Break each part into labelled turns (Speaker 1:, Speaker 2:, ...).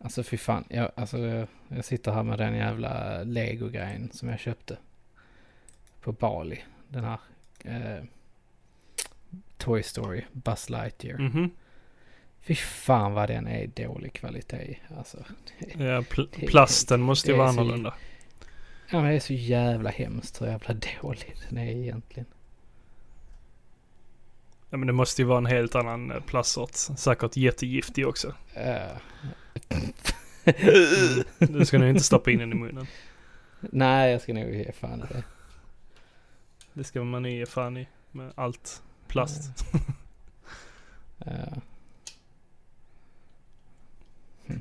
Speaker 1: Alltså fy fan, jag, alltså, jag, jag sitter här med den jävla Lego-grejen som jag köpte. På Bali. Den här eh, Toy Story, Buzz Lightyear.
Speaker 2: Mhm.
Speaker 1: Fy fan vad den är dålig kvalitet i, alltså.
Speaker 2: Ja, pl- plasten måste
Speaker 1: Det
Speaker 2: ju
Speaker 1: är
Speaker 2: vara
Speaker 1: så-
Speaker 2: annorlunda.
Speaker 1: Ja men det är så jävla hemskt hur jävla dålig den är egentligen.
Speaker 2: Ja, men det måste ju vara en helt annan eh, plastsort. Säkert jättegiftig också.
Speaker 1: Eh,
Speaker 2: Du Mm. ska nog inte stoppa in den i munnen.
Speaker 1: nej jag ska nog ge fan i det.
Speaker 2: Det ska man ju ge fan i med allt plast.
Speaker 1: Mm. Eh, hm.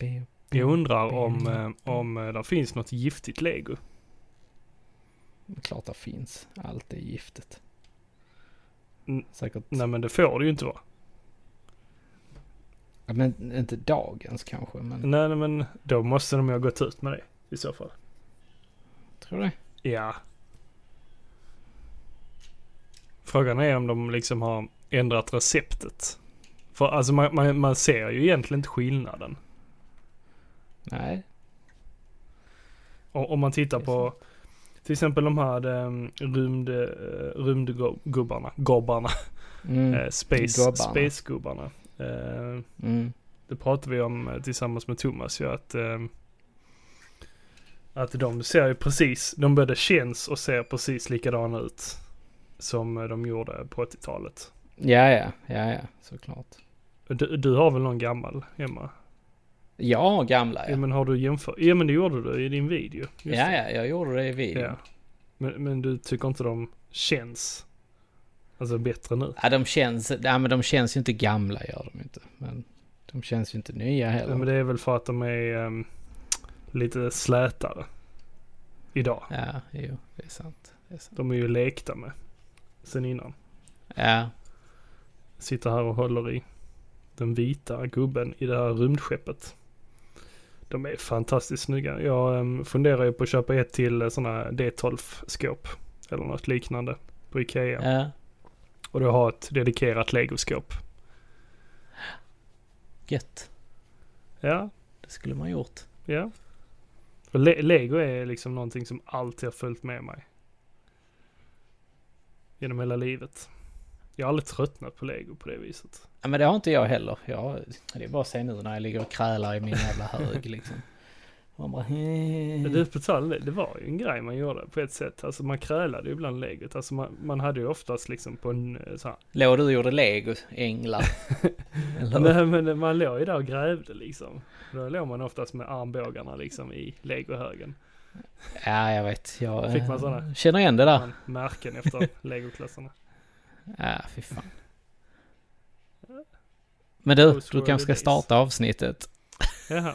Speaker 1: Be-
Speaker 2: Jag undrar
Speaker 1: Mm.
Speaker 2: om, eh, om eh, det finns något giftigt lego.
Speaker 1: Klart det finns. Allt är giftet.
Speaker 2: Mm.
Speaker 1: Säkert.
Speaker 2: Nej men det får det ju inte vara.
Speaker 1: Ja, Men inte dagens kanske. Men
Speaker 2: Nej nej, men då måste de ju ha gått ut med det i så fall.
Speaker 1: tror du det?
Speaker 2: Ja. Frågan är om de liksom har ändrat receptet. För alltså man, man, man ser ju egentligen inte skillnaden.
Speaker 1: Nej.
Speaker 2: O- Om man tittar
Speaker 1: Det är
Speaker 2: på till exempel de här um, rymd, eh, rymdgubbarna, gobbarna,
Speaker 1: Mm.
Speaker 2: eh, space,
Speaker 1: Gubbarna.
Speaker 2: spacegubbarna. Eh,
Speaker 1: Mm.
Speaker 2: det pratade vi om eh, tillsammans med Thomas ju att, eh, att de ser ju precis, de både känns och ser precis likadana ut som eh, de gjorde på 80-talet.
Speaker 1: Ja, ja, ja, ja, såklart.
Speaker 2: Du, du har väl någon gammal hemma?
Speaker 1: Ja, gamla
Speaker 2: Ja
Speaker 1: ja.
Speaker 2: men har du jämfört? Ja men det gjorde du i din video. Just
Speaker 1: Ja, ja,
Speaker 2: det.
Speaker 1: jag gjorde det i videon.
Speaker 2: Ja. Men, men du tycker inte de känns alltså bättre nu?
Speaker 1: Ja, de känns, nej, men de känns ju inte gamla gör de inte. Men de känns ju inte nya heller.
Speaker 2: Ja, men det är väl för att de är ehm, lite slätare idag.
Speaker 1: Ja, jo, det är sant. Det är sant.
Speaker 2: De är ju lekta med sen innan.
Speaker 1: Ja,
Speaker 2: Sitter här och håller i den vita gubben i det här rymdskeppet. De är fantastiskt snygga. Jag ehm, funderar ju på att köpa ett till eh, sådana D12-skåp eller något liknande på Ikea.
Speaker 1: ja.
Speaker 2: Och då ha ett dedikerat legoskåp.
Speaker 1: Gött.
Speaker 2: Ja,
Speaker 1: Det skulle man gjort.
Speaker 2: Ja. Och le- Lego är liksom någonting som alltid har följt med mig. Genom hela livet. Jag har aldrig tröttnat på Lego på det viset.
Speaker 1: Ja, men det har inte jag heller. Jag, det är bara att se nu när jag ligger och krälar i min jävla hög liksom. Man bara...
Speaker 2: Men
Speaker 1: Mm.
Speaker 2: du, på tal om det, det var ju en grej man gjorde på ett sätt. Alltså man krälade ju ibland legot. Alltså man, man hade ju oftast liksom på en eh, så här.
Speaker 1: Låg du och gjorde lego, änglar? Eller?
Speaker 2: Nej men eh, man låg ju där och grävde liksom. Då låg man oftast med armbågarna liksom i legohögen.
Speaker 1: Ja, jag vet. Jag
Speaker 2: Fick man
Speaker 1: eh,
Speaker 2: såna?
Speaker 1: känner igen det där.
Speaker 2: Man Märken efter legoklössarna.
Speaker 1: Ja, fy fan. Men du,
Speaker 2: Those
Speaker 1: du
Speaker 2: were
Speaker 1: kanske
Speaker 2: the
Speaker 1: ska
Speaker 2: days.
Speaker 1: starta avsnittet.
Speaker 2: Jaha.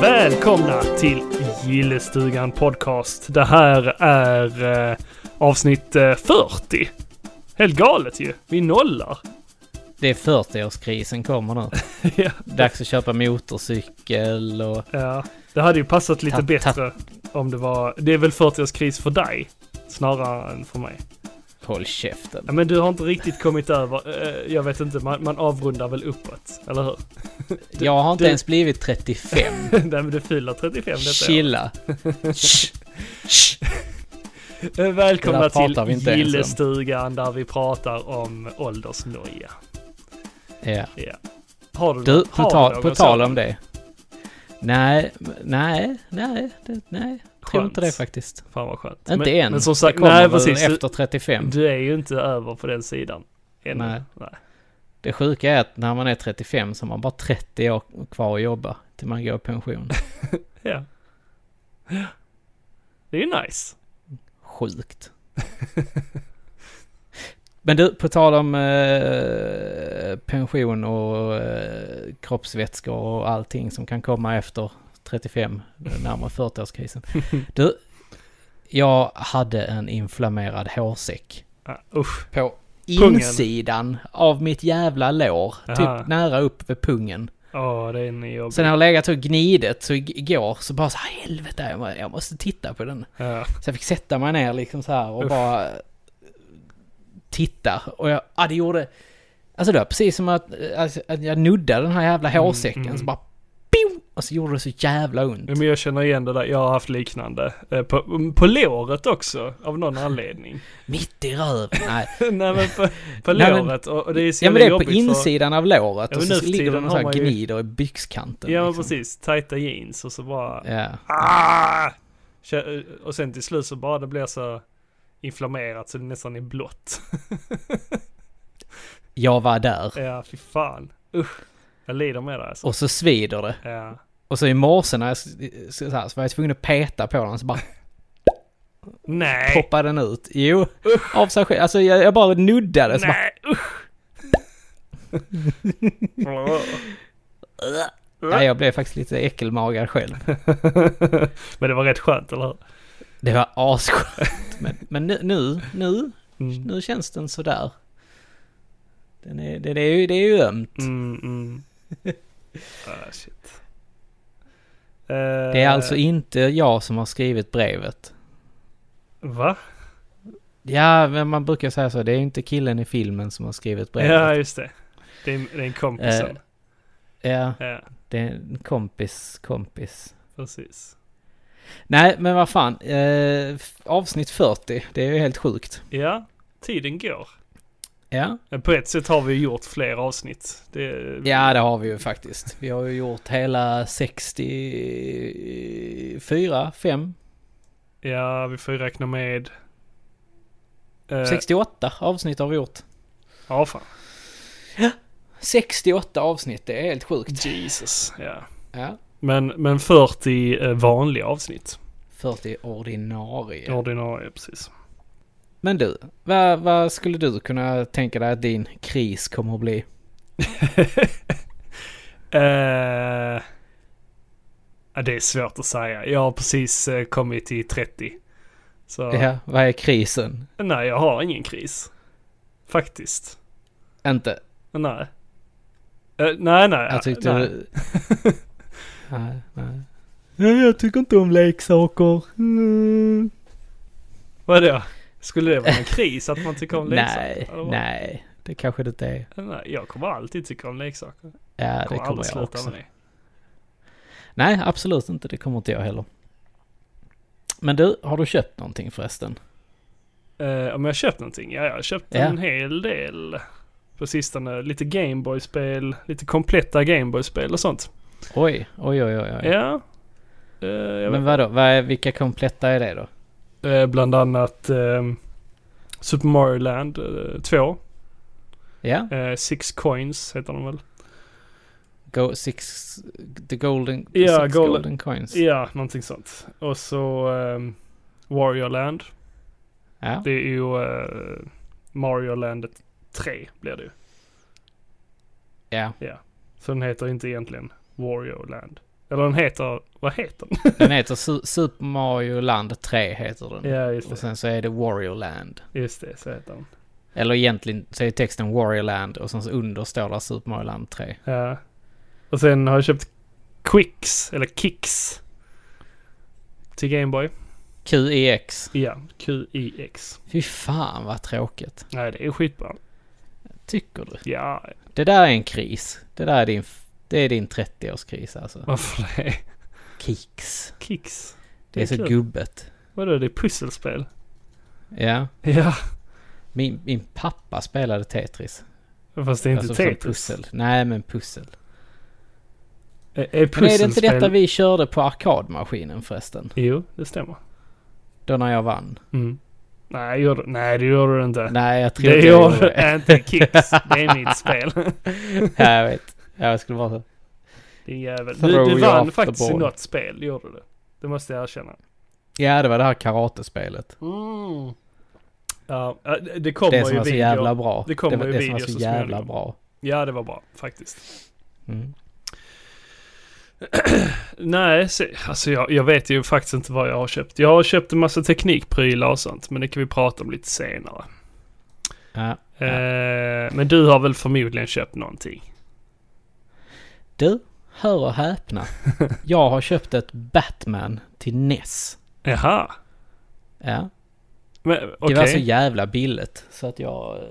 Speaker 2: Välkomna till Gillestugan Podcast. Det här är eh, avsnitt eh, 40. Helt galet ju. Vi nollar.
Speaker 1: Det är 40-årskrisen kommer nu.
Speaker 2: ja.
Speaker 1: Dags att köpa motorcykel och...
Speaker 2: ja. Det hade ju passat lite
Speaker 1: Ta- ta-
Speaker 2: bättre om det var... Det är väl 40-årskris för dig? Snarare än för mig.
Speaker 1: Håll käften.
Speaker 2: Ja, men du har inte riktigt kommit över... Eh, jag vet inte, man, man avrundar väl uppåt, eller hur?
Speaker 1: jag har inte
Speaker 2: du-
Speaker 1: ens blivit 35.
Speaker 2: Nej, men du fyller 35 detta år.
Speaker 1: Chilla. Shh. Shh.
Speaker 2: Eh,
Speaker 1: Det
Speaker 2: Välkomna
Speaker 1: där pratar
Speaker 2: till
Speaker 1: vi inte ens om.
Speaker 2: Gillestugan där vi pratar om åldersnoja.
Speaker 1: Ja.
Speaker 2: Ja. Har du,
Speaker 1: Du,
Speaker 2: någon-
Speaker 1: på,
Speaker 2: har
Speaker 1: tal-
Speaker 2: du
Speaker 1: på
Speaker 2: någon
Speaker 1: tal
Speaker 2: sådan?
Speaker 1: om det. Nej, nej, nej, det, nej. Jag tror
Speaker 2: Skönt.
Speaker 1: inte det faktiskt.
Speaker 2: Fan vad skönt.
Speaker 1: Inte
Speaker 2: men,
Speaker 1: än.
Speaker 2: Men som sagt,
Speaker 1: det kommer
Speaker 2: nej
Speaker 1: väl
Speaker 2: precis.
Speaker 1: efter 35.
Speaker 2: Du, du är ju inte över på den sidan. Ännu.
Speaker 1: Nej. Det sjuka är att när man är 35 så har man bara 30 år kvar att jobba till man går i pension.
Speaker 2: Ja. ja. Det är ju nice.
Speaker 1: Sjukt. Men du, på tal om eh, pension och eh, kroppsvätskor och allting som kan komma efter 35, närmare 40-årskrisen. Du, jag hade en inflammerad hårsäck
Speaker 2: Ah, usch.
Speaker 1: på
Speaker 2: Pungen.
Speaker 1: insidan av mitt jävla lår.
Speaker 2: Aha.
Speaker 1: Typ nära upp vid pungen.
Speaker 2: Ja, det är en jobbig.
Speaker 1: Sen har jag legat och gnidit så ig- igår så bara så här helvete jag må- jag måste titta på den.
Speaker 2: Ja.
Speaker 1: Så jag fick sätta mig ner liksom så här och
Speaker 2: Uff.
Speaker 1: bara titta. Och jag, ja det gjorde, alltså det var precis som att, alltså, att jag nuddade den här jävla
Speaker 2: Mm,
Speaker 1: hårsäcken
Speaker 2: mm.
Speaker 1: så bara pio! Och så gjorde det så jävla ont.
Speaker 2: Ja, Men jag känner igen det där, jag har haft liknande. Eh, På, på låret också, av någon anledning.
Speaker 1: Mitt i röven. Nej.
Speaker 2: Nej men på, på
Speaker 1: Nej, men-
Speaker 2: låret och och det är så
Speaker 1: Ja men
Speaker 2: jävla
Speaker 1: det är på
Speaker 2: jobbigt för...
Speaker 1: insidan av låret
Speaker 2: Ja,
Speaker 1: och
Speaker 2: men
Speaker 1: så
Speaker 2: nu för
Speaker 1: ligger
Speaker 2: tiden
Speaker 1: den och så
Speaker 2: har
Speaker 1: här
Speaker 2: man ju-
Speaker 1: gnider i byxkanten.
Speaker 2: Ja men
Speaker 1: liksom.
Speaker 2: precis, tajta jeans och så bara...
Speaker 1: Ja.
Speaker 2: Ah! Kä- Och sen till slut så bara det blir så inflammerat så det nästan är blått.
Speaker 1: Jag var där.
Speaker 2: Ja, fy fan. Usch. Jag lider med det alltså.
Speaker 1: Och så svider det.
Speaker 2: Ja.
Speaker 1: Och så i morse när jag s- så, här, så var jag tvungen att peta på den så bara
Speaker 2: Nej!
Speaker 1: poppade den ut. Jo, av sig själv. Alltså jag, jag bara nuddade så bara,
Speaker 2: Nej! Usch!
Speaker 1: Äh. nej, jag blev faktiskt lite äckelmagad själv.
Speaker 2: men det var rätt skönt, eller hur?
Speaker 1: Det var asskönt. Men, men nu, nu, nu,
Speaker 2: Mm.
Speaker 1: nu känns den sådär. Den är, det, det, är ju, det är ju ömt.
Speaker 2: Mm, mm. Ah, shit.
Speaker 1: Det är alltså inte jag som har skrivit brevet.
Speaker 2: Eh, Va?
Speaker 1: Ja, men man brukar säga så. Det är ju inte killen i filmen som har skrivit
Speaker 2: Ja,
Speaker 1: brevet.
Speaker 2: just det. Det är, det är en kompis
Speaker 1: Eh.
Speaker 2: sen.
Speaker 1: Ja,
Speaker 2: Ja,
Speaker 1: det är en kompis kompis.
Speaker 2: precis.
Speaker 1: Nej, men vad fan. Eh, f- avsnitt 40, det är ju helt sjukt.
Speaker 2: Ja, tiden går.
Speaker 1: Ja.
Speaker 2: Men På ett sätt har vi gjort fler avsnitt. Det,
Speaker 1: Ja, det har vi ju faktiskt. Vi har ju gjort hela 64, 5,
Speaker 2: ja, vi får ju räkna med... Eh,
Speaker 1: 68 avsnitt har vi gjort.
Speaker 2: Ja, fan.
Speaker 1: 68 avsnitt, det är helt sjukt.
Speaker 2: Jesus. Ja.
Speaker 1: Ja.
Speaker 2: Men, men 40 eh, vanliga avsnitt.
Speaker 1: 40 ordinarie.
Speaker 2: Ordinarie, precis.
Speaker 1: Men du, vad, vad skulle du kunna tänka dig att din kris kommer att bli?
Speaker 2: Eh, ja, det är svårt att säga. Jag har precis eh, kommit till 30. Så
Speaker 1: Ja, vad är krisen?
Speaker 2: nej, jag har ingen kris. Faktiskt.
Speaker 1: Inte?
Speaker 2: Nej. Eh, nej, nej.
Speaker 1: Jag tyckte...
Speaker 2: nej.
Speaker 1: Nej. nej, jag tycker inte om leksaker. Mm.
Speaker 2: Vadå? Skulle det vara en kris att man tycker om leksaker?
Speaker 1: Nej,
Speaker 2: Eller vad?
Speaker 1: nej. Det kanske det inte är.
Speaker 2: nej. Jag kommer alltid tycka om leksaker.
Speaker 1: Ja, det
Speaker 2: aldrig
Speaker 1: kommer jag
Speaker 2: sluta
Speaker 1: också.
Speaker 2: med
Speaker 1: Nej, absolut inte. Det kommer inte jag heller. Men du, har du köpt någonting förresten?
Speaker 2: det. Eh, om jag har köpt någonting? Ja, jag har köpt
Speaker 1: Ja.
Speaker 2: en hel del på sistone. Lite Gameboy-spel, lite kompletta Gameboy-spel och sånt.
Speaker 1: Oj, oj, oj, oj. oj.
Speaker 2: Ja. Eh, jag
Speaker 1: Men vadå, vad är, vilka kompletta är det då?
Speaker 2: vet. Eh, bland annat ehm, Super Mario Land eh, 2.
Speaker 1: Ja,
Speaker 2: eh, Six Coins heter de väl?
Speaker 1: Go, six, the golden, the
Speaker 2: Ja,
Speaker 1: six
Speaker 2: golden-
Speaker 1: golden coins.
Speaker 2: Ja, någonting sånt. Och så ehm, Warrior Land.
Speaker 1: Ja,
Speaker 2: Det är ju eh, Mario Landet 3 blir det ju.
Speaker 1: ja.
Speaker 2: Så den heter inte egentligen Wario Land. Eller den heter, vad heter den?
Speaker 1: Den heter Su- Super Mario Land 3 heter den.
Speaker 2: Ja, just
Speaker 1: Och
Speaker 2: det.
Speaker 1: sen så är det Warrior Land.
Speaker 2: Just det, så heter den.
Speaker 1: Eller egentligen så är texten Warrior Land och sen så under står där Super Mario Land 3.
Speaker 2: Ja. Och sen har jag köpt Quicks, eller Kicks. Till Gameboy.
Speaker 1: QEX.
Speaker 2: Ja, QIX.
Speaker 1: E Fy fan vad tråkigt.
Speaker 2: Nej, det är skitbra.
Speaker 1: Tycker du?
Speaker 2: Ja,
Speaker 1: Det där är en kris. Det där är din, det är din 30-årskris alltså.
Speaker 2: varför det?
Speaker 1: Kicks.
Speaker 2: Kicks.
Speaker 1: Det är så
Speaker 2: kul.
Speaker 1: gubbet.
Speaker 2: Vadå, det är pusselspel?
Speaker 1: Ja.
Speaker 2: Ja,
Speaker 1: Min, min pappa spelade Tetris.
Speaker 2: fast det är inte
Speaker 1: alltså som
Speaker 2: Tetris.
Speaker 1: pussel. Nej, men pussel.
Speaker 2: Är, är
Speaker 1: Men är det inte
Speaker 2: pusselspel...
Speaker 1: detta vi körde på arkadmaskinen förresten?
Speaker 2: Jo, det stämmer.
Speaker 1: Då när jag vann?
Speaker 2: Mm. Nej, gör... du- Nej, det gör du inte.
Speaker 1: Nej, jag tror
Speaker 2: det
Speaker 1: inte jag
Speaker 2: gör
Speaker 1: gjorde det.
Speaker 2: du inte. Kicks. Det är mitt spel.
Speaker 1: Ja, jag vet. Ja, jag skulle bara så.
Speaker 2: Din jävel.
Speaker 1: Throw
Speaker 2: Du, du
Speaker 1: you off
Speaker 2: vann
Speaker 1: the
Speaker 2: faktiskt i
Speaker 1: board.
Speaker 2: något spel, gjorde du. Det måste jag erkänna.
Speaker 1: Ja, det var det här karatespelet.
Speaker 2: Mm. Ja, äh, det kommer
Speaker 1: det som
Speaker 2: ju
Speaker 1: var så
Speaker 2: video.
Speaker 1: jävla bra.
Speaker 2: det kommer
Speaker 1: var-
Speaker 2: ju
Speaker 1: det som var
Speaker 2: video
Speaker 1: så
Speaker 2: så
Speaker 1: jävla
Speaker 2: småningom.
Speaker 1: bra.
Speaker 2: Ja, det var bra faktiskt.
Speaker 1: Mm.
Speaker 2: Nej, så, alltså jag, jag vet ju faktiskt inte vad jag har köpt. Jag har köpt en massa teknikprylar och sånt, men det kan vi prata om lite senare.
Speaker 1: Ja.
Speaker 2: Eh, men du har väl förmodligen köpt någonting?
Speaker 1: Du, hör och häpna. Jag har köpt ett Batman till NES.
Speaker 2: Jaha,
Speaker 1: Ja.
Speaker 2: men
Speaker 1: Det
Speaker 2: okej.
Speaker 1: var så jävla billigt så att jag, eh,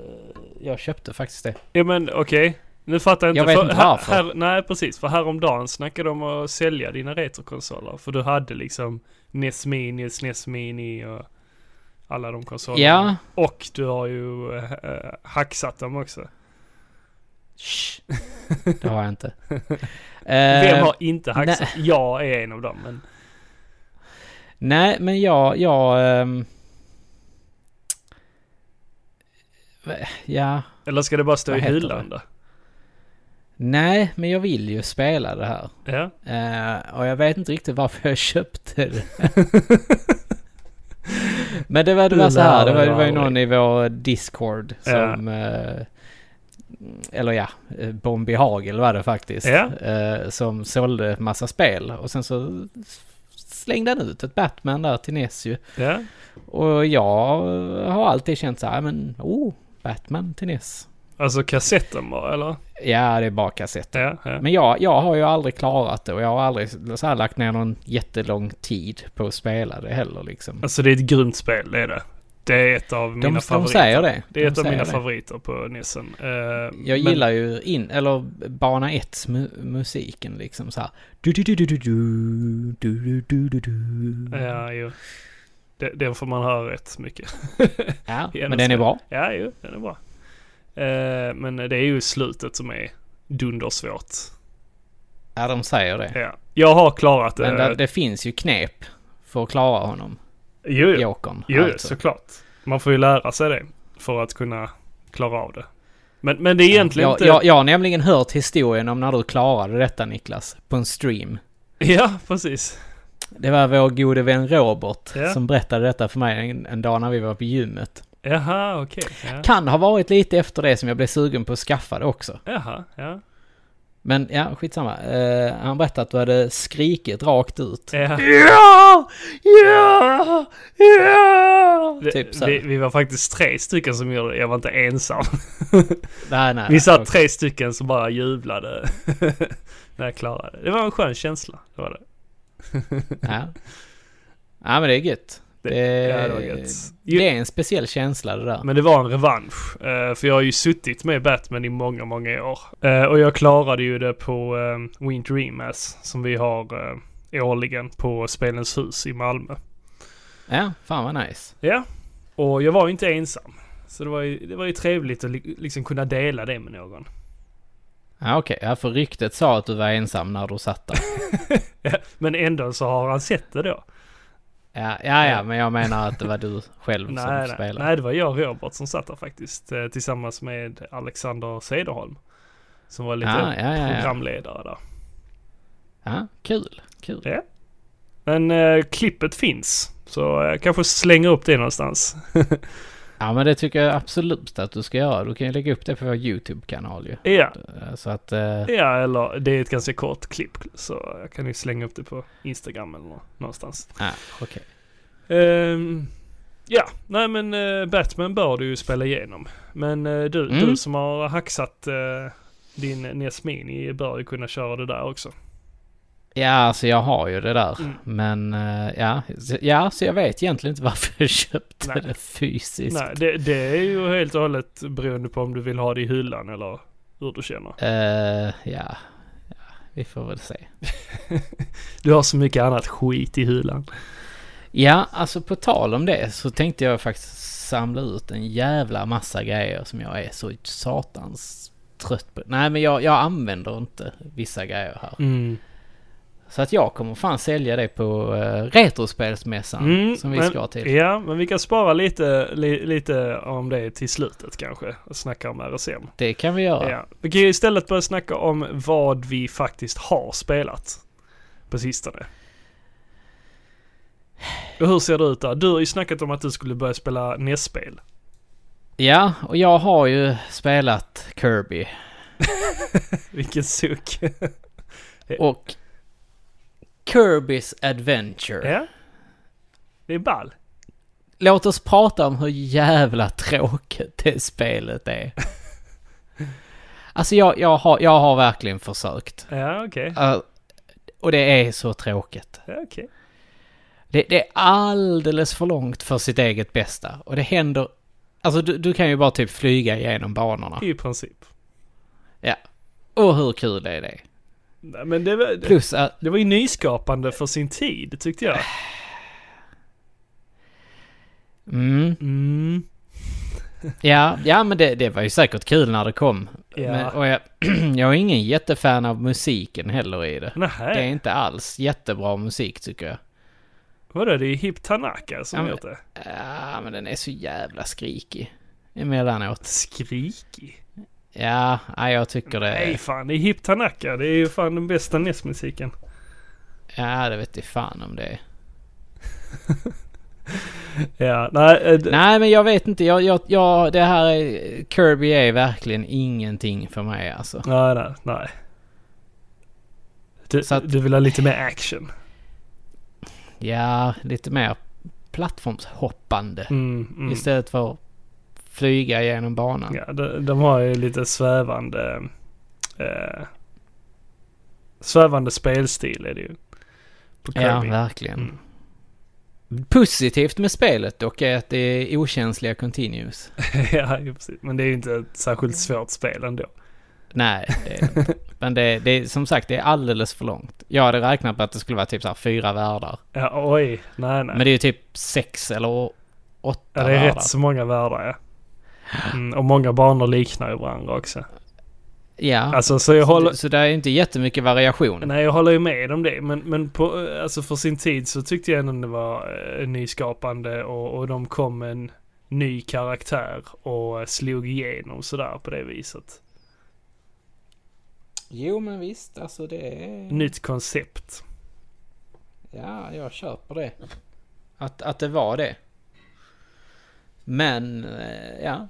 Speaker 1: jag köpte faktiskt det.
Speaker 2: Ja men okej. Nu fattar jag inte.
Speaker 1: Jag vet
Speaker 2: för,
Speaker 1: inte
Speaker 2: här-
Speaker 1: varför.
Speaker 2: Här, nej precis, för häromdagen snackade de om att sälja dina retrokonsoler. För du hade liksom NES Mini, SNES Mini och alla de konsolerna.
Speaker 1: Ja,
Speaker 2: Och du har ju eh, eh, hacksat dem
Speaker 1: Eh,
Speaker 2: också.
Speaker 1: Shh. det har jag inte.
Speaker 2: Vem
Speaker 1: Eh,
Speaker 2: har inte hacksat? Jag är en av dem. Men,
Speaker 1: Nej, men jag... jag ehm, v- Ja,
Speaker 2: eller ska det bara stå
Speaker 1: Vad
Speaker 2: i
Speaker 1: heter
Speaker 2: hyllan då?
Speaker 1: nej, men jag vill ju spela det här.
Speaker 2: Ja.
Speaker 1: Eh, och jag vet inte riktigt varför jag köpte det. Men det var, det var så här, det var, det var ju någon i vår Discord som... eh, eller ja, eh, Bombi Hagel var det faktiskt.
Speaker 2: Ja.
Speaker 1: eh, som sålde massa spel. Och sen så slängde han ut ett Batman där till NES ju.
Speaker 2: ja.
Speaker 1: Och jag har alltid känt så här, men oh, Batman till NES.
Speaker 2: Alltså kassetten bara eller?
Speaker 1: Ja, det är bara kassett.
Speaker 2: Ja, ja.
Speaker 1: Men jag, jag har ju aldrig klarat det och jag har aldrig så här lagt ner någon jättelång tid på att spela det heller liksom.
Speaker 2: Alltså det är ett grymt spel, det är det. Det är ett av mina
Speaker 1: De, de
Speaker 2: favoriter.
Speaker 1: säger det.
Speaker 2: det är
Speaker 1: de
Speaker 2: ett av
Speaker 1: säger
Speaker 2: mina
Speaker 1: det.
Speaker 2: favoriter på Nissen. Eh,
Speaker 1: Jag
Speaker 2: men-
Speaker 1: gillar ju in, eller bana 1 musiken liksom så här. Du, du, du, du, du, du, du, du, du, du.
Speaker 2: Ja, jo. Det- Den får man höra rätt mycket.
Speaker 1: ja,
Speaker 2: Ja,
Speaker 1: men den är bra.
Speaker 2: Ja, jo, den är bra. Eh, men det är ju slutet som är dundersvårt.
Speaker 1: Ja, de säger det.
Speaker 2: Ja. Jag har klarat det.
Speaker 1: Men det, det finns ju knep för att klara honom,
Speaker 2: Jo, jo,
Speaker 1: Jokern.
Speaker 2: jo
Speaker 1: alltså.
Speaker 2: såklart. Man får ju lära sig det för att kunna klara av det. Men, men det är egentligen
Speaker 1: jag,
Speaker 2: inte...
Speaker 1: jag, jag har nämligen hört historien om när du klarade detta Niklas, på en stream.
Speaker 2: Ja, precis.
Speaker 1: Det var vår gode vän Robert
Speaker 2: Ja.
Speaker 1: som berättade detta för mig en, en dag när vi var på gymmet.
Speaker 2: Jaha, okej. Ja.
Speaker 1: Kan ha varit lite efter det som jag blev sugen på att skaffa det också.
Speaker 2: Jaha, ja.
Speaker 1: Men ja, skitsamma. Eh, han berättade att du hade skrikit rakt ut.
Speaker 2: ja.
Speaker 1: Ja! Ja! Ja!
Speaker 2: Det-
Speaker 1: Typ så.
Speaker 2: vi, vi var faktiskt tre stycken som gjorde det. Jag var inte ensam.
Speaker 1: Nej, nej.
Speaker 2: Vi satt
Speaker 1: okej.
Speaker 2: tre stycken som bara jublade när jag klarade det. Det var en skön känsla. Det var det.
Speaker 1: Ja. ja, men det är gött.
Speaker 2: Det-
Speaker 1: Det,
Speaker 2: ja, det var gött. Ju-
Speaker 1: det är en speciell känsla det där.
Speaker 2: Men det var en revansch. eh, För jag har ju suttit med Batman i många, många år. Eh, Och jag klarade ju det på eh, Winter Remass som vi har eh, årligen på Spelens hus i Malmö.
Speaker 1: Ja, fan vad nice.
Speaker 2: Ja, och jag var ju inte ensam. Så det var ju, det var ju trevligt att li- liksom kunna dela det med någon.
Speaker 1: Ja, okej. Ja, för ryktet sa att du var ensam när du satt där.
Speaker 2: Eh, Men ändå så har han sett det då.
Speaker 1: Ja, ja, ja, men jag menar att det var Mm, du själv som
Speaker 2: Nej, nej,
Speaker 1: spelade.
Speaker 2: nej, det var jag och Robert som satt där faktiskt. eh, Tillsammans med Alexander Cederholm. Som var lite
Speaker 1: Ah, ja, ja, ja, ja.
Speaker 2: programledare där.
Speaker 1: ja, kul. Kul.
Speaker 2: Ja. Men eh, klippet finns. Så jag kanske slänger upp det någonstans.
Speaker 1: Ja, men det tycker jag absolut att du ska göra. Du kan ju lägga upp det på vår YouTube-kanal ju.
Speaker 2: Ja.
Speaker 1: Eh, Så att... eh,
Speaker 2: ja, eller det är ett ganska kort klipp. Så jag kan ju slänga upp det på Instagram eller nå- någonstans.
Speaker 1: Ja, okej.
Speaker 2: Ehm, ja, nej men eh, Batman bör du ju spela igenom. Men eh, du,
Speaker 1: Mm.
Speaker 2: du som har hacksat eh, din NES Mini bör ju kunna köra det där också.
Speaker 1: Ja, alltså jag har ju det där.
Speaker 2: Mm.
Speaker 1: Men eh, ja, så- ja, så jag vet egentligen inte varför jag köpte
Speaker 2: Nej.
Speaker 1: det fysiskt.
Speaker 2: Nej, det, det är ju helt och hållet beroende på om du vill ha det i hyllan eller hur du känner.
Speaker 1: Eh, ja. ja, vi får väl se.
Speaker 2: Du har så mycket annat skit i hyllan.
Speaker 1: Ja, alltså på tal om det så tänkte jag faktiskt samla ut en jävla massa grejer som jag är så satans trött på. Nej, men jag, jag använder inte vissa grejer här.
Speaker 2: Mm.
Speaker 1: Så att jag kommer fan sälja det på eh, Retrospelsmässan
Speaker 2: Mm,
Speaker 1: som vi
Speaker 2: men-
Speaker 1: ska till.
Speaker 2: Ja, men vi kan spara lite, li, lite om det till slutet kanske och snacka om RSM.
Speaker 1: Det kan vi göra.
Speaker 2: Ja. Vi kan ju istället börja snacka om vad vi faktiskt har spelat på sistone. E Och hur ser det ut där? Du har ju snackat om att du skulle börja spela NES-spel.
Speaker 1: Ja, och jag har ju spelat Kirby.
Speaker 2: Vilken suck.
Speaker 1: Och Kirby's Adventure.
Speaker 2: ja. Det är ball.
Speaker 1: Låt oss prata om hur jävla tråkigt det spelet är. Alltså jag, jag, har, jag har verkligen försökt.
Speaker 2: Ja, okej.
Speaker 1: Uh, och det är så tråkigt.
Speaker 2: Ja, okej.
Speaker 1: Det, det är alldeles för långt för sitt eget bästa. Och det händer... Alltså du, du kan ju bara typ flyga igenom banorna.
Speaker 2: I princip.
Speaker 1: Ja. Och hur kul är det?
Speaker 2: Nej, men det var, det,
Speaker 1: Plus att...
Speaker 2: det var ju nyskapande för sin tid, tyckte
Speaker 1: Äh.
Speaker 2: jag.
Speaker 1: Mm,
Speaker 2: Mm.
Speaker 1: ja, ja men det, det var ju säkert kul när det kom.
Speaker 2: Ja.
Speaker 1: Men, och jag, jag är ingen jättefan av musiken heller i det.
Speaker 2: Nähä.
Speaker 1: Det är inte alls jättebra musik tycker jag.
Speaker 2: Vadå, det är Hip Tanaka som
Speaker 1: Ja, men-
Speaker 2: gjort det?
Speaker 1: Ja, men den är så jävla skrikig. Emellanåt.
Speaker 2: Skrikig?
Speaker 1: Ja, nej, jag tycker det.
Speaker 2: Nej fan, det är Hip Tanaka. Det är ju fan den bästa E NES-musiken.
Speaker 1: Ja, det vet jag fan om det är.
Speaker 2: Ja, nej. eh, d-
Speaker 1: Nej, men jag vet inte. Jag, jag, jag, det här är, Kirby är verkligen ingenting för mig alltså.
Speaker 2: Nej, nej, nej. Du,
Speaker 1: Så att-
Speaker 2: du vill ha lite mer action?
Speaker 1: Ja, lite mer plattformshoppande.
Speaker 2: Mm, mm.
Speaker 1: Istället för flyga genom banan.
Speaker 2: Ja, de, de har ju lite svävande... Eh, svävande spelstil är det ju. På
Speaker 1: Ja,
Speaker 2: Kirby. Mm.
Speaker 1: verkligen. Positivt med spelet dock är att det är okänsliga continues.
Speaker 2: ja, ju precis. Men det är ju inte ett särskilt svårt spel ändå.
Speaker 1: Nej, det är det inte. Men det, det är som sagt, det är alldeles för långt. Jag hade räknat på att det skulle vara typ så här fyra världar.
Speaker 2: Ja, oj. Nej, nej.
Speaker 1: Men det är ju typ sex eller åtta
Speaker 2: Ja, det är
Speaker 1: världar.
Speaker 2: rätt så många världar, ja. Mm, och många banor liknar ju varandra också.
Speaker 1: Ja,
Speaker 2: Alltså, så jag håller...
Speaker 1: så, så det är ju inte jättemycket variation.
Speaker 2: Nej, jag håller ju med om det. Men, men på, alltså för sin tid så tyckte jag ändå det var eh, nyskapande och, och de kom med en ny karaktär och eh, slog igenom sådär på det viset.
Speaker 1: Jo, men visst, alltså det är...
Speaker 2: Nytt koncept.
Speaker 1: Ja, jag köper det. Att, att det var det. Men, eh, ja.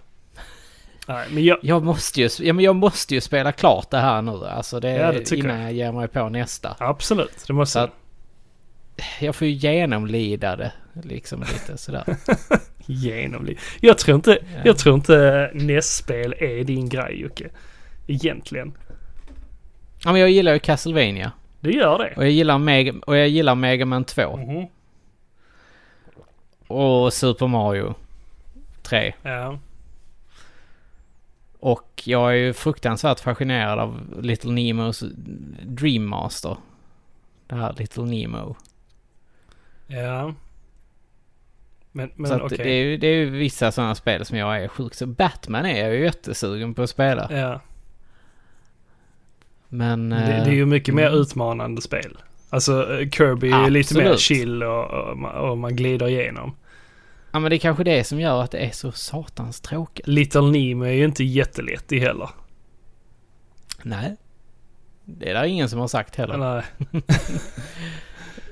Speaker 2: Nej, men jag...
Speaker 1: Jag måste ju, ja, men jag måste ju spela klart det här nu. Alltså det,
Speaker 2: Ja, det tycker
Speaker 1: innan jag. ger mig på nästa.
Speaker 2: Absolut, det måste
Speaker 1: Så att- Jag får ju genomlida det liksom lite sådär.
Speaker 2: genomliv. Jag tror inte,
Speaker 1: Ja.
Speaker 2: jag tror inte eh, NES-spel är din grej Jocke. Egentligen.
Speaker 1: Ja, men jag gillar ju Castlevania.
Speaker 2: Det gör det.
Speaker 1: Och jag gillar Mega, och jag gillar Mega Man 2.
Speaker 2: Mhm.
Speaker 1: Och Super Mario 3.
Speaker 2: Ja.
Speaker 1: Och jag är ju fruktansvärt fascinerad av Little Nemos Dream Master. Det här Little Nemo.
Speaker 2: Ja. Men, men
Speaker 1: så att
Speaker 2: okej.
Speaker 1: det, är ju, det är ju vissa sådana spel som jag är sjukt så Batman är jag ju jättesugen på att spela.
Speaker 2: Ja.
Speaker 1: Men...
Speaker 2: Det,
Speaker 1: eh,
Speaker 2: det är ju mycket mer
Speaker 1: mm.
Speaker 2: utmanande spel. Alltså eh, Kirby är ju lite mer
Speaker 1: Absolut.
Speaker 2: chill och, och, man- och man glider igenom.
Speaker 1: Ja men det är kanske det som gör att det är så satans tråkigt.
Speaker 2: Little Nemo är ju inte jättelätt i heller.
Speaker 1: Nej. Det är det ingen som har sagt heller.
Speaker 2: Nej.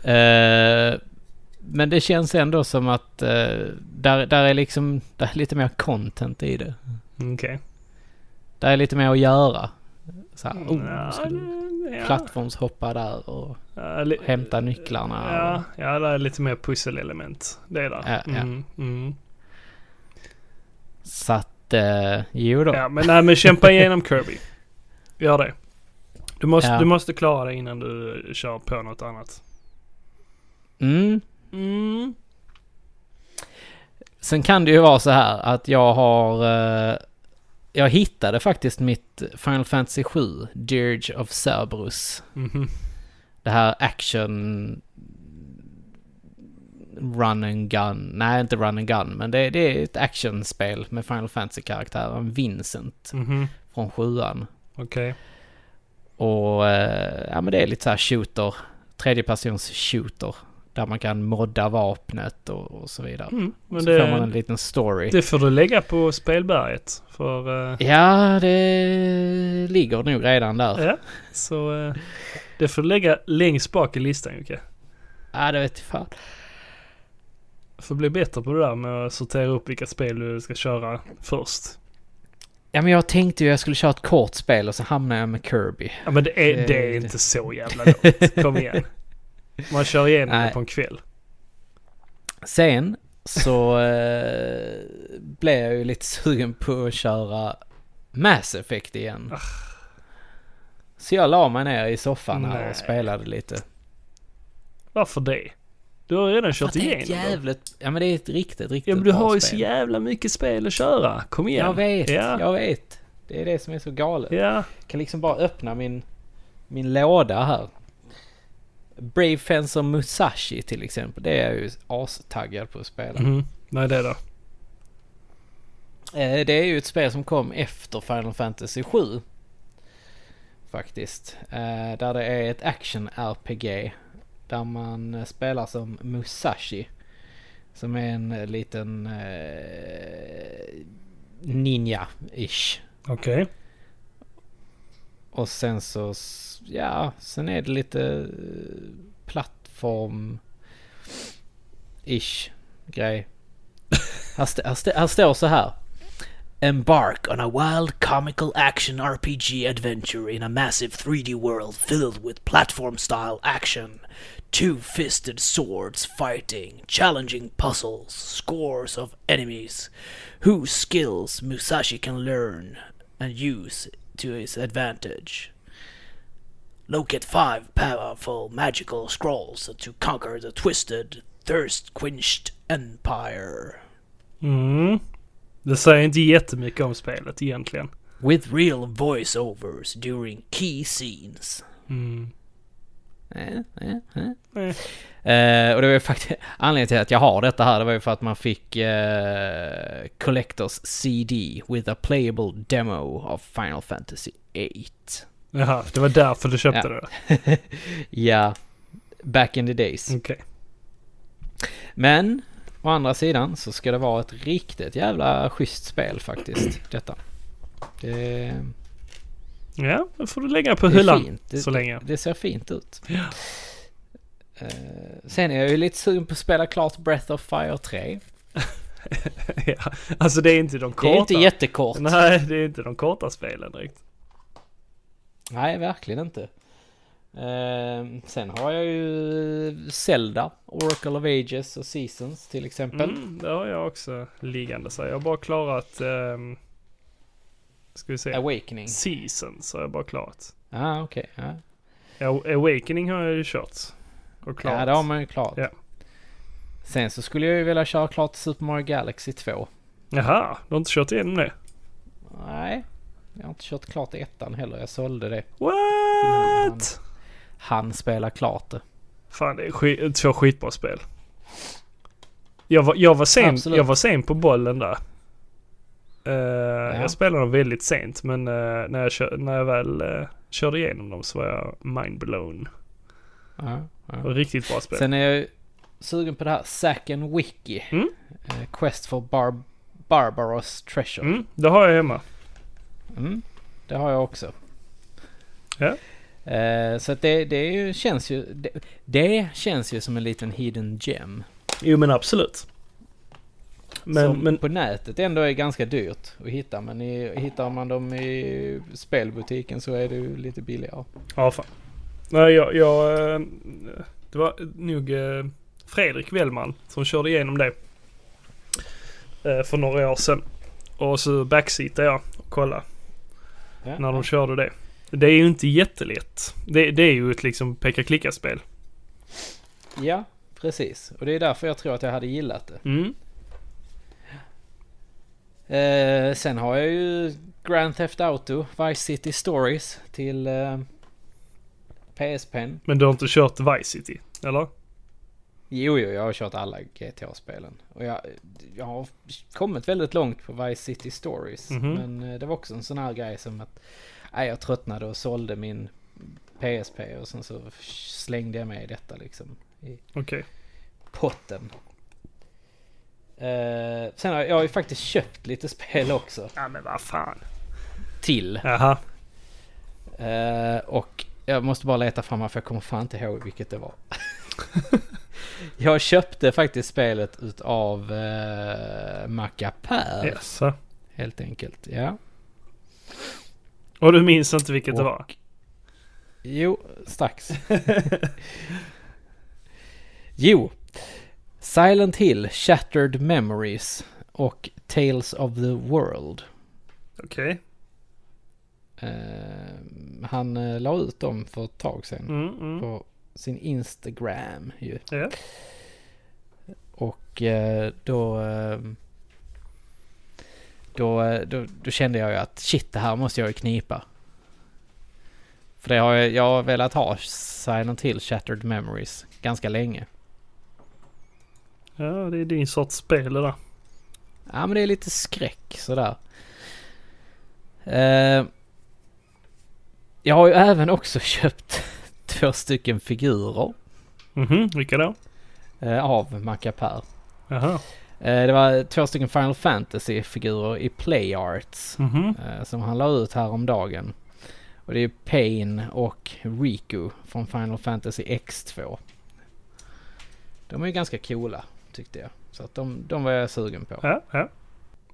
Speaker 1: Eh, men det känns ändå som att eh, där, där är liksom, där är lite mer content i det.
Speaker 2: Okej.
Speaker 1: Där är lite mer att göra. Så här, oh,
Speaker 2: Nja,
Speaker 1: nu ska du
Speaker 2: Mm, ja.
Speaker 1: plattformshoppa där och
Speaker 2: Ja, li-
Speaker 1: hämta nycklarna.
Speaker 2: Ja,
Speaker 1: Och,
Speaker 2: ja, det är lite mer pusselelement. Det är det.
Speaker 1: Ja, ja.
Speaker 2: Mm, mm.
Speaker 1: så att, uh, jo då.
Speaker 2: ja, men, nej, men kämpa igenom Kirby. Gör det. Du måste,
Speaker 1: Ja.
Speaker 2: du måste klara det innan du kör på något annat.
Speaker 1: Mm.
Speaker 2: Mm.
Speaker 1: Sen kan det ju vara så här att jag har... eh, jag hittade faktiskt mitt Final Fantasy 7, Dirge of Cerberus.
Speaker 2: Mhm.
Speaker 1: Det här action... Run and gun. Nej, inte run and gun, men det, det är ett actionspel med Final Fantasy-karaktären Vincent
Speaker 2: Mhm.
Speaker 1: från sjuan.
Speaker 2: Okej.
Speaker 1: Och eh, ja, men det är lite så här shooter, tredjepersons shooter. Där man kan modda vapnet och, och så vidare.
Speaker 2: Mm, men
Speaker 1: så
Speaker 2: det,
Speaker 1: får man en liten story.
Speaker 2: Det får du lägga på spelberget. För, eh,
Speaker 1: Ja, det ligger nog redan där.
Speaker 2: ja, så, eh, det får du lägga längst bak i listan Jocke.
Speaker 1: Ja, det vet jag fan.
Speaker 2: får bli bättre på det där med att sortera upp vilka spel du ska köra först.
Speaker 1: Ja men jag tänkte ju jag skulle köra ett kort spel och så hamnade jag med Kirby.
Speaker 2: Ja men det
Speaker 1: Det-
Speaker 2: är, det är inte så jävla långt. Kom igen. Man kör igenom
Speaker 1: Nej.
Speaker 2: det på en kväll.
Speaker 1: Sen så eh, blev jag ju lite sugen på att köra Mass Effect igen. Så jag la mig ner i soffan här
Speaker 2: Nej.
Speaker 1: och spelade lite.
Speaker 2: Varför det? Du har redan kört
Speaker 1: För att det är ett
Speaker 2: igenom dem.
Speaker 1: jävligt... Ja men det är ett riktigt, riktigt
Speaker 2: Ja men du
Speaker 1: bra
Speaker 2: har ju så
Speaker 1: spel.
Speaker 2: jävla mycket spel att köra. Kom igen.
Speaker 1: Jag vet,
Speaker 2: Ja.
Speaker 1: jag vet. Det är det som är så galet.
Speaker 2: Ja.
Speaker 1: Jag kan liksom bara öppna min, min låda här. Brave Fencer Musashi till exempel. Det är jag ju astaggad på att spela.
Speaker 2: Mhm. Nej det då.
Speaker 1: Eh, Det är ju ett spel som kom efter Final Fantasy 7. Faktiskt. Eh, Där det är ett action-RPG. Där man eh, spelar som Musashi. Som är en eh, liten eh, ninja-ish.
Speaker 2: Okej.
Speaker 1: Och sen så, s- ja, sen är det lite eh, plattform-ish grej. Här, st- här, st- här står så här. Embark on a wild comical action RPG adventure in a massive 3D world filled with platform style action, two fisted swords fighting, challenging puzzles, scores of enemies, whose skills Musashi can learn and use to his advantage. Locate five powerful magical scrolls to conquer the twisted, thirst quenched empire.
Speaker 2: Mm. Det säger inte jättemycket om spelet egentligen.
Speaker 1: With real voiceovers during key scenes.
Speaker 2: Mm. Nej.
Speaker 1: Eh, och det var ju faktiskt anledningen till att jag har detta här. Det var ju för att man fick eh, Collectors CD with a playable demo of Final Fantasy 8.
Speaker 2: Jaha, det var därför du köpte
Speaker 1: Ja.
Speaker 2: det.
Speaker 1: Ja, back in the days.
Speaker 2: Okej.
Speaker 1: Men å andra sidan så ska det vara ett riktigt jävla schysst spel faktiskt. Detta. Det,
Speaker 2: Ja, då får du lägga på
Speaker 1: det är
Speaker 2: hyllan
Speaker 1: fint. Det,
Speaker 2: så länge.
Speaker 1: det ser fint ut. Eh, sen är jag ju lite sugen på att spela klart Breath of Fire 3.
Speaker 2: ja. Alltså det är inte de korta.
Speaker 1: Det är inte jättekort.
Speaker 2: Nej, det är inte de korta spelen direkt.
Speaker 1: Nej, verkligen inte. Eh, sen har jag ju Zelda, Oracle of Ages och Seasons till exempel.
Speaker 2: Mm, det har jag också liggande. Så jag har bara klarat... Um, ska vi se.
Speaker 1: Awakening.
Speaker 2: Seasons har jag bara klarat.
Speaker 1: Ah, okej. ja.
Speaker 2: Ja, Awakening har jag ju kört. Och klarat.
Speaker 1: Ja, det har man ju klart.
Speaker 2: Ja.
Speaker 1: Sen så skulle jag ju vilja köra klart Super Mario Galaxy 2.
Speaker 2: Jaha, du har inte kört igenom det?
Speaker 1: Nej, jag har inte kört klart ettan heller. Jag sålde det.
Speaker 2: What?
Speaker 1: Han spelar klart det.
Speaker 2: Fan, det är skit, två skitbra spel. Jag var, jag, var sen,
Speaker 1: Absolut.
Speaker 2: jag var sen på bollen där. Eh, Jag spelade dem väldigt sent, men eh, när, jag kö- när jag väl eh, körde igenom dem så var jag mindblown.
Speaker 1: Ja, ja.
Speaker 2: Det var Riktigt bra spel.
Speaker 1: Sen är jag ju sugen på det här Zack and Wiki.
Speaker 2: Mm.
Speaker 1: Eh, Quest for Bar- Barbaros Treasure.
Speaker 2: Mm, det har jag hemma.
Speaker 1: Mm, det har jag också.
Speaker 2: Ja.
Speaker 1: Eh, så att det, det är ju, känns ju... Det, det känns ju som en liten hidden gem.
Speaker 2: Jo men absolut. Men,
Speaker 1: som
Speaker 2: men
Speaker 1: på nätet ändå är ganska dyrt att hitta. Men i, hittar man dem i spelbutiken så är det ju lite billigare.
Speaker 2: ja fan. Nej jag, jag eh, det var nog eh, Fredrik Wellman som körde igenom det. eh, För några år sedan. Och så backseatade jag och kollade
Speaker 1: Ja.
Speaker 2: när de körde det. Det är ju inte jättelätt. Det, det är ju ett liksom peka-klicka-spel.
Speaker 1: ja, precis. Och det är därför jag tror att jag hade gillat det.
Speaker 2: Mm.
Speaker 1: Eh, sen har jag ju Grand Theft Auto, Vice City Stories till eh, PSPn.
Speaker 2: Men du har inte kört Vice City, eller?
Speaker 1: Jo, jo, jag har kört alla GTA-spelen. Och jag, jag har kommit väldigt långt på Vice City Stories.
Speaker 2: Mhm.
Speaker 1: Men eh, det var också en sån här grej som att nej, jag tröttnade och sålde min PSP och sen så slängde jag mig i detta liksom. I
Speaker 2: Okej.
Speaker 1: potten. Eh, sen har jag, jag har ju faktiskt köpt lite spel också
Speaker 2: Ja men vad fan.
Speaker 1: till.
Speaker 2: Jaha.
Speaker 1: Eh, och jag måste bara leta fram här för jag kommer fan inte ihåg vilket det var. Jag köpte faktiskt spelet utav eh, Macapär.
Speaker 2: Jaså?
Speaker 1: Helt enkelt, ja.
Speaker 2: Och du minns inte vilket det var?
Speaker 1: Jo, strax. jo. Silent Hill, Shattered Memories och Tales of the World.
Speaker 2: Okej.
Speaker 1: Eh, han eh, la ut dem för ett tag sedan
Speaker 2: Mm, mm.
Speaker 1: på sin Instagram ju.
Speaker 2: Ja.
Speaker 1: Och eh, då, eh, då, eh, då, då kände jag ju att shit, det här måste jag ju knipa. För det har jag, jag har velat ha Silent Hill Shattered Memories ganska länge.
Speaker 2: ja, det är din sorts spel det där.
Speaker 1: Ja men det är lite skräck sådär. Eh, jag har ju även också köpt två stycken figurer
Speaker 2: Mhm, vilka då?
Speaker 1: eh, av Macapär.
Speaker 2: Jaha.
Speaker 1: Eh, det var två stycken Final Fantasy-figurer i Play Arts.
Speaker 2: Mhm.
Speaker 1: eh, som han la ut häromdagen. Och det är Pain och Riku från Final Fantasy X2. De är ju ganska coola tyckte jag. Så att de, de var jag sugen på.
Speaker 2: Ja, ja.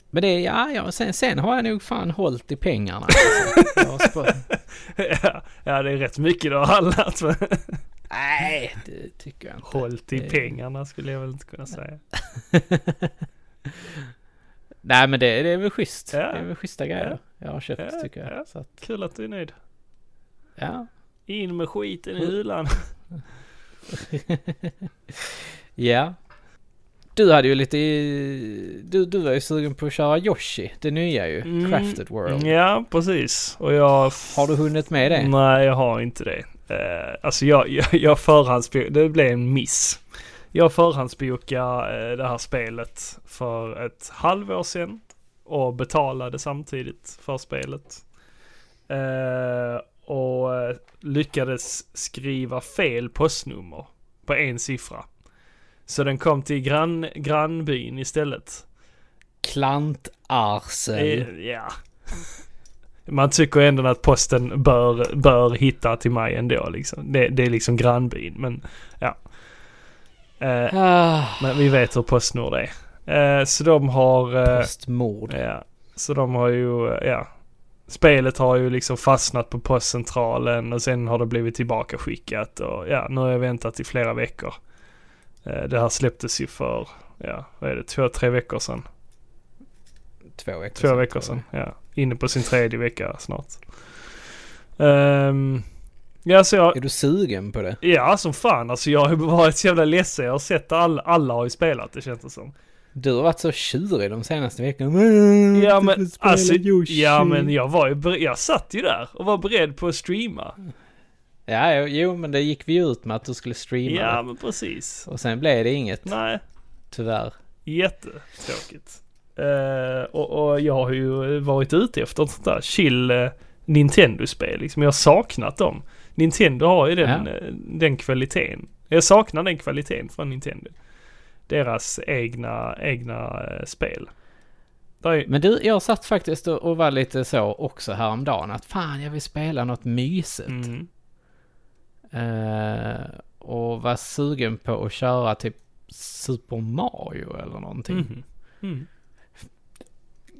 Speaker 1: Men det, ja, ja sen, sen har jag nog fan hållit i pengarna. alltså. Jag har spar-
Speaker 2: ja. Ja, det är rätt mycket alltså. du har handlat med.
Speaker 1: Nej, det tycker jag inte.
Speaker 2: Hållt i
Speaker 1: Eh.
Speaker 2: pengarna skulle jag väl inte kunna säga.
Speaker 1: Nej men det, det är väl schysst.
Speaker 2: Ja.
Speaker 1: Det är väl schyssta grejer jag har köpt
Speaker 2: Ja,
Speaker 1: tycker jag.
Speaker 2: ja.
Speaker 1: Så att,
Speaker 2: Kul att du är nöjd.
Speaker 1: ja.
Speaker 2: In med skiten i hyllan.
Speaker 1: ja. Du hade ju lite... Du, du var ju sugen på att köra Yoshi, det nya ju.
Speaker 2: Mm. Mm.
Speaker 1: Crafted World.
Speaker 2: Ja, precis. Och jag...
Speaker 1: Har du hunnit med det?
Speaker 2: Nej, jag har inte det. Eh, alltså jag, jag, jag förhandsbokade, det blev en miss. Jag förhandsbokade eh, det här spelet för ett halvår sedan och betalade samtidigt för spelet. Eh, och eh, lyckades skriva fel postnummer på en siffra. Så den kom till grann, grannbyn istället.
Speaker 1: Klantarsel.
Speaker 2: Eh, Ja. Man tycker ändå att posten bör, bör hitta till mig ändå liksom. Det, det är liksom grannbyn men ja. Eh,
Speaker 1: Ah,
Speaker 2: men vi vet hur Postnord är. Eh, så de har... Eh,
Speaker 1: postmord.
Speaker 2: ja. Så de har ju, eh, ja. Spelet har ju liksom fastnat på postcentralen och sen har det blivit tillbaka skickat och ja, nu har jag väntat i flera veckor. Eh, det här släpptes ju för, ja, vad är det, två, tre veckor sedan.
Speaker 1: Två veckor
Speaker 2: Två
Speaker 1: sedan,
Speaker 2: veckor
Speaker 1: tror
Speaker 2: sedan, ja. Inne på sin tredje vecka snart. Ehm, ja, så jag...
Speaker 1: jag. Är du sugen på det?
Speaker 2: Ja, som fan alltså. Jag har ju varit så jävla ledsen. Jag har sett alla, alla har ju spelat det känns det som.
Speaker 1: Du har varit så tjurig de senaste veckorna. Mm,
Speaker 2: Ja
Speaker 1: Du får
Speaker 2: men
Speaker 1: spela
Speaker 2: alltså,
Speaker 1: Yoshi.
Speaker 2: ja men jag var ju, ber- jag satt ju där och var beredd på att streama.
Speaker 1: Ja, jo, jo, men det gick vi ut med att du skulle streama
Speaker 2: Ja
Speaker 1: det.
Speaker 2: men precis.
Speaker 1: Och sen blev det inget,
Speaker 2: Nej,
Speaker 1: tyvärr.
Speaker 2: jättetråkigt. Eh, och, och jag har ju varit ute efter ett sånt där chill eh, Nintendo-spel liksom. Jag har saknat dem. Nintendo har ju den,
Speaker 1: Ja.
Speaker 2: eh, den kvaliteten. Jag saknar den kvaliteten från Nintendo. Deras egna, egna eh, spel. Där är,
Speaker 1: Men du, jag satt faktiskt och- och var lite så också häromdagen att fan jag vill spela något mysigt.
Speaker 2: mm,
Speaker 1: Eh, och var sugen på att köra typ Super Mario eller någonting.
Speaker 2: mhm, mm.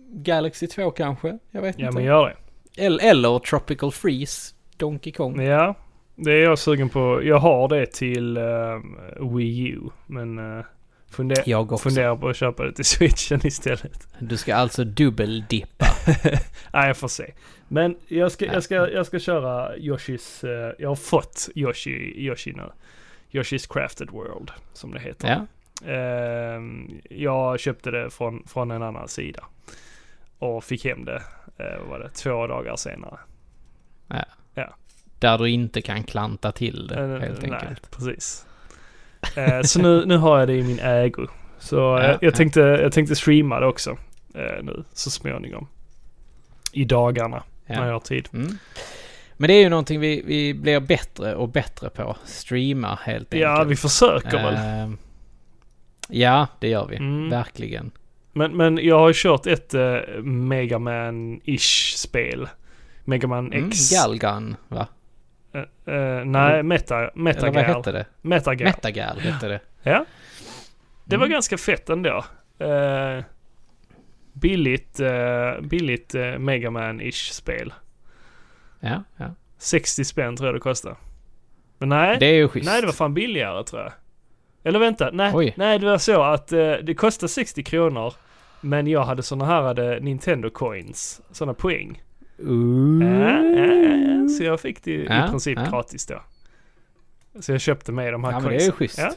Speaker 1: Galaxy 2 kanske? Jag vet
Speaker 2: Ja
Speaker 1: inte.
Speaker 2: men gör det.
Speaker 1: Eller, eller Tropical Freeze, Donkey Kong.
Speaker 2: Ja, det är jag sugen på. Jag har det till eh, Wii U. Men uh, funder,
Speaker 1: Jag också.
Speaker 2: funderar på att köpa det till Switchen istället.
Speaker 1: Du ska alltså dubbeldippa.
Speaker 2: Nej, jag får se. Men jag ska,
Speaker 1: Ja.
Speaker 2: jag ska, jag ska köra Yoshis, eh, jag har fått Yoshi, Yoshi nu. Yoshis Crafted World, som det heter.
Speaker 1: ja.
Speaker 2: Ehm, jag köpte det från, från en annan sida. Och fick hem det, eh, vad var det, två dagar senare.
Speaker 1: Där du inte kan klanta till det
Speaker 2: Eh,
Speaker 1: helt
Speaker 2: nej,
Speaker 1: enkelt.
Speaker 2: precis. Eh, så nu, nu har jag det i min ägo. Så eh,
Speaker 1: Ja,
Speaker 2: jag,
Speaker 1: ja.
Speaker 2: tänkte, jag tänkte streama det också eh, nu, så småningom. I dagarna, när
Speaker 1: Ja.
Speaker 2: jag har tid.
Speaker 1: Mm. Men det är ju någonting vi, vi blir bättre och bättre på. Streama helt enkelt.
Speaker 2: Ja, vi försöker väl.
Speaker 1: Ehm, Ja, det gör vi.
Speaker 2: Mm.
Speaker 1: Verkligen.
Speaker 2: Men, men jag har kört ett eh, Megaman-ish spel. Megaman
Speaker 1: Mm,
Speaker 2: X.
Speaker 1: Galgan, va?
Speaker 2: Eh, eh, nej, Meta,
Speaker 1: Mm. Eller vad
Speaker 2: Metagal.
Speaker 1: hette det?
Speaker 2: Metagal.
Speaker 1: Metagal hette det.
Speaker 2: Ja. Det var
Speaker 1: Mm.
Speaker 2: ganska fett ändå. Eh, billigt eh, billigt eh, Mega Man-ish spel.
Speaker 1: Ja, ja.
Speaker 2: 60 spänn tror jag det kostade. Men nej,
Speaker 1: Det är ju schysst.
Speaker 2: nej det var fan billigare tror jag. Eller vänta, nej,
Speaker 1: Oj.
Speaker 2: nej det var så att eh, det kostade 60 kronor. Men jag hade såna här hade Nintendo coins, såna poäng.
Speaker 1: Ooh.
Speaker 2: Ja, ja, ja,
Speaker 1: Mm.
Speaker 2: ja. Så jag fick det ju
Speaker 1: Ja,
Speaker 2: i princip
Speaker 1: ja.
Speaker 2: gratis då. Så jag köpte med de här
Speaker 1: Ja, men det är
Speaker 2: coinsen.
Speaker 1: ju schysst.
Speaker 2: Ja.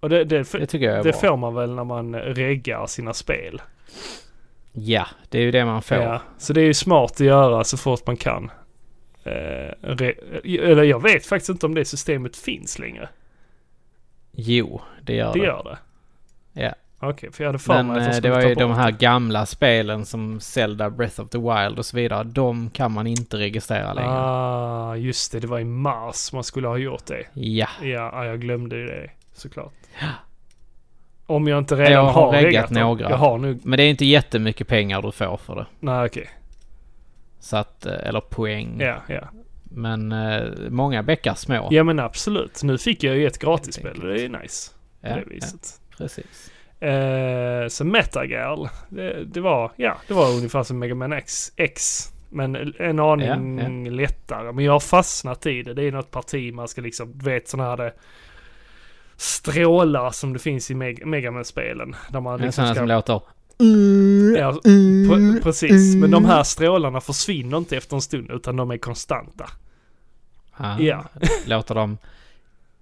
Speaker 2: Och det, det,
Speaker 1: Det tycker jag är
Speaker 2: det
Speaker 1: bra.
Speaker 2: får man väl när man reggar sina spel.
Speaker 1: Ja, det är ju det man får.
Speaker 2: Ja, så det är ju smart att göra så fort man kan. Eh, re- eller jag vet faktiskt inte om det systemet finns längre.
Speaker 1: Jo, det gör
Speaker 2: Det
Speaker 1: det.
Speaker 2: gör det?
Speaker 1: Ja.
Speaker 2: Okej, för jag hade för
Speaker 1: Men
Speaker 2: mig att de
Speaker 1: eh, det
Speaker 2: skulle
Speaker 1: var
Speaker 2: ta
Speaker 1: ju de
Speaker 2: bort
Speaker 1: här gamla spelen som Zelda, Breath of the Wild och så vidare. De kan man inte registrera längre.
Speaker 2: Ah, just det. Det var i mars man skulle ha gjort det.
Speaker 1: Ja,
Speaker 2: Ja, ah, jag glömde ju det såklart. Om jag inte
Speaker 1: Jag
Speaker 2: redan
Speaker 1: har
Speaker 2: har
Speaker 1: reggat
Speaker 2: reggat dem.
Speaker 1: några.
Speaker 2: Jag har nog...
Speaker 1: men det är inte jättemycket pengar du får för det.
Speaker 2: Nej, okej.
Speaker 1: Så att, eh, eller poäng.
Speaker 2: Ja, ja.
Speaker 1: Men eh, många bäckar små.
Speaker 2: Ja, men absolut. Nu fick jag ju ett gratisspel. Det är nice. På
Speaker 1: Ja,
Speaker 2: det viset.
Speaker 1: ja, precis.
Speaker 2: Eh, så Metagal, det, det var, ja, det var ungefär som Mega Man X, X men en aning lättare. Men jag har fastnat i det. Det är något parti man ska liksom, du vet sådana här det, strålar som det finns i Meg- Mega man spelen Där man
Speaker 1: Det är sådana
Speaker 2: liksom ska...
Speaker 1: som låter...
Speaker 2: Ja,
Speaker 1: Mm.
Speaker 2: pre- precis, men de här strålarna försvinner inte efter en stund utan de är konstanta.
Speaker 1: Ah,
Speaker 2: Ja.
Speaker 1: Låter dem...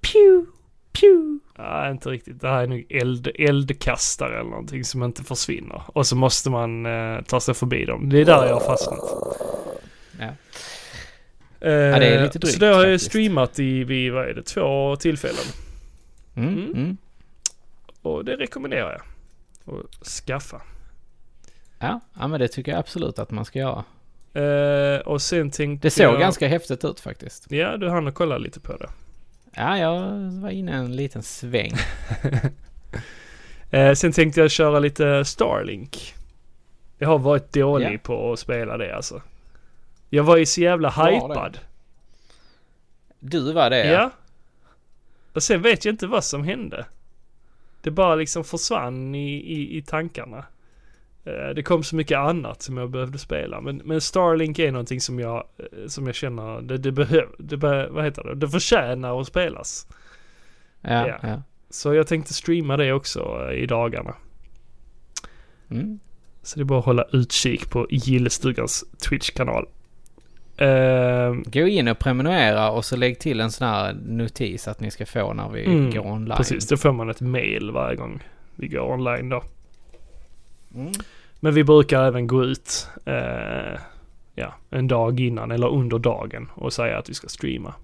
Speaker 1: Pew, pew.
Speaker 2: Nej, inte riktigt. Det här är nog eld, eldkastare eller någonting som inte försvinner. Och så måste man eh, ta sig förbi dem. Det är där jag har fastnat.
Speaker 1: Ja.
Speaker 2: Eh,
Speaker 1: det är lite drygt
Speaker 2: Så det har jag ju
Speaker 1: faktiskt.
Speaker 2: streamat i, vid, vad är det, två tillfällen. Mm.
Speaker 1: Mm, mm.
Speaker 2: Och det rekommenderar jag. Att skaffa.
Speaker 1: Ja, ja, men det tycker jag absolut att man ska göra.
Speaker 2: Eh, och sen tänkte
Speaker 1: Det såg
Speaker 2: jag...
Speaker 1: ganska häftigt ut faktiskt.
Speaker 2: Ja, du hann och kolla lite på det.
Speaker 1: Ja, jag var inne en liten sväng.
Speaker 2: Eh, sen tänkte jag köra lite Starlink. Jag har varit dålig
Speaker 1: Ja.
Speaker 2: på att spela det alltså. Jag var ju så jävla
Speaker 1: Bra det.
Speaker 2: hypad.
Speaker 1: Du var det
Speaker 2: Ja. Och sen vet jag inte vad som hände. Det bara liksom försvann i, i, i tankarna. Eh, Det kom så mycket annat som jag behövde spela. Men, men Starlink är någonting som jag, eh, som jag känner, det, det behöver, det be, vad heter det, det förtjänar att spelas.
Speaker 1: ja.
Speaker 2: Ja.
Speaker 1: ja.
Speaker 2: Så jag tänkte streama det också eh, i dagarna.
Speaker 1: Mm.
Speaker 2: Så det är bara att hålla utkik på Gillestugans Twitch-kanal. Ehm,
Speaker 1: Gå in och prenumerera och så lägg till en sån här notis att ni ska få när vi
Speaker 2: Mm,
Speaker 1: går online.
Speaker 2: precis, då får man ett mail varje gång vi går online då.
Speaker 1: Mm.
Speaker 2: Men vi brukar även gå ut eh, ja, en dag innan eller under dagen och säga att vi ska streama.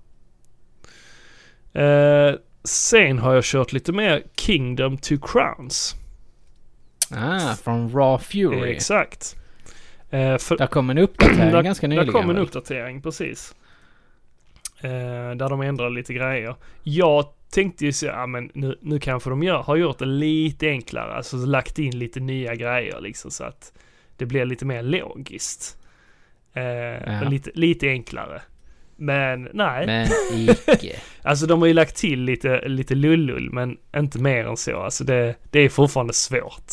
Speaker 2: Eh, sen har jag kört lite mer Kingdom to Crowns.
Speaker 1: Ah, från Raw Fury.
Speaker 2: Exakt. Eh, för,
Speaker 1: Där kom en uppdatering
Speaker 2: Där-
Speaker 1: ganska
Speaker 2: där
Speaker 1: nyligen.
Speaker 2: kom en
Speaker 1: väl?
Speaker 2: uppdatering, precis. Eh, där de ändrade lite grejer. Jag tänkte ju så, ja men nu, nu kanske de gör, har gjort det lite enklare, alltså lagt in lite nya grejer liksom så att det blir lite mer logiskt. Eh, och lite, lite enklare. Men nej,
Speaker 1: Men icke.
Speaker 2: alltså de har ju lagt till lite, lite lullull men inte mer än så. Alltså det, det är fortfarande svårt.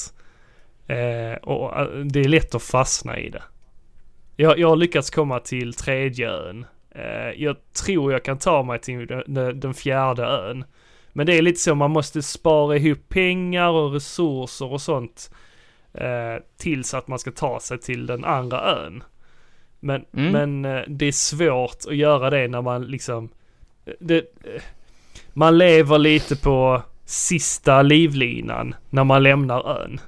Speaker 2: Eh, och eh, det är lätt att fastna i det. Jag, jag har lyckats komma till tredje ön. Eh, jag tror jag kan ta mig till den, den fjärde ön. Men det är lite så, man måste spara ihop pengar och resurser och sånt. Eh, tills att man ska ta sig till den andra ön. Men,
Speaker 1: Mm.
Speaker 2: men eh, det är svårt att göra det när man liksom... eh, Det, eh, man lever lite på sista livlinan när man lämnar ön.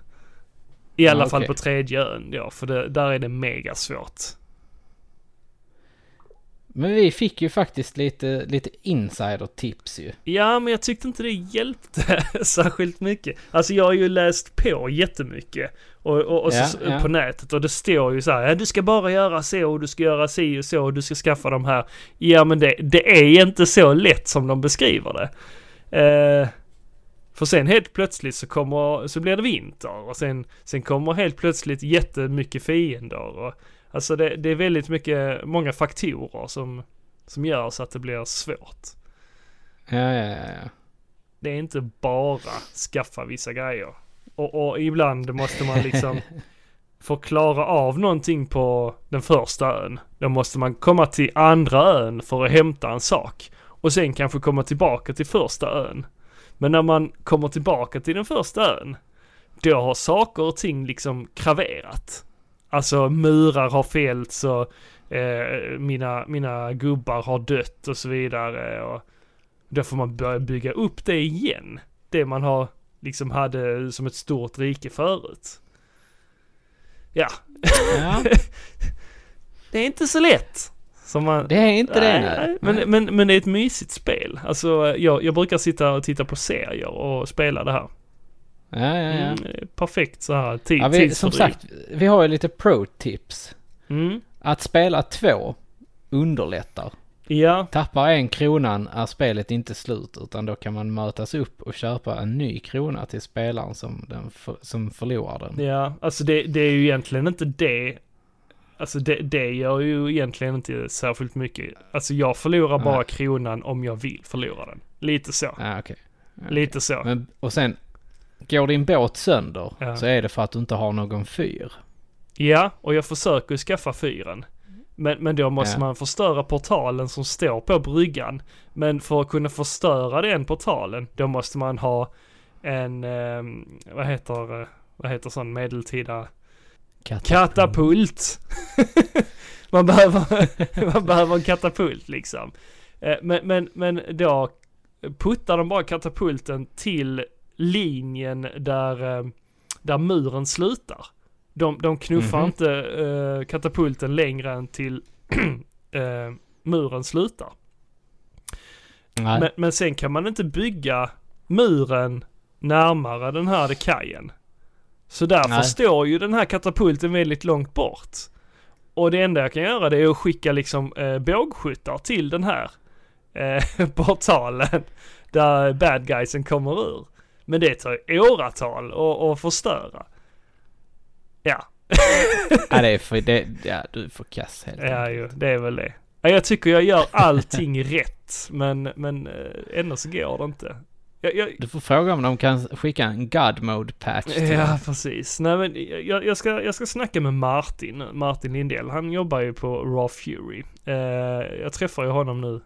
Speaker 2: I alla
Speaker 1: Ja,
Speaker 2: fall
Speaker 1: okej.
Speaker 2: på tredje ön ja, för det, där är det mega svårt.
Speaker 1: Men vi fick ju faktiskt lite, lite insider-tips ju.
Speaker 2: Ja, men jag tyckte inte det hjälpte särskilt mycket. Alltså jag har ju läst på jättemycket och, och, och
Speaker 1: Ja,
Speaker 2: så,
Speaker 1: ja.
Speaker 2: på nätet och det står ju så här, ja, du ska bara göra så och du ska göra si och så och du ska skaffa de här. Ja, men det, det är inte så lätt som de beskriver det. Eh, för sen helt plötsligt så kommer, så blir det vinter och sen, sen kommer helt plötsligt jättemycket fiender och alltså det, det är väldigt mycket, många faktorer som Som gör så att det blir svårt.
Speaker 1: Ja, ja, ja. ja.
Speaker 2: Det är inte bara skaffa vissa grejer. Och, och ibland måste man liksom för att klara av någonting på den första ön. Då måste man komma till andra ön för att hämta en sak. Och sen kanske komma tillbaka till första ön. Men när man kommer tillbaka till den första ön. Då har saker och ting liksom kraverat. Alltså murar har fällts och eh, mina, mina gubbar har dött och så vidare. Och då får man börja bygga upp det igen. Det man har liksom hade som ett stort rike förut. Ja,
Speaker 1: ja
Speaker 2: det är inte så lätt. Som man,
Speaker 1: det är inte det nu.
Speaker 2: Nej, Men, men, men det är ett mysigt spel. Alltså jag, jag brukar sitta och titta på serier och spela det här.
Speaker 1: Ja, ja, ja.
Speaker 2: Mm, eh, perfekt så här tid,
Speaker 1: ja vi, som
Speaker 2: tidsfördriv.
Speaker 1: sagt, vi har ju lite pro-tips.
Speaker 2: Mm,
Speaker 1: Att spela två underlättar.
Speaker 2: ja,
Speaker 1: Tappar en kronan är spelet inte slut utan då kan man mötas upp och köpa en ny krona till spelaren som, den för, som förlorar den.
Speaker 2: ja. Alltså det, det är ju egentligen inte det. Alltså det, det gör ju egentligen inte särskilt mycket. Alltså jag förlorar bara
Speaker 1: Nej.
Speaker 2: kronan om jag vill förlora den. Lite så.
Speaker 1: Ja, okej. Okej.
Speaker 2: Lite så.
Speaker 1: Men, och sen, går din båt sönder
Speaker 2: Ja.
Speaker 1: så är det för att du inte har någon fyr.
Speaker 2: Ja, och jag försöker ju skaffa fyren. Men, men då måste
Speaker 1: Ja.
Speaker 2: man förstöra portalen som står på bryggan. Men för att kunna förstöra den portalen, då måste man ha en, eh, vad heter, eh, vad heter sån medeltida Katapult! man, behöver, man behöver en katapult liksom. Eh, Men, men, men då puttar de bara katapulten till linjen där, eh, där muren slutar. De, de knuffar
Speaker 1: Mhm.
Speaker 2: inte eh, katapulten längre än till eh, muren slutar.
Speaker 1: Nej.
Speaker 2: Men, men sen kan man inte bygga muren närmare den här kajen. Så därför
Speaker 1: Nej.
Speaker 2: står ju den här katapulten väldigt långt bort. Och det enda jag kan göra det är att skicka liksom eh, bågskyttar till den här eh, portalen där bad guysen kommer ur. Men det tar ju åratal att- att förstöra. Ja,
Speaker 1: ja, det är för, det, ja, du är för kass helt
Speaker 2: ja
Speaker 1: enkelt.
Speaker 2: ju, det är väl det. Ja, Jag tycker jag gör allting rätt men, men eh, ändå så går det inte. Jag, jag,
Speaker 1: Du får fråga om de kan skicka en God Mode patch till
Speaker 2: Ja, precis. Nej, men jag, jag, ska, jag ska snacka med Martin, nu. Martin Lindell. Han jobbar ju på Raw Fury. Eh, jag träffar ju honom nu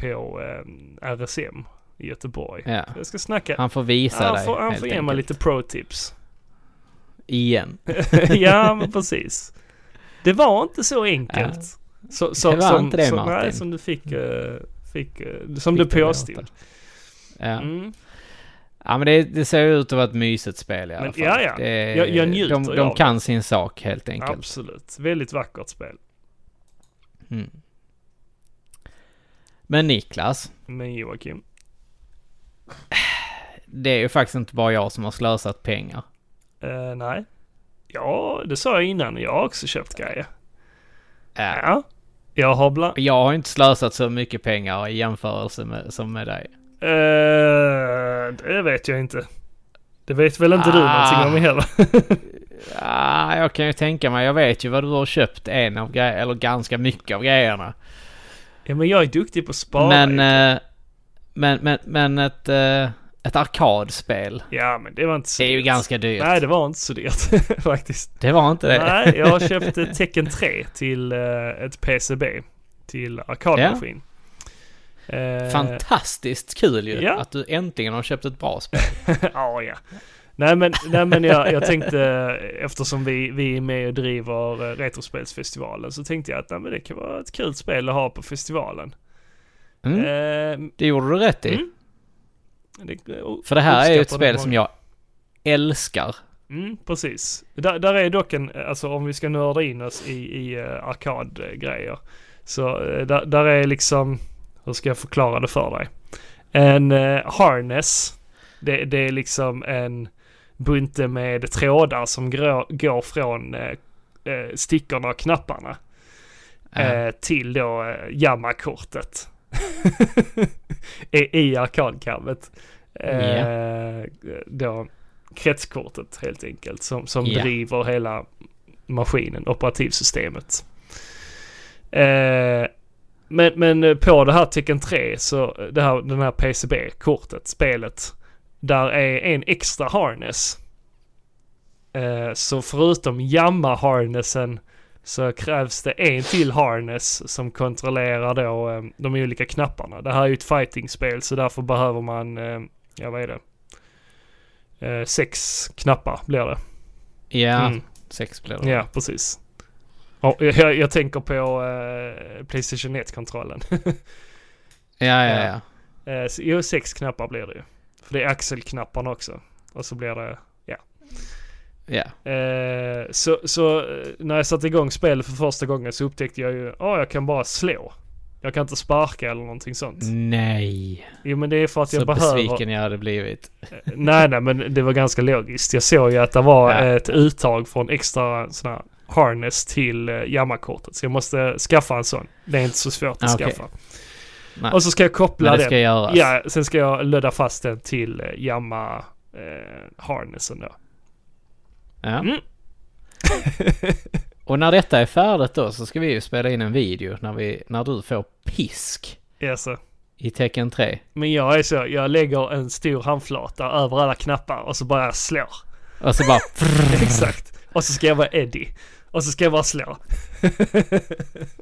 Speaker 2: på eh, RSM i Göteborg.
Speaker 1: Ja.
Speaker 2: Jag ska snacka.
Speaker 1: Han får visa
Speaker 2: han
Speaker 1: dig
Speaker 2: får, han
Speaker 1: helt
Speaker 2: får ge mig
Speaker 1: enkelt.
Speaker 2: lite pro-tips.
Speaker 1: Igen.
Speaker 2: ja, men precis. Det var inte så enkelt. Så, så,
Speaker 1: Det var
Speaker 2: som,
Speaker 1: inte det,
Speaker 2: som, Nej,
Speaker 1: Martin. Mm.
Speaker 2: som du fick, eh, fick eh, som
Speaker 1: Fick
Speaker 2: du
Speaker 1: det
Speaker 2: påstod.
Speaker 1: låta. Ja.
Speaker 2: Mm.
Speaker 1: ja, men det, det ser ju ut att vara ett mysigt spel i alla
Speaker 2: Men-
Speaker 1: fall.
Speaker 2: ja, ja.
Speaker 1: Det,
Speaker 2: Jag- jag njuter
Speaker 1: de, de
Speaker 2: av
Speaker 1: kan sin sak helt enkelt.
Speaker 2: Absolut. Väldigt vackert spel.
Speaker 1: Mm. Men Niklas,
Speaker 2: Men Joakim.
Speaker 1: det är ju faktiskt inte bara jag som har slösat pengar.
Speaker 2: Eh, nej. Ja, det sa jag innan. Jag har också köpt grejer.
Speaker 1: Äh,
Speaker 2: Ja. Jag har bland...
Speaker 1: Jag har inte slösat så mycket pengar i jämförelse med, som med dig.
Speaker 2: Eh, det vet jag inte. Det vet väl inte du
Speaker 1: Ah.
Speaker 2: någonting om heller?
Speaker 1: Ah, jag kan ju tänka mig, jag vet ju vad du har köpt en av grejerna, eller ganska mycket av grejerna.
Speaker 2: ja, men jag är duktig på att spara.
Speaker 1: Men,
Speaker 2: ju.
Speaker 1: eh, men, men, men ett, eh, ett arkadspel.
Speaker 2: ja, men det var inte så
Speaker 1: Det är ju
Speaker 2: dyrt.
Speaker 1: ganska dyrt.
Speaker 2: Nej, det var inte så dyrt faktiskt.
Speaker 1: Det var inte det.
Speaker 2: Nej, jag har köpt eh, ett Tecken 3 till eh, ett PCB. Till arkadmaskin. Eh,
Speaker 1: Fantastiskt kul ju
Speaker 2: Ja.
Speaker 1: att du äntligen har köpt ett bra spel.
Speaker 2: ja, ja. Nej men, nej, men jag, jag tänkte eh, eftersom vi, vi är med och driver eh, Retrospelsfestivalen så tänkte jag att nej, men det kan vara ett kul spel att ha på festivalen.
Speaker 1: Mm,
Speaker 2: Eh,
Speaker 1: det gjorde du rätt i.
Speaker 2: Mm. det, och-
Speaker 1: För det här är ju ett
Speaker 2: uppskattar det
Speaker 1: spel som jag älskar.
Speaker 2: Mm, precis. Där, där är dock en, alltså om vi ska nörda in oss i, i eh, arkadgrejer. Så eh, där, där är liksom, hur ska jag förklara det för dig? En eh, harness, det, det är liksom en bunte med trådar som grå, går från eh, eh, stickorna och knapparna
Speaker 1: Eh,
Speaker 2: eh, till då eh, Yamma-kortet. I, i arkadkabbet. Eh, Då kretskortet helt enkelt som, som
Speaker 1: Ja.
Speaker 2: driver hela maskinen, operativsystemet. Eh, Men, men på det här Tekken 3, så eh, det här, den här PCB-kortet, spelet, där är en extra harness. Eh, Så förutom Yamma-harnessen så krävs det en till harness som kontrollerar då eh, de olika knapparna. Det här är ju ett fighting-spel så därför behöver man, eh, ja vad är det? Eh, Sex knappar blir det.
Speaker 1: Ja,
Speaker 2: Mm.
Speaker 1: sex blir det.
Speaker 2: Ja, precis. Ja, jag, jag tänker på eh, Playstation 1-kontrollen.
Speaker 1: Ja, ja,
Speaker 2: Ja.
Speaker 1: ja.
Speaker 2: Eh, så- Jo, sex knappar blir det ju. För det är axelknapparna också. Och så blir det, ja.
Speaker 1: Ja,
Speaker 2: Eh, så, så eh, när jag satte igång spelet för första gången så upptäckte jag ju, ja jag kan bara slå. Jag kan inte sparka eller någonting sånt.
Speaker 1: nej.
Speaker 2: Jo men det är för att
Speaker 1: Mm. Så
Speaker 2: jag behöver...
Speaker 1: besviken jag hade blivit.
Speaker 2: Eh, Nej nej men det var ganska logiskt. Jag såg ju att det var
Speaker 1: Ja.
Speaker 2: ett uttag från extra sån här harness till eh, Yamma-kortet. Så jag måste skaffa en sån. Det är inte så svårt att
Speaker 1: Ah, okej.
Speaker 2: skaffa.
Speaker 1: Nej.
Speaker 2: Och så ska jag koppla
Speaker 1: Men det
Speaker 2: den.
Speaker 1: ska göras.
Speaker 2: Ja, sen ska jag lödda fast den till eh, Yamma eh, harnessen då.
Speaker 1: Ja.
Speaker 2: Mm.
Speaker 1: Och när detta är färdigt då så ska vi ju spela in en video när, vi, när du får pisk
Speaker 2: Jaså.
Speaker 1: i tecken 3.
Speaker 2: Men jag är så, jag lägger en stor handflata över alla knappar och så bara slår.
Speaker 1: Och så bara...
Speaker 2: Exakt. Och så ska jag vara Eddie. Och så ska jag bara slå.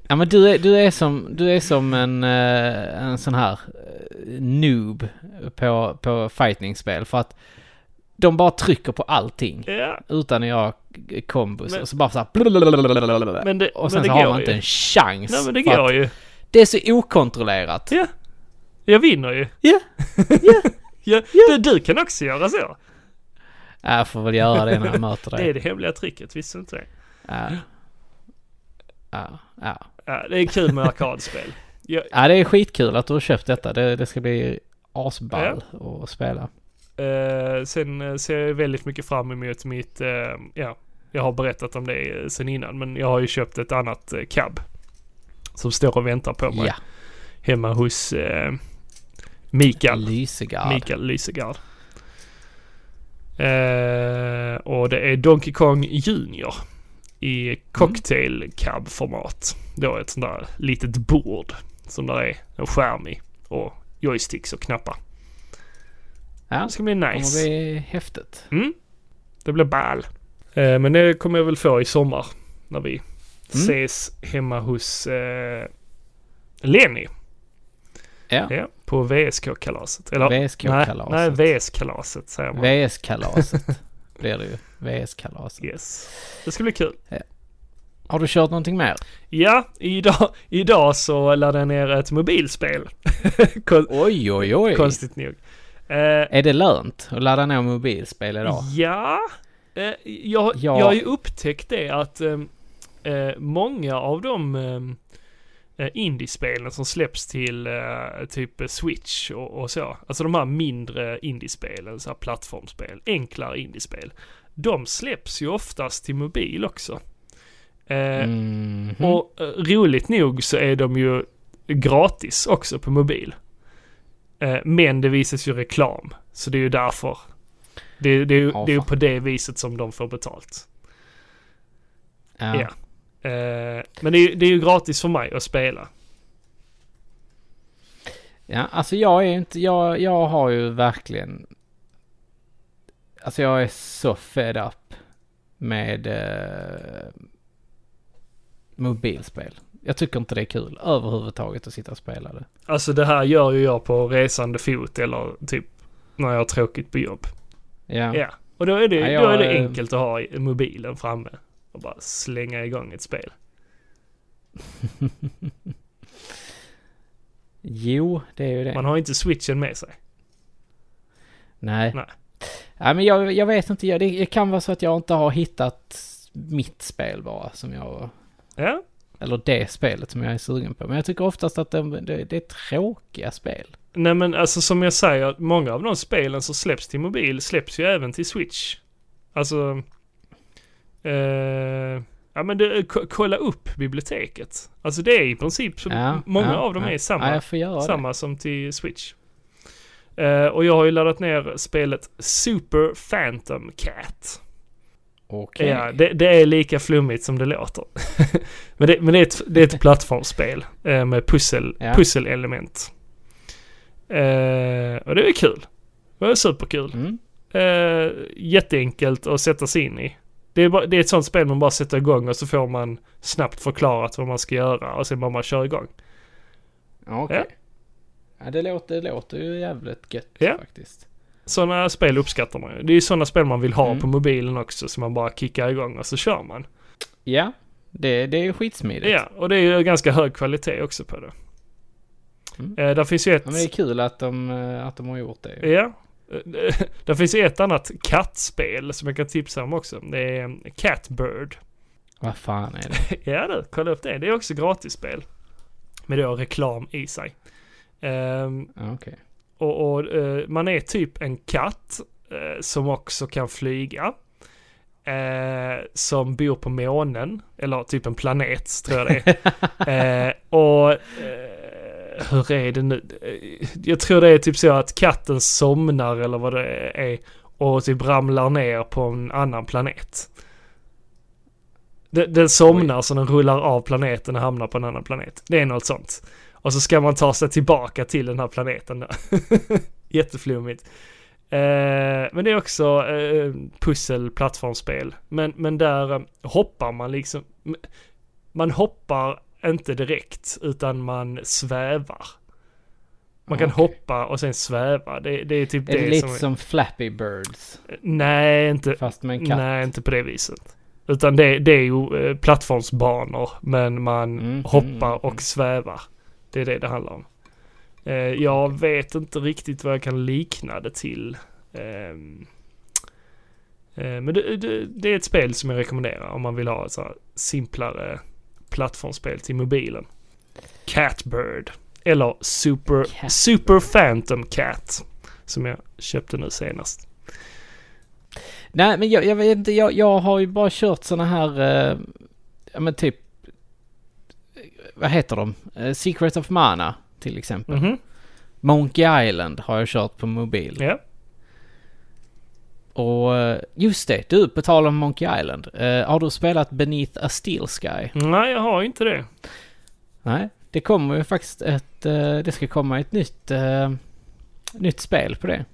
Speaker 1: ja men du är, du är som, du är som en, eh, en sån här eh, noob på, på fightingspel för att de bara trycker på allting
Speaker 2: Ja,
Speaker 1: utan att göra k- kombos
Speaker 2: Men-
Speaker 1: och så bara så här,
Speaker 2: men det,
Speaker 1: Och
Speaker 2: men
Speaker 1: sen
Speaker 2: det
Speaker 1: så
Speaker 2: går
Speaker 1: har man
Speaker 2: ju.
Speaker 1: inte en chans.
Speaker 2: Nej men det
Speaker 1: för att
Speaker 2: går ju.
Speaker 1: det är så okontrollerat.
Speaker 2: Ja. Jag vinner ju.
Speaker 1: Ja.
Speaker 2: Ja, Du, du kan också göra så.
Speaker 1: Ja, Jag får väl göra det när jag möter
Speaker 2: Det
Speaker 1: dig.
Speaker 2: är det hemliga tricket, visste du inte det?
Speaker 1: Ja. Ja, ja.
Speaker 2: Ja, det är kul med arkadspel. Jag,
Speaker 1: Ja, det är skitkul att du har köpt detta. Det, det ska bli asball att spela.
Speaker 2: Eh, sen eh, ser jag väldigt mycket fram emot mitt, eh, ja, jag har berättat om det eh, sen innan, men jag har ju köpt ett annat eh, cab. Som står och väntar på mig
Speaker 1: Ja,
Speaker 2: hemma hos eh, Mikael,
Speaker 1: Lysegard.
Speaker 2: Mikael Lysegard. Eh, och det är Donkey Kong Junior i cocktail cab format. Då ett sånt där litet bord som där är en skärm i och joysticks och knappar.
Speaker 1: Ja,
Speaker 2: Det ska bli
Speaker 1: det
Speaker 2: nice.
Speaker 1: kommer bli häftigt.
Speaker 2: Mm. Det blir ball. Eh, men det kommer jag väl få i sommar. När vi
Speaker 1: Mm.
Speaker 2: ses hemma hos eh, Lenny.
Speaker 1: Ja,
Speaker 2: Ja, på VSK-kalaset. Eller Nej,
Speaker 1: VSK-kalaset.
Speaker 2: nej, VS-kalaset säger man.
Speaker 1: VS-kalaset blir det ju. VS-kalaset.
Speaker 2: yes. Det ska bli kul.
Speaker 1: Har du kört någonting mer?
Speaker 2: Ja, idag, idag så laddade jag ner ett mobilspel. Kon-
Speaker 1: Oj, oj, oj.
Speaker 2: Konstigt nog. Eh,
Speaker 1: Är det lönt att ladda ner mobilspel idag?
Speaker 2: Ja, eh, jag,
Speaker 1: Ja.
Speaker 2: jag har ju upptäckt det att ehm, eh, många av de ehm, eh, indiespelen som släpps till eh, typ eh, Switch och, och så, alltså de här mindre indiespelen, så här plattformsspel, enklare indiespel, de släpps ju oftast till mobil också. Eh,
Speaker 1: Mhm.
Speaker 2: Och eh, roligt nog så är de ju gratis också på mobil. Eh, men det visas ju reklam, så det är ju därför. Det, det, är ju-
Speaker 1: Ja,
Speaker 2: det är ju
Speaker 1: fan.
Speaker 2: på det viset som de får betalt.
Speaker 1: ja.
Speaker 2: ja. Eh, men det är, ju- det är ju gratis för mig att spela.
Speaker 1: Ja, alltså jag är inte, jag, jag har ju verkligen, alltså jag är så fed up med eh, mobilspel. Jag tycker inte det är kul överhuvudtaget att sitta och spela det.
Speaker 2: Alltså det här gör ju jag på resande fot eller typ när jag har tråkigt på jobb.
Speaker 1: Ja,
Speaker 2: Ja, och då är det,
Speaker 1: Ja, jag,
Speaker 2: då är det
Speaker 1: eh,
Speaker 2: enkelt att ha i- mobilen framme och bara slänga igång ett spel.
Speaker 1: jo, det är ju det.
Speaker 2: Man har ju inte switchen med sig.
Speaker 1: Nej.
Speaker 2: Nej.
Speaker 1: Nej, men jag, jag vet inte, jag, det kan vara så att jag inte har hittat mitt spel bara som jag,
Speaker 2: Ja,
Speaker 1: eller det spelet som jag är sugen på. Men jag tycker oftast att det, det, det är tråkiga spel.
Speaker 2: Nej men alltså som jag säger, många av de spelen som släpps till mobil släpps ju även till Switch. Alltså... Eh, ja men det, ko- kolla upp biblioteket. Alltså det är i princip, så
Speaker 1: Ja,
Speaker 2: många
Speaker 1: ja,
Speaker 2: av dem
Speaker 1: ja.
Speaker 2: är samma,
Speaker 1: Ja, jag får göra det.
Speaker 2: samma som till Switch. Eh, och jag har ju laddat ner spelet Super Phantom Cat.
Speaker 1: Okej.
Speaker 2: Ja, det, det är lika flummigt som det låter. men det, men det, är, ett, det är ett plattformsspel eh, med pussel,
Speaker 1: Ja.
Speaker 2: pusselelement. Eh, och det är kul. Det var superkul.
Speaker 1: Mm.
Speaker 2: Eh, jätteenkelt att sätta sig in i. Det är, bara, det är ett sånt spel man bara sätter igång och så får man snabbt förklarat vad man ska göra och sen bara man kör igång.
Speaker 1: Okej. Ja, det, låter, det låter ju jävligt gött
Speaker 2: Ja.
Speaker 1: faktiskt.
Speaker 2: Sådana spel uppskattar man ju. Det är ju sådana spel man vill ha
Speaker 1: Mm.
Speaker 2: på mobilen också så man bara kickar igång och så kör man.
Speaker 1: Ja, det, det är ju skitsmidigt.
Speaker 2: Ja, och det är ju ganska hög kvalitet också på det.
Speaker 1: Mm.
Speaker 2: Eh, där finns ju ett...
Speaker 1: Ja, men det är kul att de, eh, att de har gjort det.
Speaker 2: Ja. Det finns ju ett annat kattspel som jag kan tipsa om också. Det är eh, Catbird.
Speaker 1: Vad fan är det?
Speaker 2: Ja du, kolla upp det. Det är också gratisspel. Men det har reklam i sig. Ehm,
Speaker 1: Ja, Okej.
Speaker 2: och och eh, man är typ en katt eh, som också kan flyga. Eh, som bor på månen, eller typ en planet tror jag det är. Eh, och eh, hur är det nu? Eh, Jag tror det är typ så att katten somnar eller vad det är och typ ramlar ner på en annan planet. Den, den somnar så den rullar av planeten och hamnar på en annan planet. Det är något sånt. Och så ska man ta sig tillbaka till den här planeten där. Jätteflummigt. Eh, men det är också eh, pussel, plattformsspel. Men, men där eh, hoppar man liksom man hoppar inte direkt utan man svävar. Man kan
Speaker 1: Ah, Okej.
Speaker 2: hoppa och sen sväva. Det, det är typ
Speaker 1: Är det, lite
Speaker 2: som...
Speaker 1: som... Flappy Birds?
Speaker 2: Nej, inte,
Speaker 1: Fast med en katt?
Speaker 2: nej, inte på det viset. Utan det, det är ju eh, plattformsbanor, men man
Speaker 1: Mhm,
Speaker 2: hoppar
Speaker 1: mhm.
Speaker 2: och svävar. Det är det det handlar om. Eh, jag vet inte riktigt vad jag kan likna det till. Ehm, eh, men det, det, det är ett spel som jag rekommenderar om man vill ha ett så här simplare plattformsspel till mobilen. Catbird. Eller Super,
Speaker 1: Catbird.
Speaker 2: Super Phantom Cat. Som jag köpte nu senast.
Speaker 1: Nej, men jag, jag vet inte. Jag, jag har ju bara kört såna här... Eh, ja, men typ... eh, Vad heter de? Eh, Secret of Mana, till exempel.
Speaker 2: Mhm.
Speaker 1: Monkey Island har jag kört på mobil.
Speaker 2: Ja.
Speaker 1: Och eh, just det, du, på tal om Monkey Island. Eh, har du spelat Beneath a Steel Sky?
Speaker 2: Nej, jag har inte det.
Speaker 1: Nej, det kommer ju faktiskt ett... Eh, det ska komma ett nytt... Eh, nytt spel på det.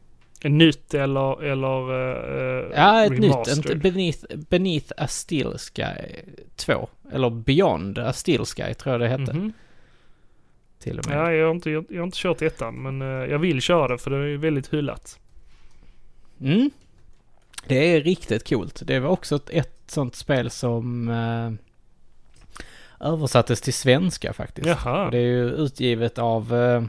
Speaker 2: Nytt eller... eller eh,
Speaker 1: Ja, ett
Speaker 2: remastered.
Speaker 1: nytt. Inte Beneath, Beneath a Steel Sky 2. Eller Beyond a Steel Sky tror jag det hette.
Speaker 2: Mhm.
Speaker 1: Till och med.
Speaker 2: Ja, jag har, inte, jag, jag har inte kört ettan, men eh, jag vill köra det för det är ju väldigt hyllat.
Speaker 1: Mm. Det är riktigt coolt. Det var också ett, ett sånt spel som eh, översattes till svenska faktiskt.
Speaker 2: Jaha.
Speaker 1: Och det är ju utgivet av, eh,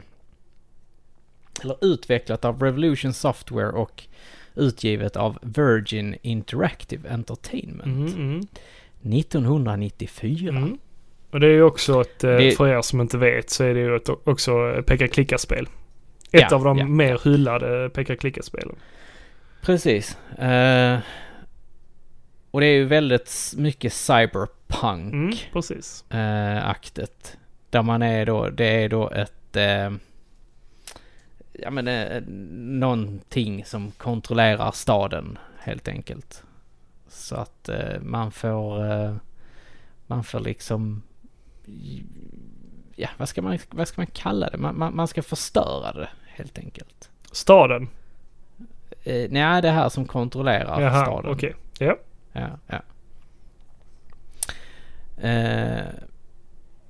Speaker 1: eller utvecklat av Revolution Software och utgivet av Virgin Interactive Entertainment.
Speaker 2: Mhm, mhm,
Speaker 1: 1994.
Speaker 2: mhm. Och det är ju också ett, eh,
Speaker 1: Det-
Speaker 2: för er som inte vet, så är det ju ett, också ett peka-klicka-spel. Ett
Speaker 1: Ja,
Speaker 2: av de
Speaker 1: ja,
Speaker 2: mer hyllade peka-klicka-spelen.
Speaker 1: Precis. Eh, och det är ju väldigt s- mycket cyberpunk.
Speaker 2: Mm, precis.
Speaker 1: eh, aktet. Där man är då, det är då ett... Eh, ja men eh, någonting som kontrollerar staden helt enkelt. Så att eh, man får... Eh, man får liksom... Ja, vad ska man, vad ska man kalla det? Man, man, man ska förstöra det helt enkelt.
Speaker 2: Staden.
Speaker 1: Eh, nej, det här som kontrollerar
Speaker 2: Jaha,
Speaker 1: staden.
Speaker 2: okej. Ja.
Speaker 1: Ja, ja. Eh,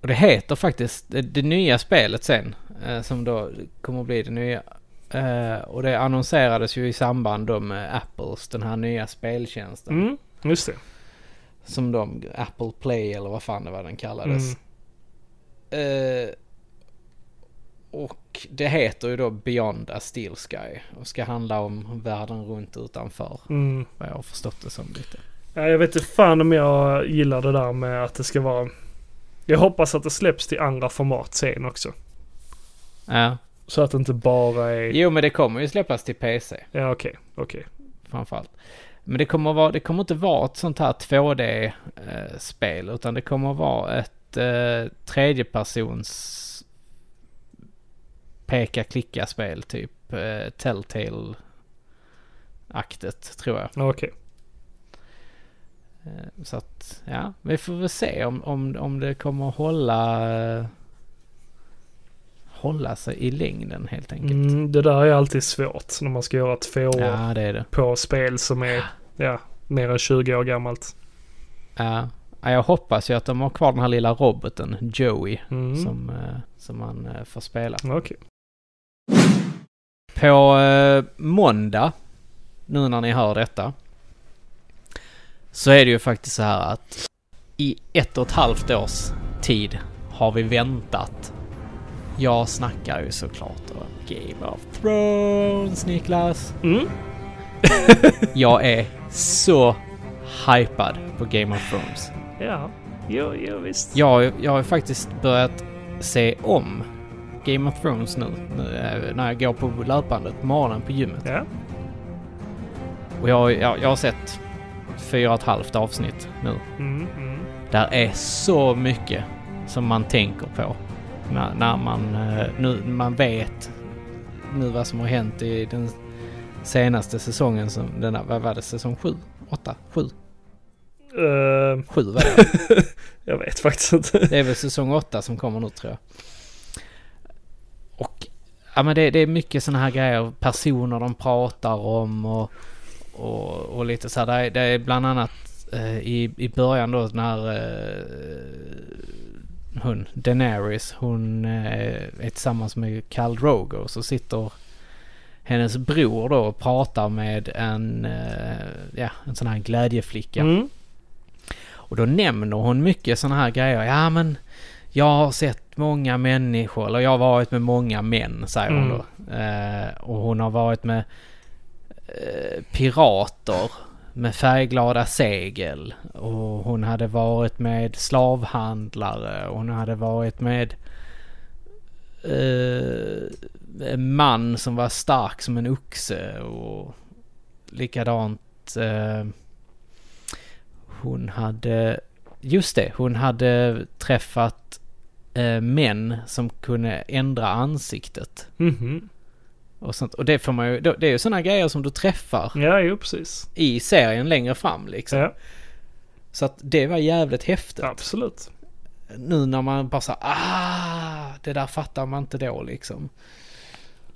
Speaker 1: och det heter faktiskt, det, det nya spelet sen, eh, som då kommer att bli det nya. Eh, och det annonserades ju i samband då med Apples, den här nya speltjänsten.
Speaker 2: Mm, just det.
Speaker 1: Som de, Apple Play eller vad fan det var den
Speaker 2: Mm.
Speaker 1: kallades. Eh, och det heter ju då Beyond a Steel Sky och ska handla om världen runt utanför.
Speaker 2: Mm.
Speaker 1: Vad jag har förstått det som lite.
Speaker 2: Ja, jag vet inte fan om jag gillar det där med att det ska vara... Jag hoppas att det släpps till andra format sen också.
Speaker 1: Ja.
Speaker 2: Så att det inte bara är...
Speaker 1: Jo men det kommer ju släppas till PC.
Speaker 2: Ja, okej. Okej.
Speaker 1: framförallt. Men det kommer, vara, det kommer inte vara ett sånt här 2D-spel utan det kommer vara ett eh, tredjepersons peka-klicka-spel typ eh, Telltale-aktet tror jag.
Speaker 2: Ja, Okej.
Speaker 1: Eh, Så att, ja, vi får väl se om, om, om det kommer att hålla, eh, hålla sig i längden helt enkelt.
Speaker 2: Mm, det där är alltid svårt när man ska göra två år
Speaker 1: Ja, det är det.
Speaker 2: på spel som är ja, mer än 20 år gammalt.
Speaker 1: Ja, Ja, jag hoppas ju att de har kvar den här lilla roboten, Joey,
Speaker 2: Mm.
Speaker 1: som, eh, som man eh, får spela.
Speaker 2: Okej.
Speaker 1: På eh, måndag, nu när ni hör detta, så är det ju faktiskt så här att i ett och ett halvt års tid har vi väntat. Jag snackar ju såklart om Game of Thrones, Niklas.
Speaker 2: Mm.
Speaker 1: Jag är så hypad på Game of Thrones.
Speaker 2: Ja. Jo, jo, visst.
Speaker 1: Jag, har ju- jag har ju faktiskt börjat se om Game of Thrones nu, nu eh, när jag går på löpbandet på morgonen på gymmet.
Speaker 2: Ja.
Speaker 1: Och jag, jag, jag har sett fyra och ett halvt avsnitt nu.
Speaker 2: Mm, mm.
Speaker 1: Där är så mycket som man tänker på. När, när man eh, nu man vet nu vad som har hänt i den senaste säsongen som den här, vad var det, säsong sju? Åtta? Sju?
Speaker 2: Eh,
Speaker 1: Sju var det.
Speaker 2: jag vet faktiskt inte.
Speaker 1: Det är väl säsong åtta som kommer nu tror jag. Och ja men det, det är mycket sådana här grejer, personer de pratar om och, och, och lite så här. Det är, det är bland annat eh, i, i början då när eh, hon, Daenerys, hon eh, är tillsammans med Khal Drogo och så sitter hennes bror då och pratar med en, eh, ja, en sån här glädjeflicka.
Speaker 2: Mm.
Speaker 1: Och då nämner hon mycket sådana här grejer. Ja men jag har sett många människor, eller jag har varit med många män, säger hon
Speaker 2: Mm.
Speaker 1: då. Eh, och hon har varit med eh, pirater med färgglada segel. Och hon hade varit med slavhandlare. Och hon hade varit med eh, en man som var stark som en oxe. Och likadant... Eh, hon hade... Just det, hon hade träffat eh, män som kunde ändra ansiktet.
Speaker 2: Mhm.
Speaker 1: Och, sånt. och det får man ju, det det är ju sådana grejer som du träffar
Speaker 2: Ja, jo, precis.
Speaker 1: i serien längre fram liksom.
Speaker 2: Ja,
Speaker 1: Så att det var jävligt häftigt.
Speaker 2: absolut.
Speaker 1: Nu när man bara såhär, ah, det där fattar man inte då liksom.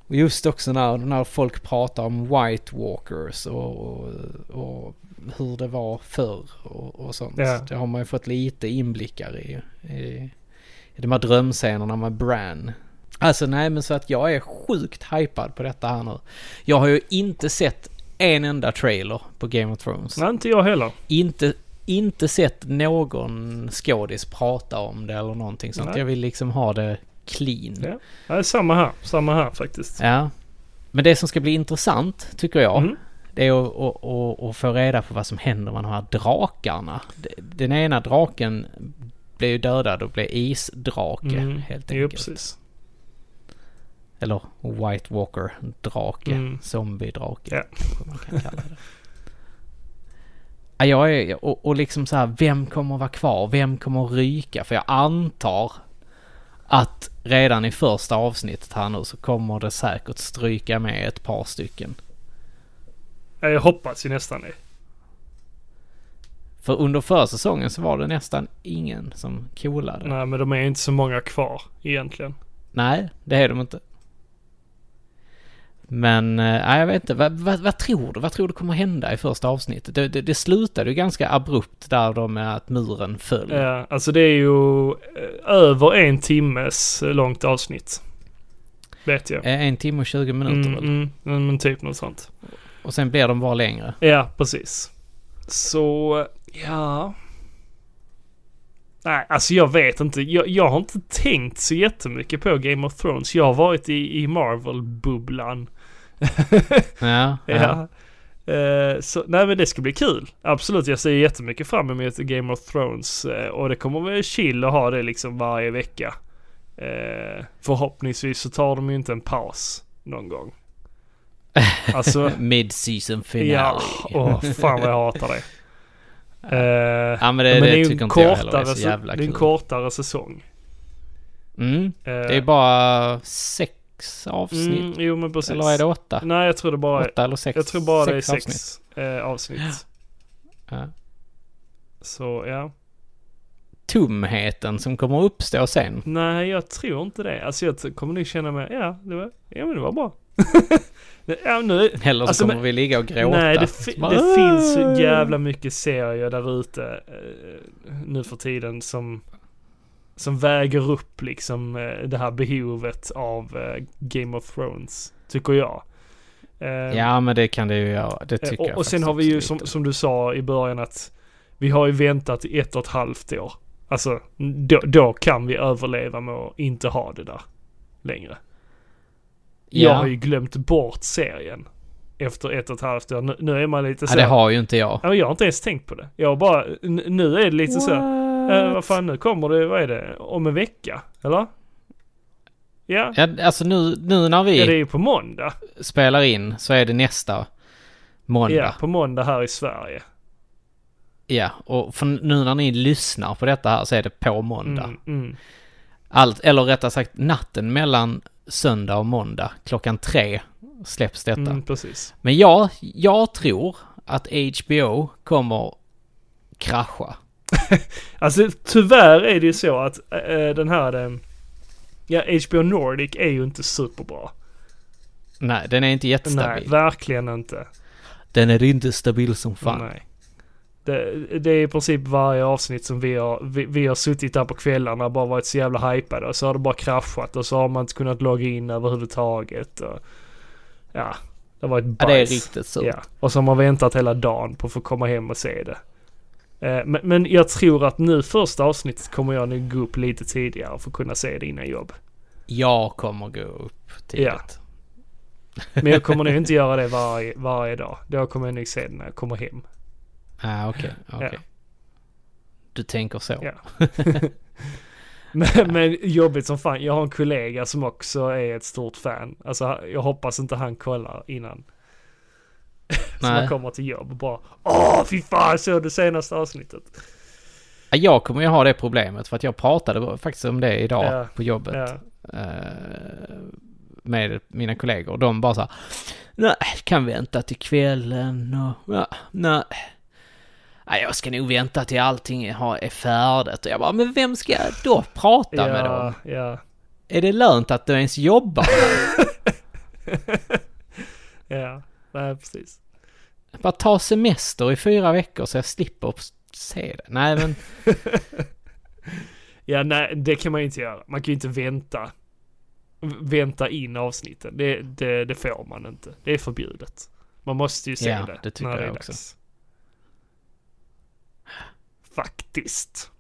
Speaker 1: Och just också när, när folk pratar om White Walkers och, och, och hur det var förr och, och sånt.
Speaker 2: Ja.
Speaker 1: Det har man ju fått lite inblickar i, i, i de här drömscenerna med Bran. Alltså nej men så att jag är sjukt hypad på detta här nu. Jag har ju inte sett en enda trailer på Game of Thrones
Speaker 2: Nej, inte jag heller.
Speaker 1: inte, inte sett någon skådis prata om det eller någonting sånt.
Speaker 2: Nej.
Speaker 1: Jag vill liksom ha det clean.
Speaker 2: Ja. Nej, samma här. Samma här faktiskt.
Speaker 1: Ja. Men det som ska bli intressant, tycker jag,
Speaker 2: Mm.
Speaker 1: det är att, att, att, att få reda på vad som händer med de här drakarna. De- Den ena draken blev ju dödad och blev isdrake,
Speaker 2: Mm.
Speaker 1: helt
Speaker 2: Jo,
Speaker 1: enkelt.
Speaker 2: precis.
Speaker 1: Eller White Walker-drake.
Speaker 2: Mm.
Speaker 1: Zombie-drake.
Speaker 2: Ja.
Speaker 1: kanske Man kan kalla det. Ja, jag är, och, och liksom så här, vem kommer vara kvar? Vem kommer ryka? För jag antar att redan i första avsnittet här nu så kommer det säkert stryka med ett par stycken.
Speaker 2: Ja, Jag hoppas ju nästan det.
Speaker 1: För under förra säsongen så var det nästan ingen som coolade. Nej,
Speaker 2: Nej, men de är inte så många kvar egentligen.
Speaker 1: det är de inte. Men, eh, nej jag vet inte. Vad, vad, vad tror du? Vad tror du kommer hända i första avsnittet? Det, det, det slutade ju ganska abrupt där då med att muren föll.
Speaker 2: Ja, alltså det är ju eh, över en timmes eh, långt avsnitt. Vet jag.
Speaker 1: Eh, En timme och 20 minuter
Speaker 2: Mm,
Speaker 1: väl?
Speaker 2: mm, mm, men typ något sånt.
Speaker 1: Och sen blir de bara längre.
Speaker 2: Ja, precis. Så, ja. Nej, alltså jag vet inte. Jag, jag har inte tänkt så jättemycket på Game of Thrones. Jag har varit i, i Marvel-bubblan.
Speaker 1: Ja. ja.
Speaker 2: Ja. Eh, så, nej men det ska bli kul. Absolut, jag ser jättemycket fram emot Game of Thrones. eh, och det kommer vara chill att ha det liksom varje vecka. Eh, förhoppningsvis så tar de ju inte en paus någon gång. Alltså,
Speaker 1: Mid-season finale.
Speaker 2: ja.
Speaker 1: Ja,
Speaker 2: Åh, fan vad jag hatar det. Eh,
Speaker 1: men det, det,
Speaker 2: men det är ju
Speaker 1: tycker
Speaker 2: en
Speaker 1: inte jag heller är
Speaker 2: kortare,
Speaker 1: så
Speaker 2: se-
Speaker 1: jävla
Speaker 2: det är en
Speaker 1: kul.
Speaker 2: kortare säsong.
Speaker 1: mm.
Speaker 2: Eh,
Speaker 1: Det är bara sex avsnitt.
Speaker 2: mm, Jo men precis.
Speaker 1: eller är det åtta?
Speaker 2: Nej jag tror det eh, bara,
Speaker 1: Åtta eller sex?
Speaker 2: jag tror bara
Speaker 1: sex
Speaker 2: det är sex
Speaker 1: avsnitt.
Speaker 2: avsnitt. Eh, avsnitt.
Speaker 1: Ja.
Speaker 2: Så ja.
Speaker 1: Tomheten som kommer uppstå sen.
Speaker 2: Nej, jag tror inte det. Alltså jag t- kommer nog känna mig, ja, det var, ja men det var bra. ja, nu,
Speaker 1: Eller så
Speaker 2: Alltså,
Speaker 1: kommer
Speaker 2: men-
Speaker 1: vi ligga och gråta.
Speaker 2: Nej, det,
Speaker 1: Så
Speaker 2: fi-
Speaker 1: bara,
Speaker 2: det
Speaker 1: "Åh!"
Speaker 2: finns så jävla mycket serier där ute eh, nu för tiden som, som väger upp liksom eh, det här behovet av eh, Game of Thrones, tycker jag. Eh,
Speaker 1: Ja, men det kan det ju göra. Det
Speaker 2: eh,
Speaker 1: tycker jag
Speaker 2: och, och sen
Speaker 1: faktiskt
Speaker 2: har vi ju
Speaker 1: absolut.
Speaker 2: som, som du sa i början att vi har ju väntat i ett och ett halvt år. Alltså, då, då kan vi överleva med att inte ha det där längre. Jag har
Speaker 1: Ja,
Speaker 2: ju glömt bort serien efter ett och ett halvt år. Nu, nu är man lite
Speaker 1: ja
Speaker 2: så.
Speaker 1: det har ju inte jag.
Speaker 2: Ja, men jag har inte ens tänkt på det. Jag har bara, n- nu är det lite så här, eh, vad fan nu kommer det, vad är det, om en vecka? Eller? Ja,
Speaker 1: Ja, alltså nu, nu när vi
Speaker 2: ja det är ju på måndag.
Speaker 1: spelar in så är det nästa måndag.
Speaker 2: Ja, på måndag här i Sverige.
Speaker 1: Ja, och för nu när ni lyssnar på detta här så är det på måndag.
Speaker 2: Mm, mm.
Speaker 1: Allt, eller rättare sagt natten mellan söndag och måndag klockan tre släpps detta.
Speaker 2: Mm, precis.
Speaker 1: Men jag, jag tror att HBO kommer krascha.
Speaker 2: Alltså tyvärr är det ju så att eh, den här, eh, ja HBO Nordic är ju inte superbra.
Speaker 1: Nej, den är inte jättestabil.
Speaker 2: Nej, verkligen inte.
Speaker 1: Den är inte stabil som fan.
Speaker 2: Nej. Det, det är i princip varje avsnitt som vi har, vi, vi har suttit där på kvällarna och bara varit så jävla hypade och så har det bara kraschat och så har man inte kunnat logga in överhuvudtaget. Och, ja, det har varit
Speaker 1: Ja,
Speaker 2: bajs.
Speaker 1: det är riktigt surt.
Speaker 2: Ja, och så har man väntat hela dagen på att få komma hem och se det. Eh, Men, men jag tror att nu första avsnittet kommer jag nog gå upp lite tidigare för att kunna se det innan jobb.
Speaker 1: Jag kommer gå upp tidigt.
Speaker 2: Ja. Men jag kommer nog inte göra det varje, varje dag. Då kommer jag nog se det när jag kommer hem.
Speaker 1: Ah, okej. okej.
Speaker 2: Ja.
Speaker 1: Du tänker så.
Speaker 2: Ja. Men, men jobbigt som fan. Jag har en kollega som också är ett stort fan. Alltså jag hoppas inte han kollar innan. Så
Speaker 1: Nej.
Speaker 2: man kommer till jobb och bara Åh fy fan jag såg det senaste avsnittet.
Speaker 1: Ja, Ah, Jag kommer ju ha det problemet för att jag pratade faktiskt om det idag
Speaker 2: Ja.
Speaker 1: på jobbet.
Speaker 2: Ja.
Speaker 1: eh, med mina kollegor. De bara så här, nej, kan vänta till kvällen och, ja, nej. Nej, jag ska nog vänta till allting har- är färdigt. Och jag bara, men vem ska jag då prata med då?
Speaker 2: Ja, ja,
Speaker 1: Är det lönt att du ens jobbar?
Speaker 2: ja. Nej precis.
Speaker 1: Bara ta semester i fyra veckor så jag slipper s- se det. Nej, men
Speaker 2: Ja nej det kan man ju inte göra. Man kan ju inte vänta. v- Vänta in avsnitten. Det, det, det får man inte. Det är förbjudet. Man måste ju se
Speaker 1: Ja,
Speaker 2: det.
Speaker 1: det tycker
Speaker 2: när det
Speaker 1: jag
Speaker 2: är
Speaker 1: också.
Speaker 2: dags. Faktiskt.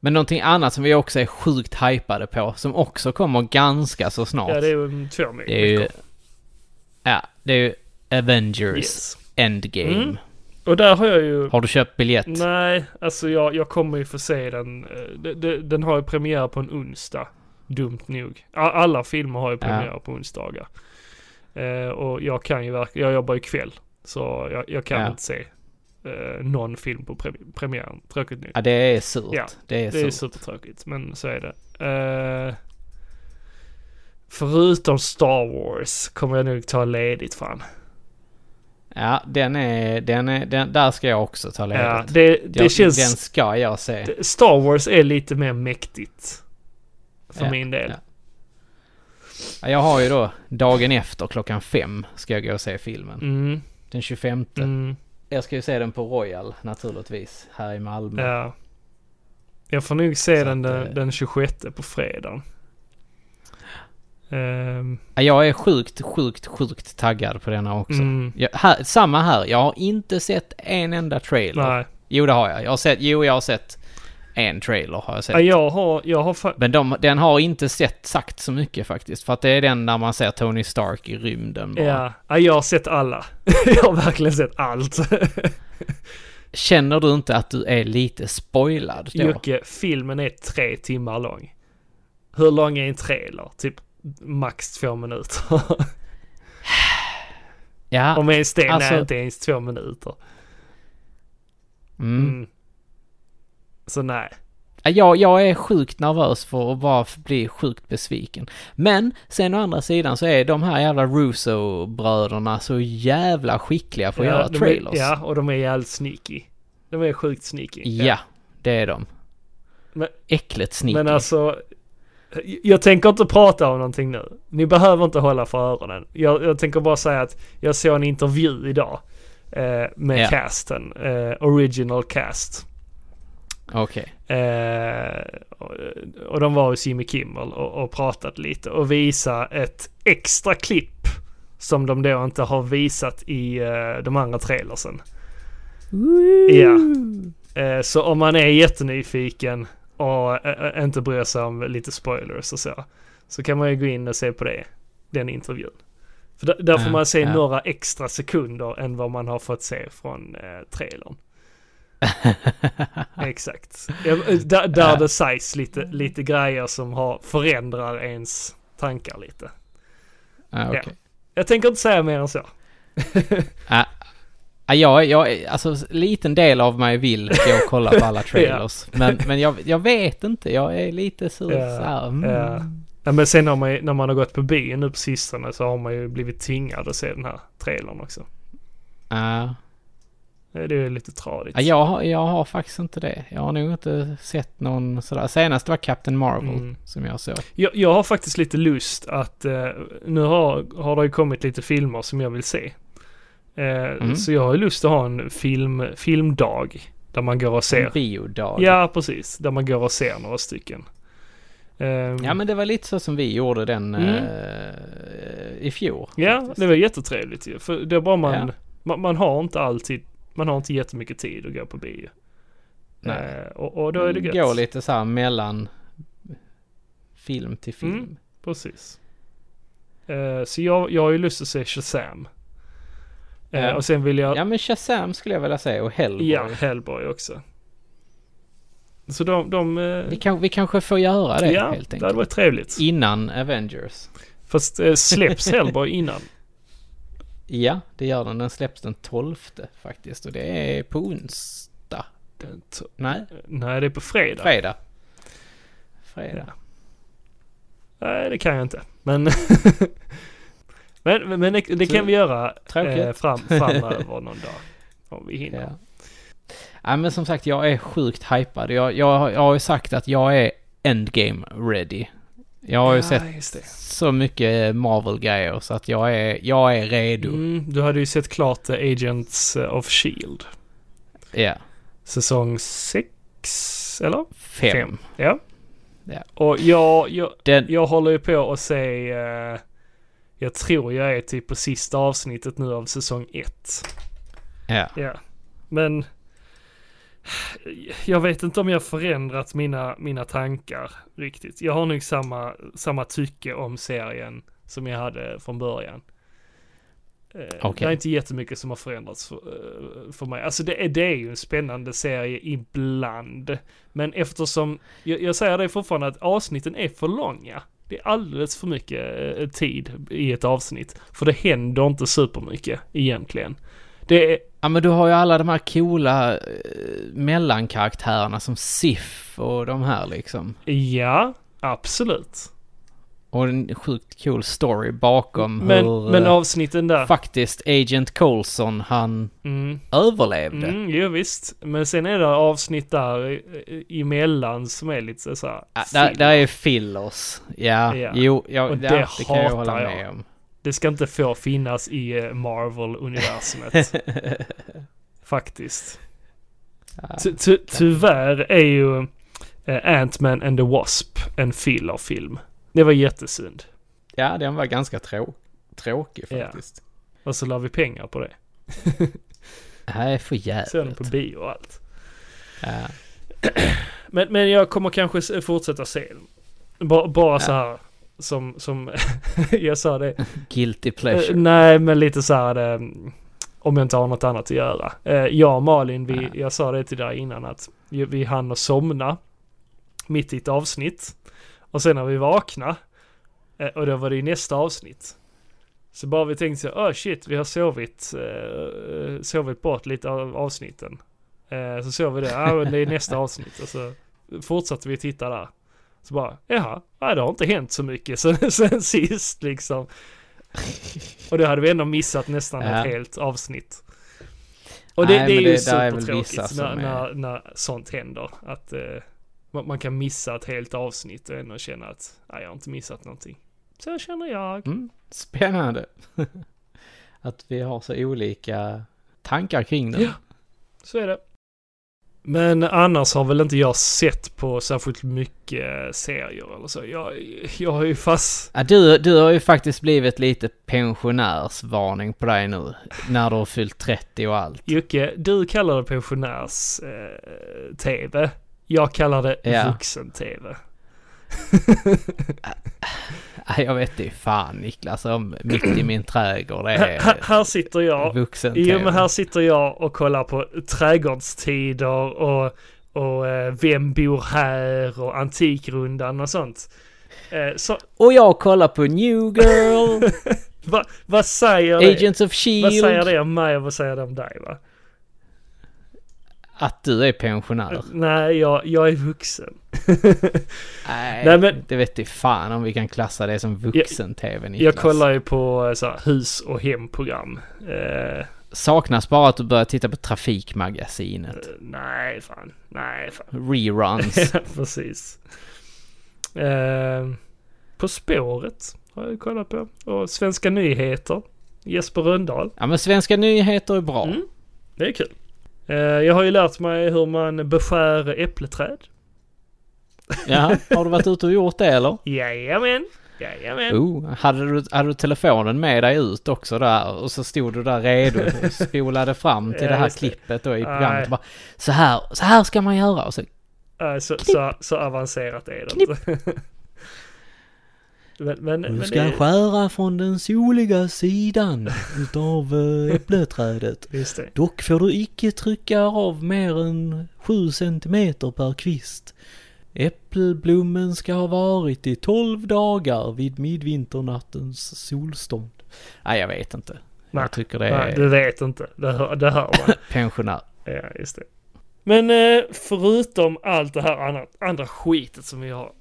Speaker 1: Men någonting annat som vi också är sjukt hypade på, som också kommer ganska så snart.
Speaker 2: Ja, det är ju om två veckor.
Speaker 1: Det är ju... Ja, det är ju Avengers
Speaker 2: Yes.
Speaker 1: Endgame.
Speaker 2: Mm. Och där har jag ju...
Speaker 1: Har du köpt biljett?
Speaker 2: Nej, alltså jag, jag kommer ju få se den. eh, de- de- Den har ju premiär på en onsdag. Dumt nog. A- Alla filmer har ju premiär på onsdagar. Eh, och jag kan ju verkligen, jag jobbar ju kväll. Så jag, jag kan
Speaker 1: Ja.
Speaker 2: inte se eh, någon film på pre- premiären. Tråkigt nog.
Speaker 1: Ja, det är surt.
Speaker 2: Ja,
Speaker 1: det är
Speaker 2: Det är ju
Speaker 1: surt.
Speaker 2: supertråkigt, men så är det. Eh, förutom Star Wars kommer jag nog ta ledigt fan.
Speaker 1: Ja, den är... Den är den, där ska jag också ta ledigt.
Speaker 2: Ja, det, det
Speaker 1: jag,
Speaker 2: känns...
Speaker 1: Den ska jag se.
Speaker 2: Det- Star Wars är lite mer mäktigt. För
Speaker 1: Ja,
Speaker 2: min del.
Speaker 1: ja. Ja, jag har ju då dagen efter klockan fem ska jag gå och se filmen.
Speaker 2: Mm,
Speaker 1: Den 25.
Speaker 2: mm,
Speaker 1: Jag ska ju se den på Royal naturligtvis, här i Malmö.
Speaker 2: ja. Jag får nog se
Speaker 1: Så
Speaker 2: den,
Speaker 1: att,
Speaker 2: den
Speaker 1: eh,
Speaker 2: den 26 på fredagen. Ehm,
Speaker 1: Ja, Jag är sjukt, sjukt, sjukt taggad på denna också.
Speaker 2: mm,
Speaker 1: Jag, här, samma här, jag har inte sett en enda trailer.
Speaker 2: nej.
Speaker 1: Jo, det har jag. jag har sett, jo, jag har sett en trailer har jag sett.
Speaker 2: Ja, jag har, jag har fa-
Speaker 1: Men de, den har inte sett sagt så mycket faktiskt. För att det är den där man ser Tony Stark i rymden bara.
Speaker 2: ja, ja, jag har sett alla. jag har verkligen sett allt.
Speaker 1: Känner du inte att du är lite spoilad då?
Speaker 2: Jocke, filmen är tre timmar lång. Hur lång är en trailer? Typ max två minuter.
Speaker 1: Ja.
Speaker 2: Om ens det,
Speaker 1: alltså-
Speaker 2: nej inte ens två minuter.
Speaker 1: Mm.
Speaker 2: Mm. Så nej.
Speaker 1: Ja, Jag, jag är sjukt nervös för att bara bli sjukt besviken. Men sen å andra sidan så är de här jävla Russo-bröderna så jävla skickliga på att göra
Speaker 2: de
Speaker 1: trailers.
Speaker 2: Är, ja, och de är jävligt sneaky. De är sjukt sneaky.
Speaker 1: Ja, det är de.
Speaker 2: Men-
Speaker 1: Äckligt sneaky.
Speaker 2: Men alltså, jag- jag tänker inte prata om någonting nu. Ni behöver inte hålla för öronen. Jag, jag tänker bara säga att jag såg en intervju idag eh, med
Speaker 1: Ja.
Speaker 2: casten, eh, original cast.
Speaker 1: Okej.
Speaker 2: Eh, och, och de var hos Jimmy Kimmel och, och pratat lite och visa ett extra klipp som de då inte har visat i eh, de andra trailersen. Ja. Eh, så om man är jättenyfiken och eh, eh, inte bryr sig om lite spoilers och så, så kan man ju gå in och se på det, den intervjun. För där, där får
Speaker 1: Ja,
Speaker 2: man se
Speaker 1: ja.
Speaker 2: några extra sekunder än vad man har fått se från eh, trailern. Exakt. Ja, eh, Där, där
Speaker 1: Ja.
Speaker 2: det sägs lite, lite grejer som har, förändrar ens tankar lite.
Speaker 1: ja, okej.
Speaker 2: Jag tänker inte säga mer än så.
Speaker 1: Ja, jag, jag, alltså liten del av mig vill gå och kolla på alla trailers. Men, men jag, jag vet inte, jag är lite sur
Speaker 2: Ja,
Speaker 1: så här, mm.
Speaker 2: ja. Ja, men sen när man, när man har gått på bio nu på sistone så har man ju blivit tvingad att se den här trailern också.
Speaker 1: Ja.
Speaker 2: Eh, Det är ju lite tradigt.
Speaker 1: Ja, jag, har- jag har faktiskt inte det. Jag har nog inte sett någon sådär. Senast var Captain Marvel
Speaker 2: Mm.
Speaker 1: som jag såg.
Speaker 2: Jag, jag har faktiskt lite lust att, eh, nu har, har det ju kommit lite filmer som jag vill se. Eh,
Speaker 1: Mm.
Speaker 2: Så jag har ju lust att ha en film, filmdag där man går och
Speaker 1: En
Speaker 2: ser.
Speaker 1: biodag.
Speaker 2: Ja, precis. Där man går och ser några stycken. Ehm,
Speaker 1: ja, men det var lite så som vi gjorde den
Speaker 2: Mm.
Speaker 1: eh, i fjol.
Speaker 2: ja,
Speaker 1: faktiskt.
Speaker 2: det var jättetrevligt ju. För det är bara man,
Speaker 1: Ja.
Speaker 2: man, man har inte alltid, man har inte jättemycket tid att gå på bio.
Speaker 1: Nej. Mm,
Speaker 2: Eh, och, och då är det gött.
Speaker 1: Gå lite så här mellan film till film.
Speaker 2: Mm. Precis. Eh, så jag, jag har ju lust att se Shazam. Eh,
Speaker 1: Ja.
Speaker 2: Och sen vill jag,
Speaker 1: Ja, men Shazam skulle jag vilja säga och Hellboy.
Speaker 2: Ja, Hellboy också. Så de... de eh,
Speaker 1: Vi, kan, vi kanske får göra det
Speaker 2: ja,
Speaker 1: helt
Speaker 2: det hade
Speaker 1: enkelt.
Speaker 2: varit trevligt.
Speaker 1: Innan Avengers.
Speaker 2: Fast eh, släpps Hellboy innan?
Speaker 1: Ja, det gör den. Den släpps den 12 faktiskt. Och det är på onsdag.
Speaker 2: Den t-
Speaker 1: Nej,
Speaker 2: Nej, det är på fredag.
Speaker 1: fredag. Fredag.
Speaker 2: Nej, det kan jag inte. Men... men, men, men det, det kan vi göra
Speaker 1: Tråkigt.
Speaker 2: eh, fram, framöver någon dag. Om vi hinner.
Speaker 1: Ja. ja, men som sagt, jag är sjukt hypad. Jag, jag, har- jag har ju sagt att jag är endgame ready. Jag har ju sett
Speaker 2: just det.
Speaker 1: så mycket Marvel-grejer så att jag är, jag är redo.
Speaker 2: Mm, du hade ju sett klart eh, Agents of Shield.
Speaker 1: Ja,
Speaker 2: Säsong 6, eller?
Speaker 1: fem.
Speaker 2: Ja.
Speaker 1: Ja.
Speaker 2: Och jag, jag,
Speaker 1: Den,
Speaker 2: Jag håller ju på att se, eh, jag tror jag är typ på sista avsnittet nu av säsong ett.
Speaker 1: ja.
Speaker 2: Ja. Men jag vet inte om jag förändrat mina, mina tankar riktigt. Jag har nog samma, samma tycke om serien som jag hade från början. Eh, Det är
Speaker 1: Okej.
Speaker 2: inte jättemycket som har förändrats för, eh, för mig. Alltså det är, det är ju en spännande serie ibland. Men eftersom, jag, jag säger det fortfarande att avsnitten är för långa. Det är alldeles för mycket eh, tid i ett avsnitt. För det händer inte supermycket egentligen. Det är,
Speaker 1: ja, men du har ju alla de här coola eh, mellankaraktärerna som Sif och de här liksom.
Speaker 2: ja, absolut.
Speaker 1: Och en sjukt cool story bakom
Speaker 2: Men,
Speaker 1: hur
Speaker 2: men
Speaker 1: eh,
Speaker 2: avsnitten där.
Speaker 1: faktiskt Agent Coulson, han
Speaker 2: Mm,
Speaker 1: överlevde.
Speaker 2: mm, jo, visst. Men sen är det avsnitt där eh, emellan som är lite så här.
Speaker 1: Ja, Ah, där,
Speaker 2: filler.
Speaker 1: där är fillers. Ja,
Speaker 2: Ja.
Speaker 1: jo, ja,
Speaker 2: Och
Speaker 1: det,
Speaker 2: det
Speaker 1: ja, det kan jag
Speaker 2: hatar
Speaker 1: hålla
Speaker 2: jag.
Speaker 1: med om.
Speaker 2: Det ska inte få finnas i eh, Marvel-universumet. Faktiskt. Ty- ty- tyvärr är ju eh, Ant-Man and the Wasp en fillerfilm. Det var jättesynd.
Speaker 1: Ja, den var ganska trå- tråkig
Speaker 2: Ja.
Speaker 1: faktiskt.
Speaker 2: Och så la vi pengar på det.
Speaker 1: Det här är för
Speaker 2: Sen den
Speaker 1: jävligt.
Speaker 2: på bio och allt.
Speaker 1: Ja.
Speaker 2: Men, men jag kommer kanske s- fortsätta se den. Bara, bara så här som, som jag sa det.
Speaker 1: Guilty
Speaker 2: Eh,
Speaker 1: pleasure.
Speaker 2: Nej, men lite så här eh, om jag inte har något annat att göra. Eh, Jag och Malin, vi,
Speaker 1: Ja.
Speaker 2: jag sa det till dig innan att ju- vi hann att somna mitt i ett avsnitt. Och sen när vi vaknade, eh, och då var det ju nästa avsnitt. Så bara vi tänkte så, oh shit, vi har sovit, eh, sovit bort lite av avsnitten. Eh, Så såg vi det, ah, men det är nästa avsnitt. Och så fortsatte vi titta där. Så bara, jaha, nej, det har inte hänt så mycket sen, sen sist liksom. Och då hade vi ändå missat nästan
Speaker 1: Ja.
Speaker 2: ett helt avsnitt. Och det,
Speaker 1: Nej,
Speaker 2: det är
Speaker 1: men
Speaker 2: ju
Speaker 1: det- där är väl vissa
Speaker 2: supertråkigt när,
Speaker 1: som är-
Speaker 2: när, när sånt händer. Att eh, man, man kan missa ett helt avsnitt och ändå känna att nej, jag har inte missat någonting. Så känner jag.
Speaker 1: Mm, spännande. att vi har så olika tankar kring den.
Speaker 2: Ja. Så är det. Men annars har väl inte jag sett på särskilt mycket serier eller så. Jag, jag har ju fast...
Speaker 1: Ja, du, du har ju faktiskt blivit lite pensionärsvarning på dig nu. När du har fyllt 30 och allt.
Speaker 2: Jocke, du kallar det pensionärs-tv. jag kallar det
Speaker 1: Ja.
Speaker 2: vuxen-tv.
Speaker 1: Ja, Jag vet inte fan Niklas om mitt i min trädgård är
Speaker 2: Här, här sitter jag
Speaker 1: vuxen
Speaker 2: Jo men här sitter jag och kollar på trädgårdstider och, och eh, vem bor här och antikrundan och sånt. Eh, så
Speaker 1: Och jag kollar på New Girl,
Speaker 2: va, vad säger det?
Speaker 1: Agents of
Speaker 2: Vad säger
Speaker 1: Shield.
Speaker 2: det om mig och vad säger det om dig va?
Speaker 1: Att du är pensionär.
Speaker 2: Nej, jag, jag är vuxen.
Speaker 1: Nej,
Speaker 2: Nej, men-
Speaker 1: det vet inte fan om vi kan klassa det som vuxen-tv Niklas.
Speaker 2: Jag kollar ju på eh, så här, hus och hemprogram. Eh,
Speaker 1: Saknas bara att du börjar titta på Trafikmagasinet.
Speaker 2: nej, fan. Nej, fan.
Speaker 1: Reruns.
Speaker 2: Ja, precis. Eh, på spåret har jag kollat på. Och Svenska nyheter. Jesper Rönndahl.
Speaker 1: ja men svenska nyheter är bra.
Speaker 2: Mm. Det är kul. Eh, jag har ju lärt mig hur man beskär äppleträd.
Speaker 1: Ja, har du varit ute och gjort det eller?
Speaker 2: Jajamän. Jajamän.
Speaker 1: Oh, hade du, hade du telefonen med dig ut också där och så stod du där redo och spolade fram till
Speaker 2: Ja,
Speaker 1: det här
Speaker 2: just det.
Speaker 1: klippet då i
Speaker 2: Nej.
Speaker 1: programmet och bara, så här, så här ska man göra och så
Speaker 2: Eh, så, så, så avancerat är det inte. men, men, men
Speaker 1: Du
Speaker 2: det
Speaker 1: ska
Speaker 2: är-
Speaker 1: skära från den soliga sidan utav eh, äppleträdet.
Speaker 2: Just det.
Speaker 1: Dock får du icke trycka av mer än 7 centimeter per kvist. Äppelblommen ska ha varit i 12 dagar vid midvinternattens solstånd. Nej, jag vet inte.
Speaker 2: Nej,
Speaker 1: jag tycker det är
Speaker 2: Nej, du vet inte. Det hör, det hör man.
Speaker 1: pensionär.
Speaker 2: Ja, just det. Men eh, förutom allt det här andra, andra skitet som vi har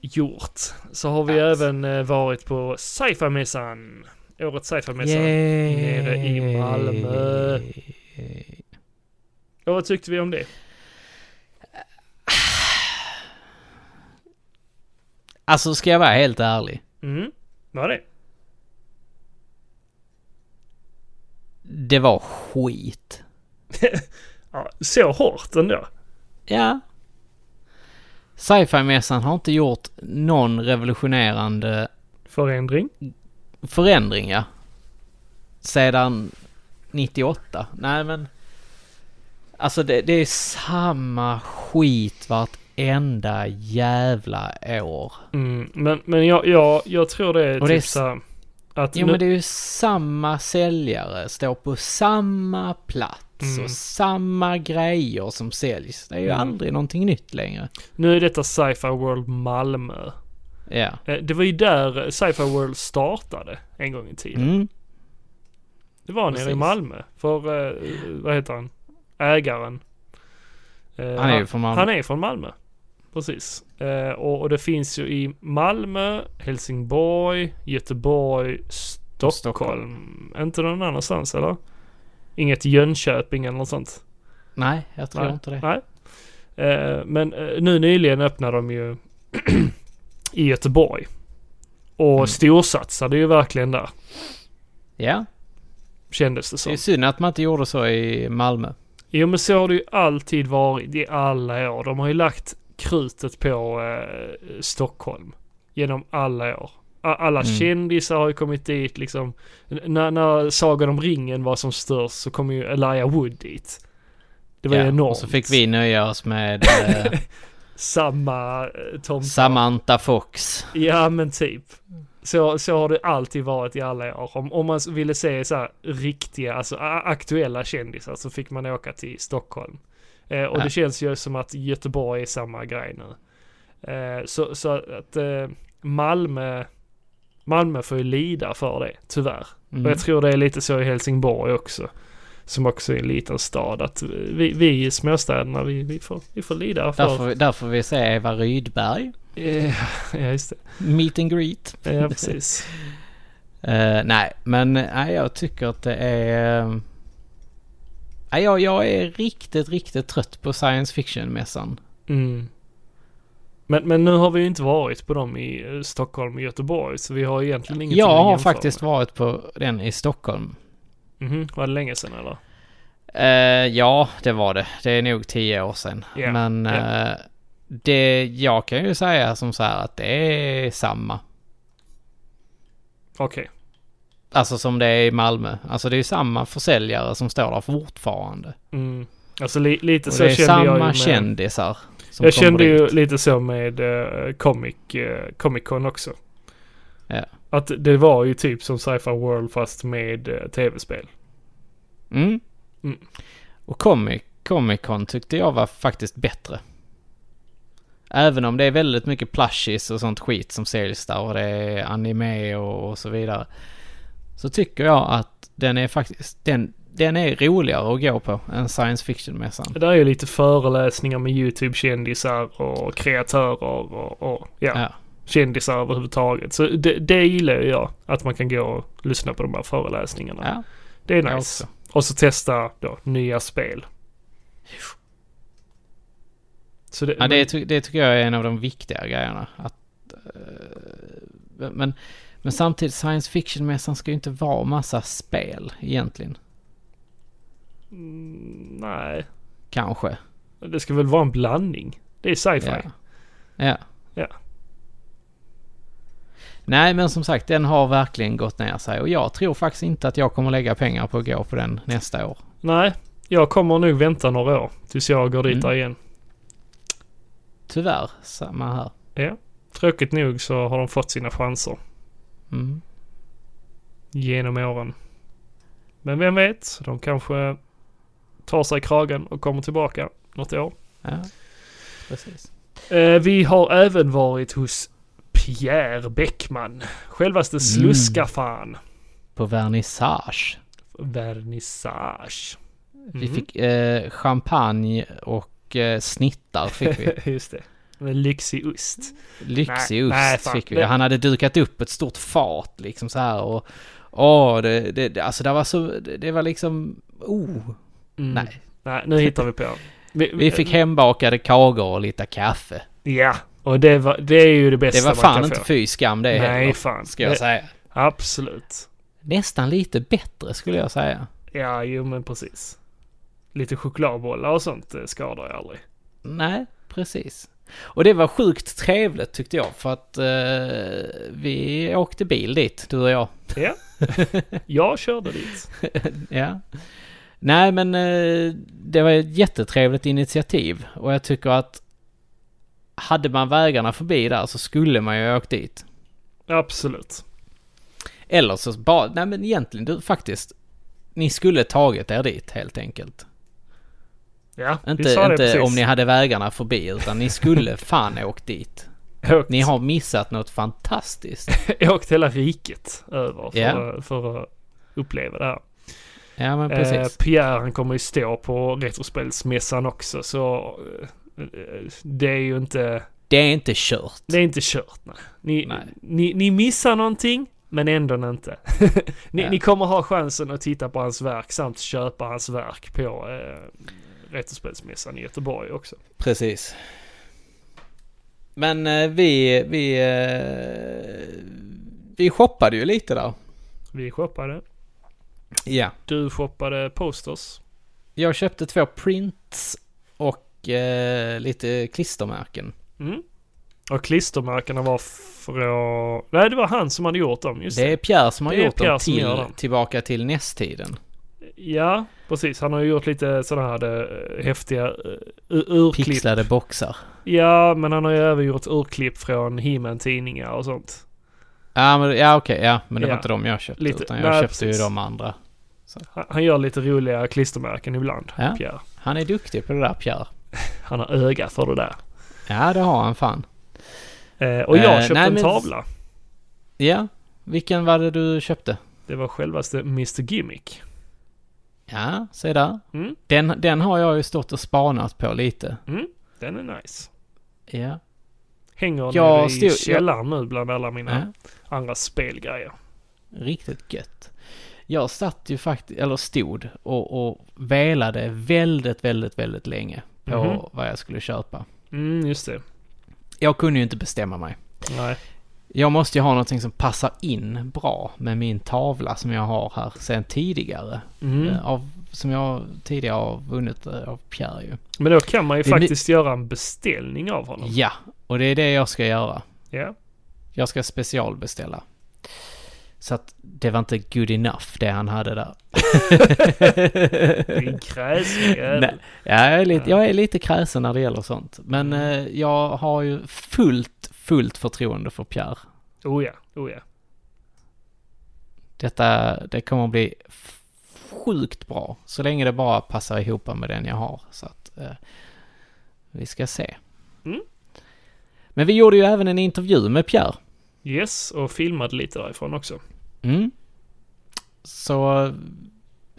Speaker 2: gjort så har vi
Speaker 1: Allt.
Speaker 2: även eh, varit på Sci-Fi-mässan. Årets Sci-Fi-mässa.
Speaker 1: Yay!
Speaker 2: nere i Malmö. Ja, vad tyckte vi om det?
Speaker 1: Alltså, ska jag vara helt ärlig?
Speaker 2: Mm, vad det?
Speaker 1: Det var skit.
Speaker 2: Ja, så hårt ändå.
Speaker 1: Ja. Sci-fi-mässan har inte gjort någon revolutionerande
Speaker 2: Förändring.
Speaker 1: förändring, ja. Sedan 98. Nej, men... Alltså, det, det är samma skit vartenda jävla år.
Speaker 2: Mm, men men jag, jag, jag tror det är
Speaker 1: Och det är
Speaker 2: typ
Speaker 1: s-
Speaker 2: så här att
Speaker 1: Jo,
Speaker 2: nu,
Speaker 1: men det är ju samma säljare, står på samma plats
Speaker 2: Mm.
Speaker 1: och samma grejer som säljs. Det är ju
Speaker 2: Mm.
Speaker 1: aldrig någonting nytt längre.
Speaker 2: nu är detta Sci-Fi World Malmö.
Speaker 1: Ja.
Speaker 2: Eh, Det var ju där Sci-Fi World startade en gång i tiden.
Speaker 1: Mm.
Speaker 2: Det var nere i
Speaker 1: Precis.
Speaker 2: Malmö. För, eh, vad heter han? Ägaren. Eh,
Speaker 1: Han är ju från Malmö.
Speaker 2: Han är från Malmö. Precis. Eh, och, och det finns ju i Malmö, Helsingborg, Göteborg, Stockholm. Inte någon annanstans eller? Inget Jönköping eller något sånt?
Speaker 1: Nej, jag tror
Speaker 2: Nej.
Speaker 1: inte det.
Speaker 2: Nej. Eh, men eh, nu nyligen öppnade de ju i Göteborg. Och
Speaker 1: Mm.
Speaker 2: storsatsade ju verkligen där.
Speaker 1: Ja,
Speaker 2: Kändes det
Speaker 1: det
Speaker 2: som.
Speaker 1: är synd att man inte gjorde så i Malmö.
Speaker 2: Jo men så har det ju alltid varit i alla år. De har ju lagt krutet på eh, Stockholm. Genom alla år. A- alla
Speaker 1: Mm.
Speaker 2: kändisar har ju kommit dit liksom. N- när, när Sagan om ringen var som störst så kom ju Elijah Wood dit. Det var ju
Speaker 1: Ja,
Speaker 2: enormt.
Speaker 1: Och så fick vi nöja oss med eh,
Speaker 2: Samma eh, tomtar.
Speaker 1: Samantha Fox.
Speaker 2: Ja men typ. Så, så har det alltid varit i alla år. Om, om man ville se så här riktiga, alltså a- aktuella kändisar så fick man åka till Stockholm. Eh, och
Speaker 1: Ja.
Speaker 2: det känns ju som att Göteborg är samma grej nu. Eh, så, så att eh, Malmö, Malmö får ju lida för det, tyvärr. Och
Speaker 1: Mm.
Speaker 2: jag tror det är lite så i Helsingborg också. Som också är en liten stad. Att vi, vi i småstäderna, vi, vi, får, vi får lida för...
Speaker 1: Där får, vi- där får vi se Eva Rydberg.
Speaker 2: Eh, ja, just
Speaker 1: Meet and greet.
Speaker 2: det. Ja, precis.
Speaker 1: Eh, nej, men nej, jag tycker att det är... eh, Nej, Jag, jag är riktigt, riktigt trött på science fiction-mässan.
Speaker 2: Mm. Men, men nu har vi ju inte varit på dem i eh, Stockholm och Göteborg, så vi har egentligen ingenting
Speaker 1: Jag
Speaker 2: att
Speaker 1: har
Speaker 2: jämföra
Speaker 1: faktiskt varit på den i Stockholm.
Speaker 2: med. Mhm, Var det länge sedan eller?
Speaker 1: Eh, ja, det var det. Det är nog tio år sedan.
Speaker 2: Ja,
Speaker 1: Men
Speaker 2: ja.
Speaker 1: eh, det, jag kan ju säga som så här att det är samma.
Speaker 2: Okej.
Speaker 1: Alltså som det är i Malmö. Alltså det är ju samma försäljare som står där fortfarande.
Speaker 2: Mm. Alltså li, lite
Speaker 1: Och
Speaker 2: så
Speaker 1: det är
Speaker 2: kände
Speaker 1: samma
Speaker 2: jag ju med...
Speaker 1: kändisar. Som
Speaker 2: jag
Speaker 1: kommer
Speaker 2: kände ju
Speaker 1: dit.
Speaker 2: lite så med eh, comic, eh, Comic Con också.
Speaker 1: Ja.
Speaker 2: Att det var ju typ som Sci-Fi World fast med eh, tv-spel.
Speaker 1: Mm.
Speaker 2: Mm.
Speaker 1: Och Comic, Comic Con tyckte jag var faktiskt bättre. Även om det är väldigt mycket plushies och sånt skit som säljs där och det är anime och, och så vidare. Så tycker jag att den är faktiskt, den, den är roligare att gå på än science fiction-mässan.
Speaker 2: Det där är ju lite föreläsningar med YouTube-kändisar och kreatörer och, och ja,
Speaker 1: Ja.
Speaker 2: kändisar överhuvudtaget. Så det, det gillar ju jag, att man kan gå och lyssna på de här föreläsningarna.
Speaker 1: Ja,
Speaker 2: Det är
Speaker 1: jag
Speaker 2: nice.
Speaker 1: också.
Speaker 2: Och så testa då nya spel. Så det,
Speaker 1: Ja, det, ty- det tycker jag är en av de viktiga grejerna. Att, eh, men, men samtidigt, science fiction-mässan ska ju inte vara massa spel egentligen.
Speaker 2: Mm, Nej,
Speaker 1: Kanske.
Speaker 2: det ska väl vara en blandning. Det är sci-fi.
Speaker 1: Ja. Ja.
Speaker 2: Ja.
Speaker 1: Nej, men som sagt, den har verkligen gått ner sig. Och jag tror faktiskt inte att jag kommer lägga pengar på att gå på den nästa år.
Speaker 2: Nej, jag kommer nog vänta några år tills jag går dit
Speaker 1: Mm.
Speaker 2: där igen.
Speaker 1: Tyvärr, samma här.
Speaker 2: Tråkigt nog så har de fått sina chanser.
Speaker 1: Mm.
Speaker 2: genom åren. Men vem vet, de kanske tar sig i kragen och kommer tillbaka något år.
Speaker 1: Ja, precis.
Speaker 2: Eh, vi har även varit hos Pierre Bäckman,
Speaker 1: Mm.
Speaker 2: självaste sluskafan.
Speaker 1: På vernissage.
Speaker 2: Vernissage.
Speaker 1: Vi
Speaker 2: Mhm.
Speaker 1: fick eh, champagne och eh, snittar fick vi.
Speaker 2: Just det. Med lyxig ost.
Speaker 1: Lyxig
Speaker 2: Nej, nej,
Speaker 1: ost
Speaker 2: fan.
Speaker 1: fick vi.
Speaker 2: Det-
Speaker 1: Han hade dukat upp ett stort fat liksom så här och... Åh, det, det, det- alltså det var så... Det, det var liksom... Oh,
Speaker 2: Mm.
Speaker 1: nej.
Speaker 2: Nej, nu hittar vi på.
Speaker 1: Vi fick hembakade kakor och lite kaffe.
Speaker 2: Ja, och det, var, det är ju det bästa
Speaker 1: Det var
Speaker 2: man
Speaker 1: fan
Speaker 2: kan
Speaker 1: inte
Speaker 2: få.
Speaker 1: fy skam det
Speaker 2: Nej,
Speaker 1: heller,
Speaker 2: fan.
Speaker 1: ska jag
Speaker 2: Det-
Speaker 1: säga.
Speaker 2: Absolut.
Speaker 1: Nästan lite bättre skulle jag säga.
Speaker 2: Ja, jo men precis. Lite chokladbollar och sånt eh, skadar jag aldrig.
Speaker 1: Nej, precis. Och det var sjukt trevligt tyckte jag för att eh, vi åkte bil dit, du och jag.
Speaker 2: Ja, jag körde dit.
Speaker 1: Ja. Nej, men eh, det var ett jättetrevligt initiativ och jag tycker att hade man vägarna förbi där så skulle man ju ha åkt dit.
Speaker 2: Absolut.
Speaker 1: Eller så bara, nej men egentligen du faktiskt, ni skulle tagit er dit helt enkelt.
Speaker 2: Ja, vi
Speaker 1: Inte,
Speaker 2: sa det
Speaker 1: inte
Speaker 2: precis.
Speaker 1: om ni hade vägarna förbi utan ni skulle fan ha åkt dit.
Speaker 2: åkt,
Speaker 1: Ni har missat något fantastiskt.
Speaker 2: åkt hela riket över för,
Speaker 1: Ja.
Speaker 2: att- för att uppleva det här.
Speaker 1: Ja men
Speaker 2: Eh,
Speaker 1: precis.
Speaker 2: Pierre han kommer ju stå på Retrospelsmässan också så eh, eh, det är ju inte,
Speaker 1: Det är inte kört.
Speaker 2: det är inte kört. Nej. Ni,
Speaker 1: Nej.
Speaker 2: Ni, ni missar någonting men ändå inte. ni,
Speaker 1: Ja.
Speaker 2: ni kommer ha chansen att titta på hans verk samt köpa hans verk på eh, Retrospelsmässan i Göteborg också.
Speaker 1: Precis. Men eh, vi, vi, eh, vi shoppade ju lite där.
Speaker 2: Vi shoppade.
Speaker 1: Ja.
Speaker 2: Du shoppade posters.
Speaker 1: Jag köpte två prints och eh, lite klistermärken.
Speaker 2: Mm. Och klistermärkena var från... Nej, det var han som hade gjort dem. Just det.
Speaker 1: Det är Pierre som har
Speaker 2: Det är
Speaker 1: gjort
Speaker 2: Pierre
Speaker 1: dem
Speaker 2: som
Speaker 1: till,
Speaker 2: gör dem.
Speaker 1: tillbaka till nästtiden.
Speaker 2: Ja, precis. Han har ju gjort lite sådana här eh, häftiga eh, ur- urklipp.
Speaker 1: Pixlade boxar.
Speaker 2: Ja, men han har ju även gjort urklipp från he tidningar och sånt.
Speaker 1: Ja, men, ja okej, ja. Men det
Speaker 2: Ja.
Speaker 1: var inte de jag köpte.
Speaker 2: Lite-
Speaker 1: utan jag
Speaker 2: nej,
Speaker 1: köpte
Speaker 2: precis.
Speaker 1: ju de andra.
Speaker 2: Han, han gör lite roliga klistermärken ibland,
Speaker 1: Ja.
Speaker 2: Pierre.
Speaker 1: Han är duktig på det där Pierre.
Speaker 2: Han har öga för det där.
Speaker 1: Ja, det har han fan.
Speaker 2: Eh, och jag
Speaker 1: Eh,
Speaker 2: köpte
Speaker 1: nej,
Speaker 2: en
Speaker 1: men-
Speaker 2: tavla.
Speaker 1: Ja, vilken var det du köpte?
Speaker 2: Det var självaste Mr Gimmick.
Speaker 1: Ja, se där.
Speaker 2: Mm.
Speaker 1: Den, den har jag ju stått och spanat på lite.
Speaker 2: Den är nice.
Speaker 1: Ja.
Speaker 2: Hänger
Speaker 1: Jag
Speaker 2: nere i
Speaker 1: stod- jag-
Speaker 2: källaren nu bland alla mina
Speaker 1: ja.
Speaker 2: andra spelgrejer.
Speaker 1: Riktigt gött. Jag satt ju faktiskt, eller stod och, och velade väldigt, väldigt, väldigt länge på
Speaker 2: Mhm.
Speaker 1: vad jag skulle köpa.
Speaker 2: Mm, just det.
Speaker 1: Jag kunde ju inte bestämma mig.
Speaker 2: Nej.
Speaker 1: Jag måste ju ha någonting som passar in bra med min tavla som jag har här sedan tidigare.
Speaker 2: Mm.
Speaker 1: Eh, Av, som jag tidigare har vunnit eh, av Pierre ju.
Speaker 2: Men då kan man ju
Speaker 1: Det är ny-
Speaker 2: faktiskt göra en beställning av honom.
Speaker 1: Ja, och det är det jag ska göra.
Speaker 2: Ja.
Speaker 1: Jag ska specialbeställa. Så att det var inte good enough det han hade där.
Speaker 2: Din kräsiga
Speaker 1: Nej,
Speaker 2: jävel.
Speaker 1: jag, är lite,
Speaker 2: Ja.
Speaker 1: jag är lite kräsen när det gäller sånt. Men eh, jag har ju fullt, fullt förtroende för Pierre.
Speaker 2: Oh ja, oh ja.
Speaker 1: Detta, det kommer att bli f- sjukt bra. Så länge det bara passar ihop med den jag har. Så att eh, vi ska se.
Speaker 2: Mm.
Speaker 1: Men vi gjorde ju även en intervju med Pierre.
Speaker 2: Yes, och filmade lite därifrån också.
Speaker 1: Mm. Så eh,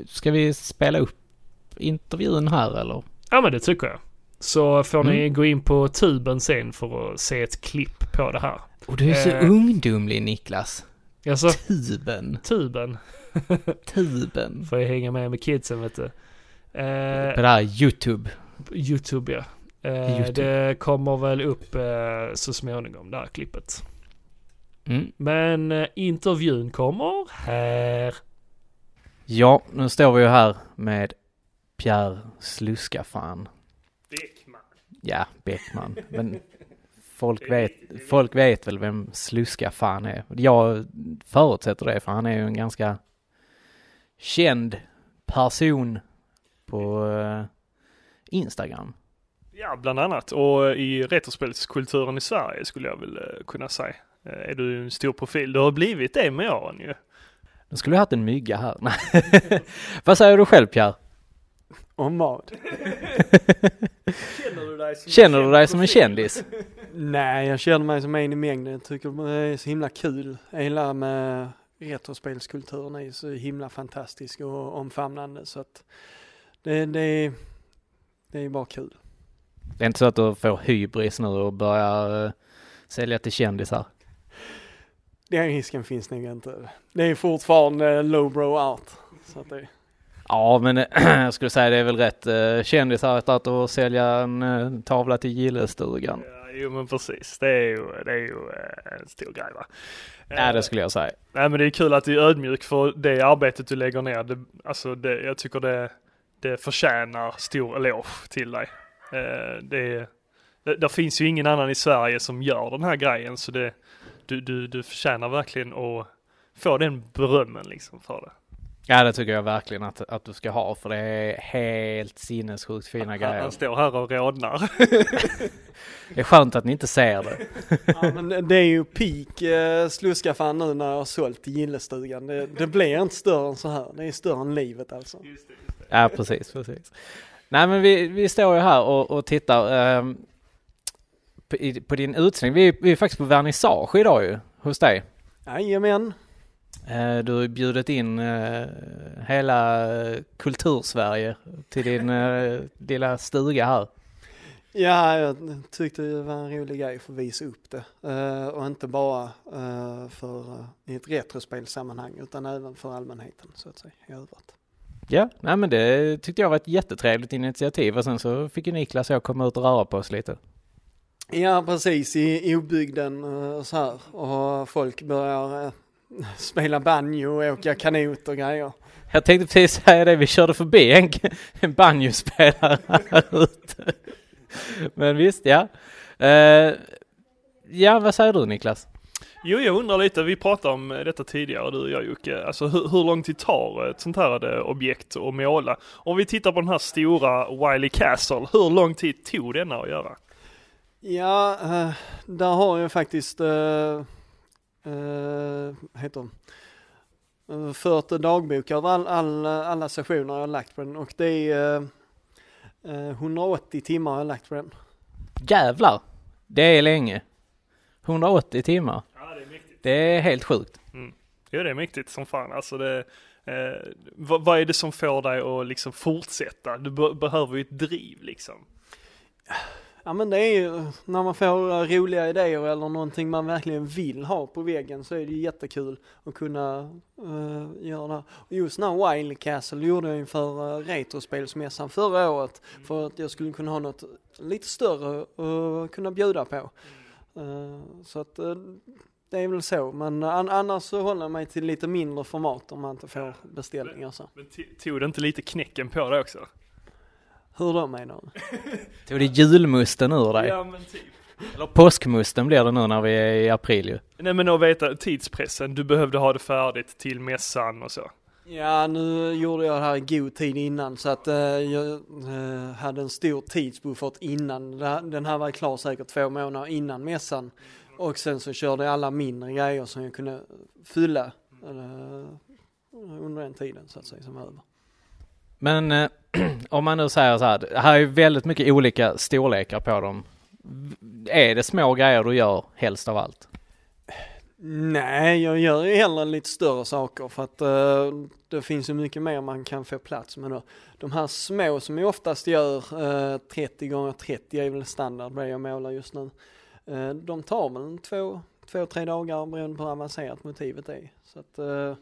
Speaker 1: ska vi spela upp intervjun här eller?
Speaker 2: Ja, men det tycker jag. Så får ni
Speaker 1: Mm.
Speaker 2: gå in på tuben sen för att se ett klipp på det här.
Speaker 1: Och du är så
Speaker 2: Eh.
Speaker 1: ungdomlig Niklas.
Speaker 2: Alltså,
Speaker 1: Tuben,
Speaker 2: tuben
Speaker 1: tuben.
Speaker 2: får jag hänga med med kidsen, vet du. Eh,
Speaker 1: På det här YouTube.
Speaker 2: Youtube, ja. Eh,
Speaker 1: YouTube.
Speaker 2: Det kommer väl upp eh, så småningom, det här klippet.
Speaker 1: Mm.
Speaker 2: Men eh, intervjun kommer här.
Speaker 1: Ja, nu står vi ju här med Pierre Sluskafan.
Speaker 2: Beckman.
Speaker 1: Ja, Beckman. Men folk vet, folk vet väl vem sluska fan är. Jag förutsätter det, för han är ju en ganska känd person på eh, Instagram.
Speaker 3: Ja, bland annat. Och i retrospelskulturen i Sverige skulle jag väl eh, kunna säga. Eh, Är du en stor profil? Du har blivit det med åren ju.
Speaker 1: Nu skulle jag haft en mygga här. Nej. Vad säger du själv Pierre?
Speaker 4: Om vad?
Speaker 3: Känner du dig som
Speaker 1: Känner du dig som en kändis?
Speaker 4: Nej, jag känner mig som en i mängden. Jag tycker det är så himla kul. Hela med retrospelskulturen är ju så himla fantastisk och omfamnande så att det, det, det är bara kul.
Speaker 1: Det är inte så att du får hybris nu och börjar eh, sälja till kändisar?
Speaker 4: Den risken finns nog inte. Det är fortfarande lowbrow art. Så att det,
Speaker 1: Ja, men eh, jag skulle säga det är väl rätt eh, kändisar att- att sälja en eh, tavla till gillestugan.
Speaker 3: Ja, jo men precis. Det är ju, det är ju eh, en stor grej va. Eh,
Speaker 1: Ja, det skulle jag säga.
Speaker 3: Nej men det är kul att du är ödmjuk för det arbetet du lägger ner. Det, alltså det, jag tycker det, det förtjänar stor eloge till dig. Eh, det, det, där finns ju ingen annan i Sverige som gör den här grejen så det, du, du, du förtjänar verkligen att få den berömmen liksom för det.
Speaker 1: Ja, det tycker jag verkligen att, att du ska ha, för det är helt sinnessjukt fina
Speaker 3: Han,
Speaker 1: grejer.
Speaker 3: han står här och rodnar.
Speaker 1: Det är skönt att ni inte ser det.
Speaker 4: ja, men det är ju peak eh, sluskafan nu när jag har sålt till gillestugan. Det, det blir inte större än så här. Det är större än livet alltså.
Speaker 1: Ja, precis, precis. Nej, men vi, vi står ju här och, och tittar ehm, på, i, på din utsläng. Vi, vi är faktiskt på vernissage idag ju, hos dig.
Speaker 4: Jajamän.
Speaker 1: Eh, Du har ju bjudit in eh, hela eh, kultursverige till din eh, lilla stuga här.
Speaker 4: Ja, jag tyckte det var en rolig grej för att visa upp det. Eh, och inte bara eh, för eh, i ett retrospelsammanhang utan även för allmänheten så att säga i övrigt.
Speaker 1: Ja, nej men det tyckte jag var ett jättetrevligt initiativ och sen så fick ju Niklas och jag komma ut och röra på oss lite.
Speaker 4: Ja, precis i i obygden eh, och så här och folk börjar eh, spela banjo och åka kanot och grejer.
Speaker 1: Jag tänkte precis säga det, vi körde förbi en, en banjospelare här ute. Men visst, ja. Eh, ja, vad säger du Niklas?
Speaker 3: Jo, jag undrar lite, vi pratade om eh, detta tidigare du och jag Jocke, alltså hur, hur lång tid tar ett sånt här eh, objekt att måla? Om vi tittar på den här stora Wiley Castle, hur lång tid tog denna att göra?
Speaker 4: Ja, eh, där har jag faktiskt, eh, eh, heter hon, eh, fört en dagbok över all, all, alla sessioner jag har lagt på den och det är eh, eh, 180 timmar jag har lagt på den.
Speaker 1: Jävlar! Det är länge. 180 timmar.
Speaker 3: Ja, det är mäktigt.
Speaker 1: Det är helt sjukt.
Speaker 3: Jo, det är mäktigt som fan. Alltså det, eh, vad, vad är det som får dig att liksom fortsätta? Du be- behöver ju ett driv liksom.
Speaker 4: Ja men det är ju när man får eh, roliga idéer eller någonting man verkligen vill ha på väggen så är det ju jättekul att kunna eh, göra det. här. Och just den här Wild Castle gjorde jag inför uh, Retrospelsmässan förra året för att jag skulle kunna ha något lite större att kunna bjuda på. Eh, så att eh, det är väl så, men an- annars så håller jag mig till lite mindre format om man inte får beställningar så.
Speaker 2: Men t- tog det inte lite knäcken på dig också?
Speaker 4: Hur då menar du?
Speaker 1: Tog det julmusten ur dig?
Speaker 2: Ja men typ.
Speaker 1: Eller påskmusten blir det nu när vi är i april ju.
Speaker 2: Nej men att veta tidspressen, du behövde ha det färdigt till mässan och så.
Speaker 4: Ja, nu gjorde jag det här i god tid innan så att eh, jag eh, hade en stor tidsbuffert innan. Det här- Den här var klar säkert två månader innan mässan. Och sen så körde jag alla mindre grejer som jag kunde fylla eh, under den tiden så att säga som var över.
Speaker 1: Men eh, om man nu säger så här, det här är ju väldigt mycket olika storlekar på dem. V- Är det små grejer du gör helst av allt?
Speaker 4: Nej, jag gör ju hellre lite större saker för att eh, det finns ju mycket mer man kan få plats med då. De här små som jag oftast gör, eh, 30 gånger 30 är väl standard det jag målar just nu. Eh, de tar väl en två, två, tre dagar beroende på hur avancerat motivet är. Så att, eh,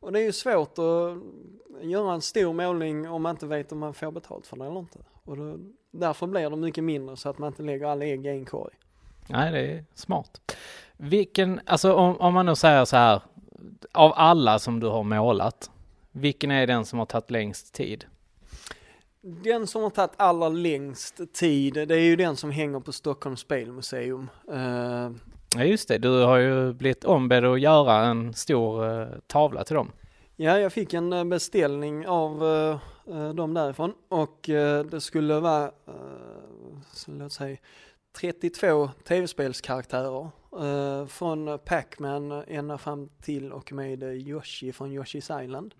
Speaker 4: och det är ju svårt att göra en stor målning om man inte vet om man får betalt för det eller inte. Och då, därför blir de mycket mindre så att man inte lägger alla ägg i en korg.
Speaker 1: Nej, det är smart. Vilken, alltså om, om man nu säger så här, av alla som du har målat, vilken är den som har tagit längst tid?
Speaker 4: Den som har tagit allra längst tid, det är ju den som hänger på Stockholms spelmuseum. Eh,
Speaker 1: Ja just det, du har ju blivit ombedd att göra en stor eh, tavla till dem.
Speaker 4: ja, jag fick en eh, beställning av eh, eh, dem därifrån och eh, det skulle vara, eh, så låt säga, 32 tv-spelskaraktärer eh, från Pac-Man ända fram till och med eh, Yoshi från Yoshi's Island.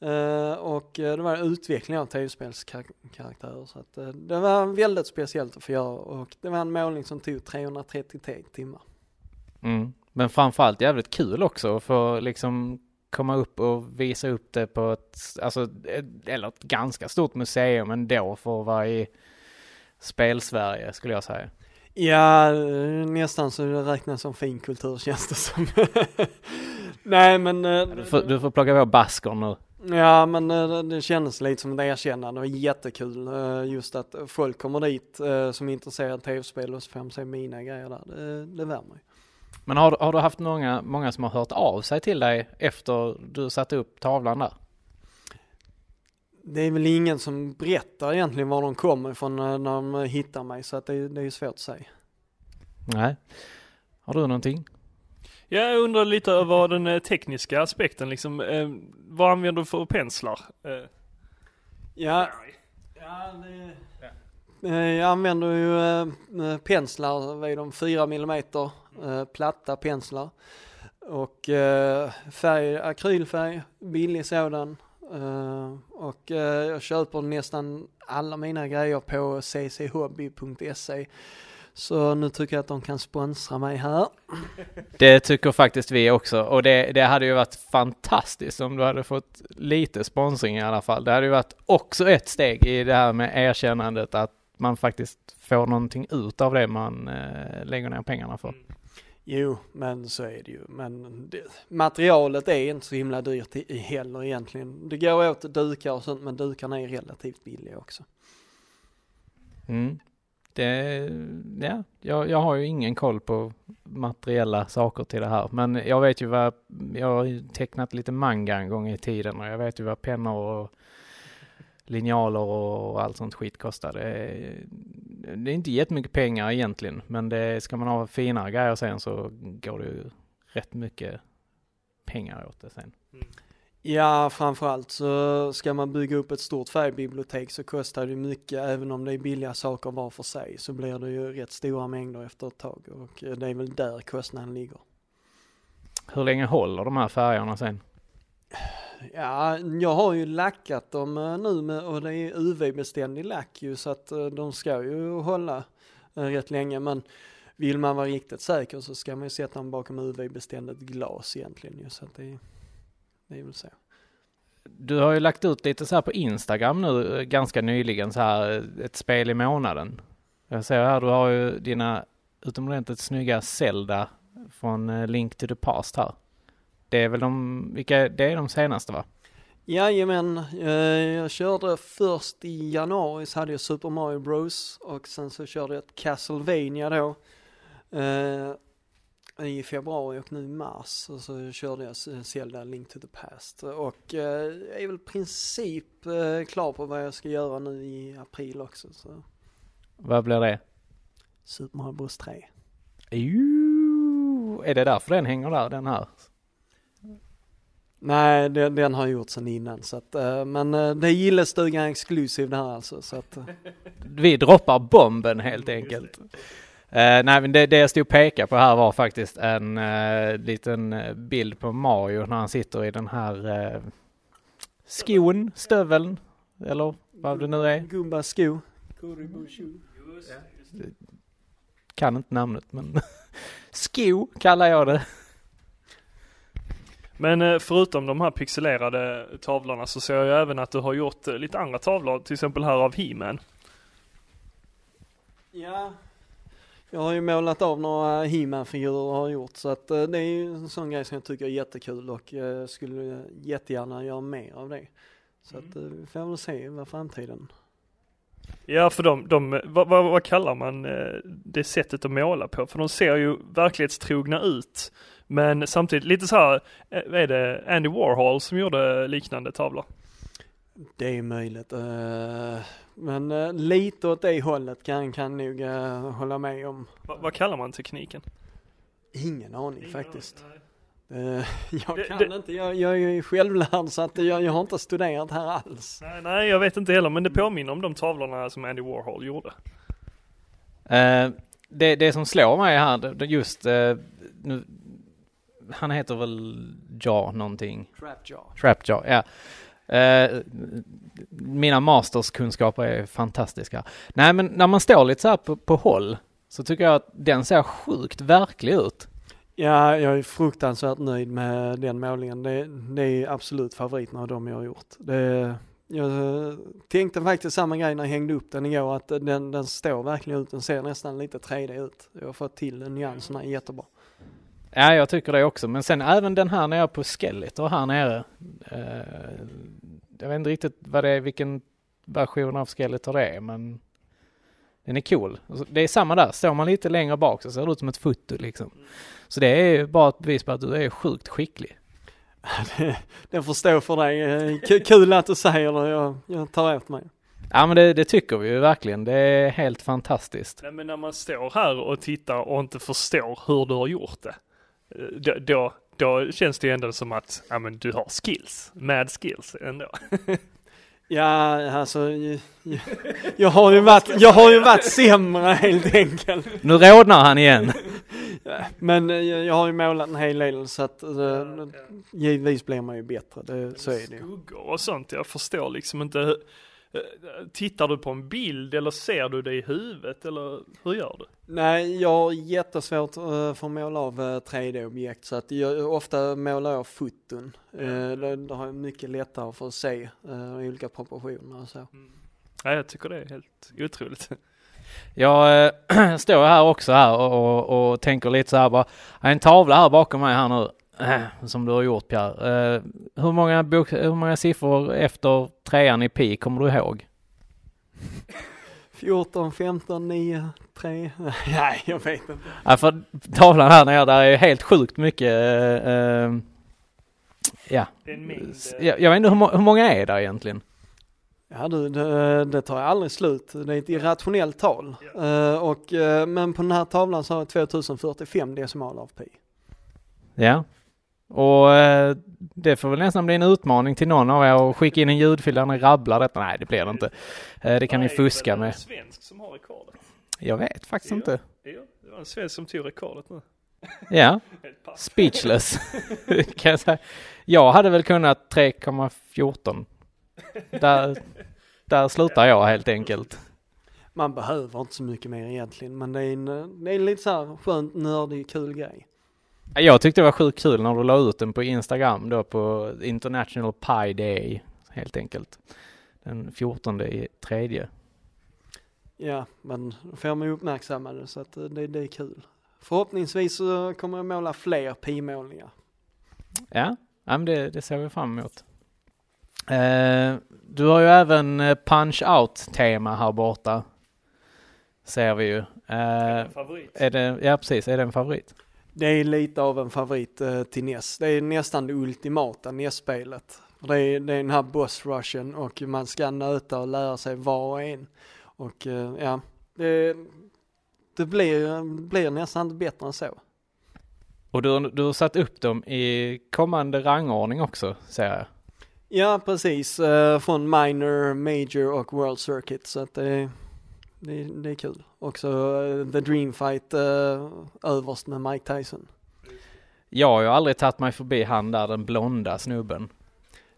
Speaker 4: Eh, och eh, det var utveckling av tv-spelskaraktärer så att eh, det var väldigt speciellt att få göra och det var en målning som tog 333 timmar.
Speaker 1: Mm. Men framförallt jävligt kul också att få liksom komma upp och visa upp det på ett, alltså, ett, eller ett ganska stort museum ändå för att vara i spelsverige skulle jag säga.
Speaker 4: Ja, eh, nästan så det räknas som finkultur känns det som. Nej men, eh,
Speaker 1: Du får, du får plocka på basker nu.
Speaker 4: ja men eh, det- det kändes lite som ett erkännande och jättekul eh, just att folk kommer dit eh, som är intresserade av tv-spel och så får de se mina grejer där. Det, det värmer ju.
Speaker 1: Men har, har du haft många, många som har hört av sig till dig efter du satte upp tavlan där?
Speaker 4: Det är väl ingen som berättar egentligen var de kommer ifrån eh, när de hittar mig så att det, det är ju svårt att säga.
Speaker 1: Nej. Har du någonting?
Speaker 2: Ja, jag undrar lite över den eh, tekniska aspekten liksom. Eh, vad använder du för penslar? Eh,
Speaker 4: Ja. Ja, det... Eh, Jag använder ju eh, eh, penslar, vad är de, 4 mm eh, platta penslar. Och eh, färg, akrylfärg, billig sådan. Eh, och eh, jag köper nästan alla mina grejer på cchobby.se. Så nu tycker jag att de kan sponsra mig här.
Speaker 1: Det tycker faktiskt vi också och det, det hade ju varit fantastiskt om du hade fått lite sponsring i alla fall. Det hade ju varit också ett steg i det här med erkännandet att man faktiskt får någonting ut av det man eh, lägger ner pengarna för.
Speaker 4: Jo, men så är det ju. Men det, materialet är inte så himla dyrt i, i heller egentligen. Det går åt dukar och sånt, men dukarna är relativt billiga också.
Speaker 1: Mm. Det, ja, jag, jag har ju ingen koll på materiella saker till det här, men jag vet ju vad, jag har ju tecknat lite manga en gång i tiden och jag vet ju vad pennor och linjaler och allt sånt skit kostar. Det är, det är inte jättemycket pengar egentligen, men det, ska man ha finare grejer sen så går det ju rätt mycket pengar åt det sen.
Speaker 4: Ja, framförallt så ska man bygga upp ett stort färgbibliotek så kostar det mycket, även om det är billiga saker var för sig, så blir det ju rätt stora mängder efter ett tag och det är väl där kostnaden ligger.
Speaker 1: Hur länge håller de här färgerna sen?
Speaker 4: Ja, jag har ju lackat dem eh, nu med, och det är UV-beständig lack ju så att eh, de ska ju hålla eh, rätt länge men vill man vara riktigt säker så ska man ju sätta dem bakom UV-beständigt glas egentligen ju så att det, det är väl så.
Speaker 1: Du har ju lagt ut lite så här på Instagram nu eh, ganska nyligen så här eh, ett spel i månaden. Jag ser här, du har ju dina utomordentligt snygga Zelda från eh, Link to the Past här. Det är väl de, vilka, det är de senaste va?
Speaker 4: Jajamän, eh, jag körde först i januari så hade jag Super Mario Bros och sen så körde jag ett Castlevania då eh, i februari och nu i mars och så körde jag Zelda Link to the Past och eh, jag är väl i princip eh, klar på vad jag ska göra nu i april också så
Speaker 1: Vad blir det?
Speaker 4: Super Mario Bros 3.
Speaker 1: Jo, är det därför den hänger där, den här?
Speaker 4: Nej, den, den har gjort sen innan så att, eh, men eh, det är gillestugan exklusiv det här alltså så att eh,
Speaker 1: Vi droppar bomben helt enkelt. Eh, nej, men det, det jag stod och pekade på här var faktiskt en eh, liten eh, bild på Mario när han sitter i den här eh, skon, stöveln, eller vad det nu är.
Speaker 4: Gumba sko.
Speaker 1: Kan inte namnet, men sko kallar jag det.
Speaker 2: Men eh, förutom de här pixelerade tavlorna så ser jag ju även att du har gjort eh, lite andra tavlor, till exempel här av He-Man.
Speaker 4: Ja. Jag har ju målat av några He-Man-figurer och har gjort så att eh, det är ju en sån grej som jag tycker är jättekul och eh, skulle jättegärna göra mer av det. Så att eh,
Speaker 2: Mm.
Speaker 4: vi får väl se vad framtiden.
Speaker 2: Ja, för de, de vad, vad, vad kallar man eh, det sättet att måla på? För de ser ju verklighetstrogna ut. Men samtidigt lite så här, eh, vad är det, Andy Warhol som gjorde liknande tavlor?
Speaker 4: Det är möjligt. eh, Men eh, lite åt det hållet kan kan nog eh, hålla med om.
Speaker 2: Va, vad kallar man tekniken?
Speaker 4: Ingen aning faktiskt. Eh,
Speaker 2: Det-
Speaker 4: Jag kan
Speaker 2: det-
Speaker 4: inte, jag, jag är ju självlärd så att jag, jag har inte studerat här alls.
Speaker 2: Nej, nej, jag vet inte heller, men det påminner om de tavlorna som Andy Warhol gjorde.
Speaker 1: Eh, det, det som slår mig här, det- det just, eh, nu, han heter väl Ja någonting?
Speaker 4: Trapjaw.
Speaker 1: Trapjaw, ja. Eh, mina masterskunskaper är fantastiska. Nej, men när man står lite så här på, på håll så tycker jag att den ser sjukt verklig ut.
Speaker 4: Ja, jag är fruktansvärt nöjd med den målningen. Det, det är absolut favoriten av dem jag har gjort. Det, jag eh, tänkte faktiskt samma grej när jag hängde upp den igår, att den, den står verkligen ut. Den ser nästan lite 3D ut. Jag har fått till nyanserna jättebra.
Speaker 1: Ja, jag tycker det också. Men sen även den här nere på skellet och här nere. Eh, jag vet inte riktigt vad det är, vilken version av skellet det är, men den är cool. Och så- Det är samma där, står man lite längre bak så ser det ut som ett foto liksom. Så det är ju bara ett bevis på att du är sjukt skicklig.
Speaker 4: Den får stå för dig. Eh, k- Kul att du säger det. Jag, jag tar åt mig.
Speaker 1: Ja, men det, det tycker vi ju verkligen. Det är helt fantastiskt.
Speaker 2: Nej, men när man står här och tittar och inte förstår hur du har gjort det, eh, då, då, då känns det ju ändå som att ja, men du har skills, mad skills ändå.
Speaker 4: Ja, alltså, jag, jag, har ju varit, jag har ju varit sämre helt enkelt.
Speaker 1: Nu rodnar han igen.
Speaker 4: Men eh, jag, jag har ju målat en hel del så att eh, givetvis blir man ju bättre, det, så är det ju.
Speaker 2: Skuggor och sånt, jag förstår liksom inte. hur- eh, Tittar du på en bild eller ser du det i huvudet eller hur gör du?
Speaker 4: Nej, jag har jättesvårt eh, för att måla av eh, 3D-objekt så att jag, ofta målar jag foton. Eh, då, då har jag mycket lättare för att se eh, olika proportioner och så.
Speaker 2: Nej, jag tycker det är helt otroligt.
Speaker 1: Jag eh, står här också här och, och, och tänker lite så här bara. "Ja, En tavla här bakom mig här nu. eh, Som du har gjort Pierre. Eh, Hur många, bok, hur många siffror efter trean i pi kommer du ihåg?
Speaker 4: 14, 15, 9, 3. Nej, jag vet inte.
Speaker 1: Ja, för tavlan här nere där är ju helt sjukt mycket. eh, eh, Ja,
Speaker 2: Det är en mängd.
Speaker 1: S- jag, jag vet inte hur, må- hur många är där egentligen?
Speaker 4: Ja du, det, det tar aldrig slut. Det är ett irrationellt tal. Eh, och, eh, men på den här tavlan så har jag 2045 decimaler av pi.
Speaker 1: Ja. Och eh, det får väl nästan bli en utmaning till någon av er att skicka in en ljudfil där ni rabblar detta. Nej, det blir det inte. Eh, Det kan ni fuska med.
Speaker 2: svensk som har rekordet.
Speaker 1: Jag vet faktiskt
Speaker 2: Ja.
Speaker 1: inte.
Speaker 2: det var en svensk som tog rekordet nu.
Speaker 1: Ja, speechless kan jag säga. Jag hade väl kunnat 3,14. Där, där slutar jag helt enkelt.
Speaker 4: Man behöver inte så mycket mer egentligen men det är en, det är en lite så här skönt nördig kul grej.
Speaker 1: Jag tyckte det var sjukt kul när du la ut den på Instagram då på International Pie Day helt enkelt. Den 14 i tredje.
Speaker 4: Ja, men då får man ju uppmärksammade så att eh, det, det är kul. Förhoppningsvis så kommer jag måla fler pimålningar.
Speaker 1: Ja, ja men det, det ser vi fram emot. Eh, du har ju även eh, punch-out-tema här borta. Ser vi ju. Eh,
Speaker 2: Favorit.
Speaker 1: är det, ja, precis. Är det en favorit?
Speaker 4: Det är lite av en favorit eh, till NES. Det är nästan det ultimata NES-spelet. För Det är, det är den här boss rushen och man ska nöta och lära sig var och en. Och eh, ja, det, det blir, blir nästan inte bättre än så.
Speaker 1: Och du, har- du har satt upp dem i kommande rangordning också, ser jag.
Speaker 4: Ja, precis. eh, Från minor, major och world circuit. Så att det, det, det är kul. Också eh, The Dream Fight eh, överst med Mike Tyson.
Speaker 1: Jag har ju aldrig tagit mig förbi han där, den blonda snubben.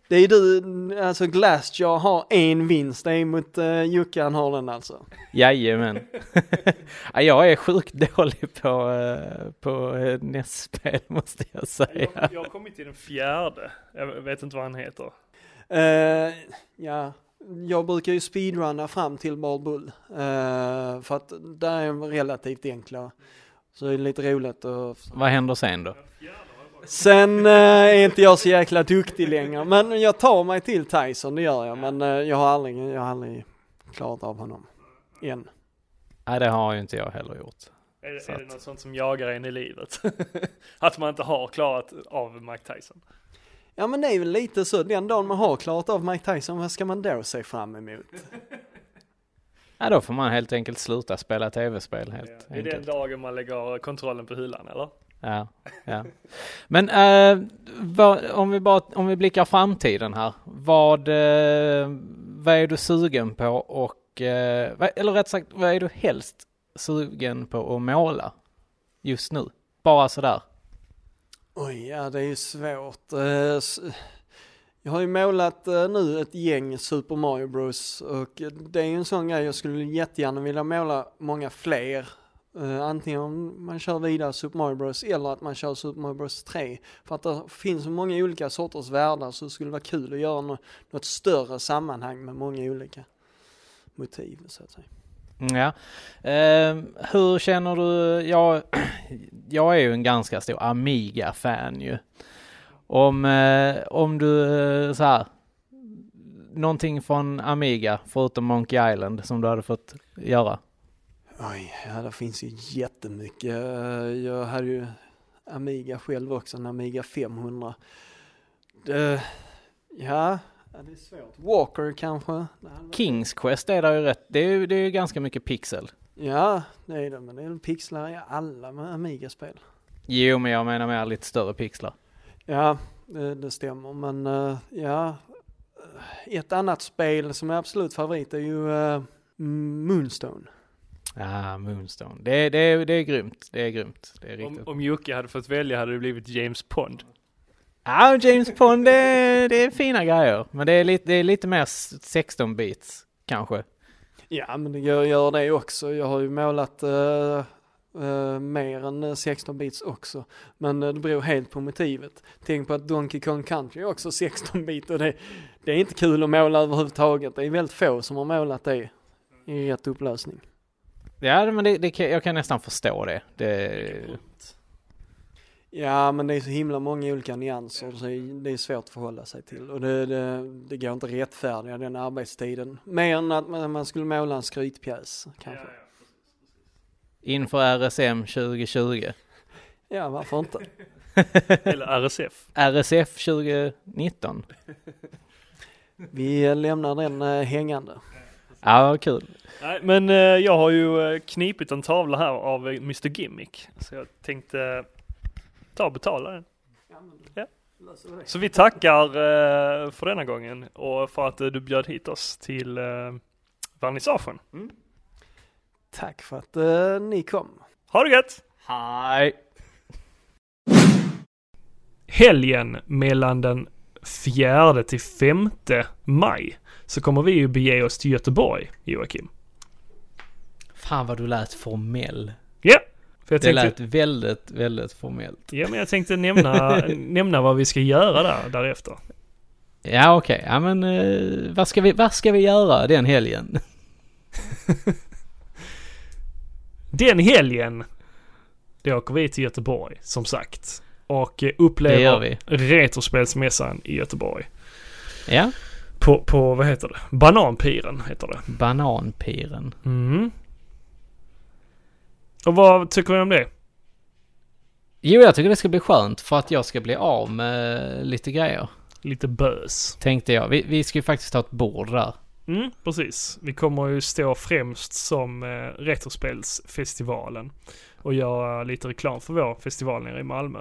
Speaker 4: Det är du, alltså Glassjaw har en vinst, det är mot uh, Jocke han har den alltså.
Speaker 1: Jajamän. Ja, jag är sjukt dålig på, eh, på eh, nästspel måste jag säga.
Speaker 2: Jag, jag har kommit till den fjärde. Jag vet inte vad han heter.
Speaker 4: Eh, ja, jag brukar ju speedrunna fram till Marbull, eh, för att där är de relativt enkla. Så det är lite roligt att
Speaker 1: Vad händer sen då?
Speaker 4: Sen eh, är inte jag så jäkla duktig längre, men jag tar mig till Tyson, det gör jag. Men eh, jag har aldrig, jag har aldrig klarat av honom. Än.
Speaker 1: Nej, det har ju inte jag heller gjort.
Speaker 2: Är, det-
Speaker 1: Så
Speaker 2: är det
Speaker 1: att-
Speaker 2: något sånt som jagar en i livet? att man inte har klarat av Mike Tyson.
Speaker 4: Ja men det är väl lite så, den dagen man har klarat av Mike Tyson, vad ska man då se fram emot?
Speaker 1: Ja, då får man helt enkelt sluta spela tv-spel helt
Speaker 2: det är den
Speaker 1: enkelt.
Speaker 2: dagen man lägger kontrollen på hyllan eller?
Speaker 1: Ja, ja. Men eh, vad, om, vi bara, om vi blickar framtiden här. Vad, eh, vad är du sugen på och, eh, vad, eller rätt sagt, vad är du helst sugen på att måla just nu? Bara sådär.
Speaker 4: Oj, ja det är ju svårt. Eh, s- Jag har ju målat eh, nu ett gäng Super Mario Bros och eh, det är ju en sån grej jag skulle jättegärna vilja måla många fler. Eh, Antingen om man kör vidare Super Mario Bros eller att man kör Super Mario Bros 3. För att det finns så många olika sorters världar så det skulle vara kul att göra nå- något större sammanhang med många olika motiv så att säga.
Speaker 1: Mm, Ja. Eh, hur känner du? Jag, jag är ju en ganska stor Amiga-fan ju. Om, eh, om du eh, så här, någonting från Amiga förutom Monkey Island som du hade fått göra.
Speaker 4: Oj, ja det finns ju jättemycket. Eh, Jag hade ju Amiga själv också, en Amiga 500. Det, ja, ja, det är svårt. Walker kanske? Det hade varit-
Speaker 1: Kings Quest är där ju rätt. Det är ju, det är ju ganska mycket pixel.
Speaker 4: Ja, det är det, men det är väl pixlar i alla med Amiga-spel.
Speaker 1: Jo, men jag menar med lite större pixlar.
Speaker 4: Ja, det, det stämmer, men eh, ja. Ett annat spel som är absolut favorit är ju eh, Moonstone.
Speaker 1: Ah, Moonstone. Det, det, är- det är grymt. Det är grymt. Det är riktigt.
Speaker 2: Om, om Jocke hade fått välja hade det blivit James Pond.
Speaker 1: Ja, James Bond, det, är- det är fina grejer. Men det är lite, det är lite mer 16 bits kanske.
Speaker 4: Ja, men jag gör det också. Jag har ju målat eh, eh, mer än 16 bits också. Men eh, det beror helt på motivet. Tänk på att Donkey Kong Country är också 16 bit och det, det är inte kul att måla överhuvudtaget. Det är väldigt få som har målat det i rätt upplösning.
Speaker 1: Ja, men det, det, kan- jag kan nästan förstå det. det
Speaker 4: Ja, men det är så himla många olika nyanser så det är svårt att förhålla sig till. Och det, det, det går inte att rättfärdiga den arbetstiden. Mer än att man, man skulle måla en skrytpjäs kanske.
Speaker 1: inför RSM 2020.
Speaker 4: Ja, varför inte?
Speaker 2: Eller RSF.
Speaker 1: RSF 2019.
Speaker 4: Vi lämnar den eh, hängande.
Speaker 1: Ja, vad kul.
Speaker 2: Nej, men eh, jag har ju eh, knipit en tavla här av eh, Mr Gimmick. Så jag tänkte eh, ta och betala den. Ja. Så vi tackar eh, för denna gången och för att eh, du bjöd hit oss till eh, vernissagen.
Speaker 4: Mm. Tack för att eh, ni kom.
Speaker 2: Ha det gött!
Speaker 1: Hej!
Speaker 2: helgen mellan den 4 till 5 maj så kommer vi ju bege oss till Göteborg, Joakim.
Speaker 1: Fan vad du lät formell.
Speaker 2: Ja, för jag
Speaker 1: Det
Speaker 2: tänkte,
Speaker 1: lät väldigt, väldigt formellt.
Speaker 2: ja, men jag tänkte nämna, nämna vad vi ska göra där, därefter.
Speaker 1: Ja, okej. Ja, men eh, vad, ska vi, vad ska vi göra den helgen?
Speaker 2: Den helgen, då åker vi till Göteborg, som sagt. Och
Speaker 1: Det
Speaker 2: eh,
Speaker 1: gör
Speaker 2: upplever
Speaker 1: vi.
Speaker 2: Retrospelsmässan i Göteborg.
Speaker 1: Ja.
Speaker 2: På, på, vad heter det? Bananpiren heter det.
Speaker 1: Bananpiren.
Speaker 2: Mm. Och vad tycker vi om det?
Speaker 1: Jo, jag tycker det ska bli skönt för att jag ska bli av med lite grejer.
Speaker 2: Lite bös.
Speaker 1: Tänkte jag. Vi, vi ska ju faktiskt ha ett bord där.
Speaker 2: Mm, precis. Vi kommer ju stå främst som eh, Retrospelsfestivalen och göra lite reklam för vår festival nere i Malmö.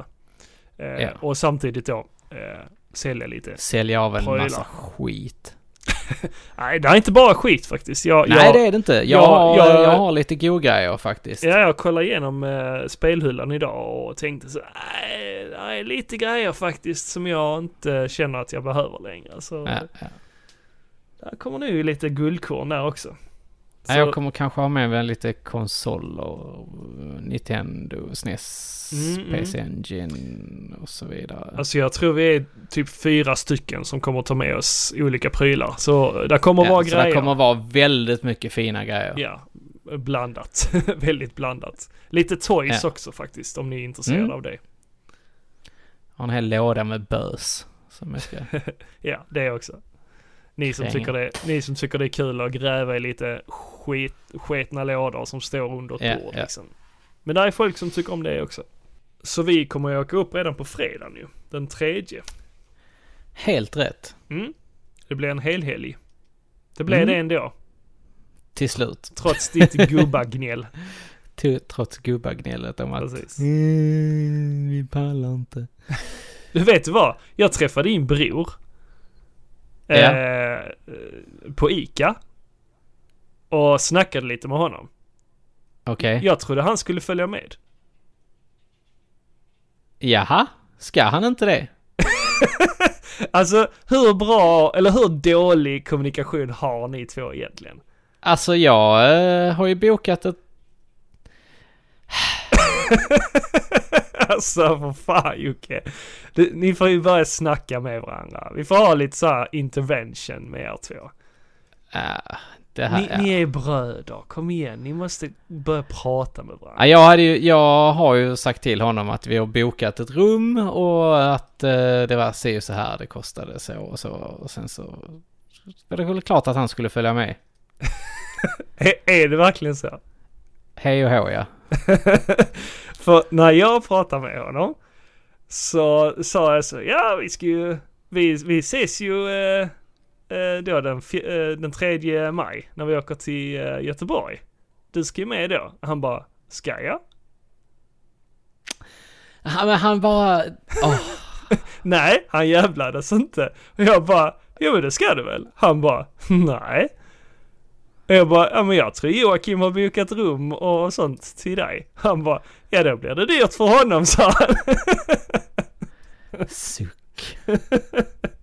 Speaker 2: Eh,
Speaker 1: Ja.
Speaker 2: Och samtidigt då eh, sälja lite.
Speaker 1: Sälja av en
Speaker 2: Prylar.
Speaker 1: massa skit.
Speaker 2: Nej, det är inte bara skit faktiskt. Jag,
Speaker 1: Nej,
Speaker 2: jag,
Speaker 1: det är det inte. Jag,
Speaker 2: jag-
Speaker 1: har,
Speaker 2: jag-
Speaker 1: jag, har lite go-grejer faktiskt.
Speaker 2: Ja, jag kollade igenom eh, spelhyllan idag och tänkte så nej, det är lite grejer faktiskt som jag inte känner att jag behöver längre. Så
Speaker 1: Ja, ja.
Speaker 2: där kommer nu lite guldkorn där också. Så,
Speaker 1: Nej, Jag kommer kanske ha med mig lite konsol och Nintendo, E SNES,
Speaker 2: Mm, mm.
Speaker 1: PC Engine och så vidare.
Speaker 2: Alltså jag tror vi är typ fyra stycken som kommer ta med oss olika prylar. Så eh, där kommer vara
Speaker 1: ja, så
Speaker 2: grejer.
Speaker 1: det kommer vara väldigt mycket fina grejer.
Speaker 2: Ja, blandat. Väldigt blandat. Lite toys
Speaker 1: Ja.
Speaker 2: också faktiskt om ni är intresserade
Speaker 1: Mm.
Speaker 2: av det.
Speaker 1: Jag har en hel låda med bös. Som jag ska...
Speaker 2: Ja, det också. Ni som,
Speaker 1: Kränga.
Speaker 2: tycker det, ni som tycker det är kul att gräva i lite skit, sketna lådor som står under ett
Speaker 1: Ja,
Speaker 2: bord.
Speaker 1: ja.
Speaker 2: Liksom. Men det är folk som tycker om det också. Så vi kommer ju åka upp redan på fredagen ju. Den tredje.
Speaker 1: Helt rätt.
Speaker 2: Mm. Det blir en hel helg. Det blev
Speaker 1: Mm.
Speaker 2: det ändå.
Speaker 1: Till slut.
Speaker 2: Trots ditt gubbagnäll.
Speaker 1: Till- Trots gubbagnället om att
Speaker 2: Precis.
Speaker 1: "Mm, vi pallar inte.
Speaker 2: Du vet vad? Jag träffade din bror.
Speaker 1: Ja.
Speaker 2: Eh, på ICA. Och snackade lite med honom.
Speaker 1: Okej.
Speaker 2: Jag trodde han skulle följa med.
Speaker 1: Jaha, ska han inte det?
Speaker 2: Alltså hur bra, eller hur dålig kommunikation har ni två egentligen?
Speaker 1: Alltså jag eh, har ju bokat ett...
Speaker 2: alltså för fan Jocke. Du, Ni får ju börja snacka med varandra. Vi får ha lite så här intervention med er två.
Speaker 1: Ah, det här,
Speaker 2: Ni,
Speaker 1: ja.
Speaker 2: ni är bröder, kom igen. Ni måste börja prata med
Speaker 1: Ja,
Speaker 2: varandra.
Speaker 1: jag, hade ju, jag har ju sagt till honom att vi har bokat ett rum och att eh, det var se så här, det kostade så och så. Och sen så var det väl klart att han skulle följa med.
Speaker 2: Är- Är det verkligen så?
Speaker 1: Hej och hå ja.
Speaker 2: För när jag pratade med honom så sa jag så, ja vi ska ju, vi, vi ses ju eh, eh, då den, fj- eh, den 3 maj när vi åker till eh, Göteborg. Du ska ju med då. Han bara, ska jag?
Speaker 1: Han, men han bara... åh,
Speaker 2: Nej, han jävlades inte. Och jag bara, jo men det ska du väl? Han bara, nej. Och jag bara, ja men jag tror Joakim har bokat rum och sånt till dig. Han bara, ja då blir det dyrt för honom sa han.
Speaker 1: suck.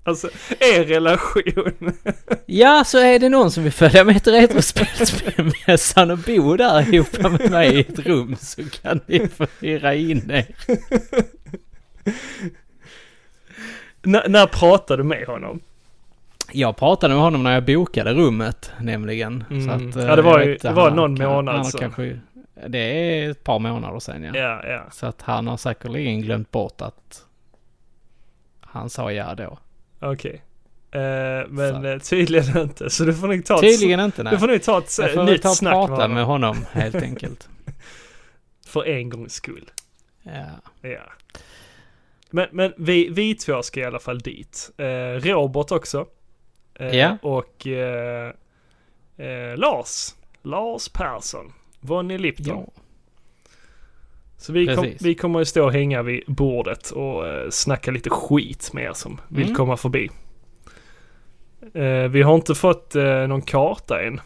Speaker 2: Alltså, er relation.
Speaker 1: Ja, så är det någon som vill följa med till Retrospelsmässan och bo där ihop med mig i ett rum så kan ni få hyra in er.
Speaker 2: N- när pratade du med honom?
Speaker 1: Jag pratade med honom när jag bokade rummet nämligen.
Speaker 2: Mm.
Speaker 1: Så att, eh,
Speaker 2: Ja, det var
Speaker 1: jag
Speaker 2: ju-
Speaker 1: vet,
Speaker 2: det var
Speaker 1: han
Speaker 2: någon
Speaker 1: kan-
Speaker 2: månad
Speaker 1: han har
Speaker 2: sedan.
Speaker 1: kanske, Det är ett par månader sedan ja.
Speaker 2: Ja, ja.
Speaker 1: Så att han har säkerligen glömt bort att han sa ja då.
Speaker 2: Okej. Eh, men
Speaker 1: Så.
Speaker 2: eh, tydligen inte. Så du får nog ta
Speaker 1: Tydligen inte
Speaker 2: ett, du
Speaker 1: nej.
Speaker 2: får nog ta ett
Speaker 1: Jag
Speaker 2: eh,
Speaker 1: får väl
Speaker 2: nytt
Speaker 1: ta och
Speaker 2: snack med
Speaker 1: prata
Speaker 2: honom.
Speaker 1: med honom helt enkelt.
Speaker 2: För en gångs skull.
Speaker 1: Ja.
Speaker 2: Ja. Men, men vi, vi två ska i alla fall dit. Eh, Robert också. Eh,
Speaker 1: Ja.
Speaker 2: Och eh, eh, Lars. Lars Persson. Vonnie Lipton.
Speaker 1: ja.
Speaker 2: Så vi, kom,
Speaker 1: Precis.
Speaker 2: vi kommer ju stå och hänga vid bordet och eh, snacka lite skit med er som vill
Speaker 1: Mm.
Speaker 2: komma förbi. Eh, vi har inte fått eh, någon karta än.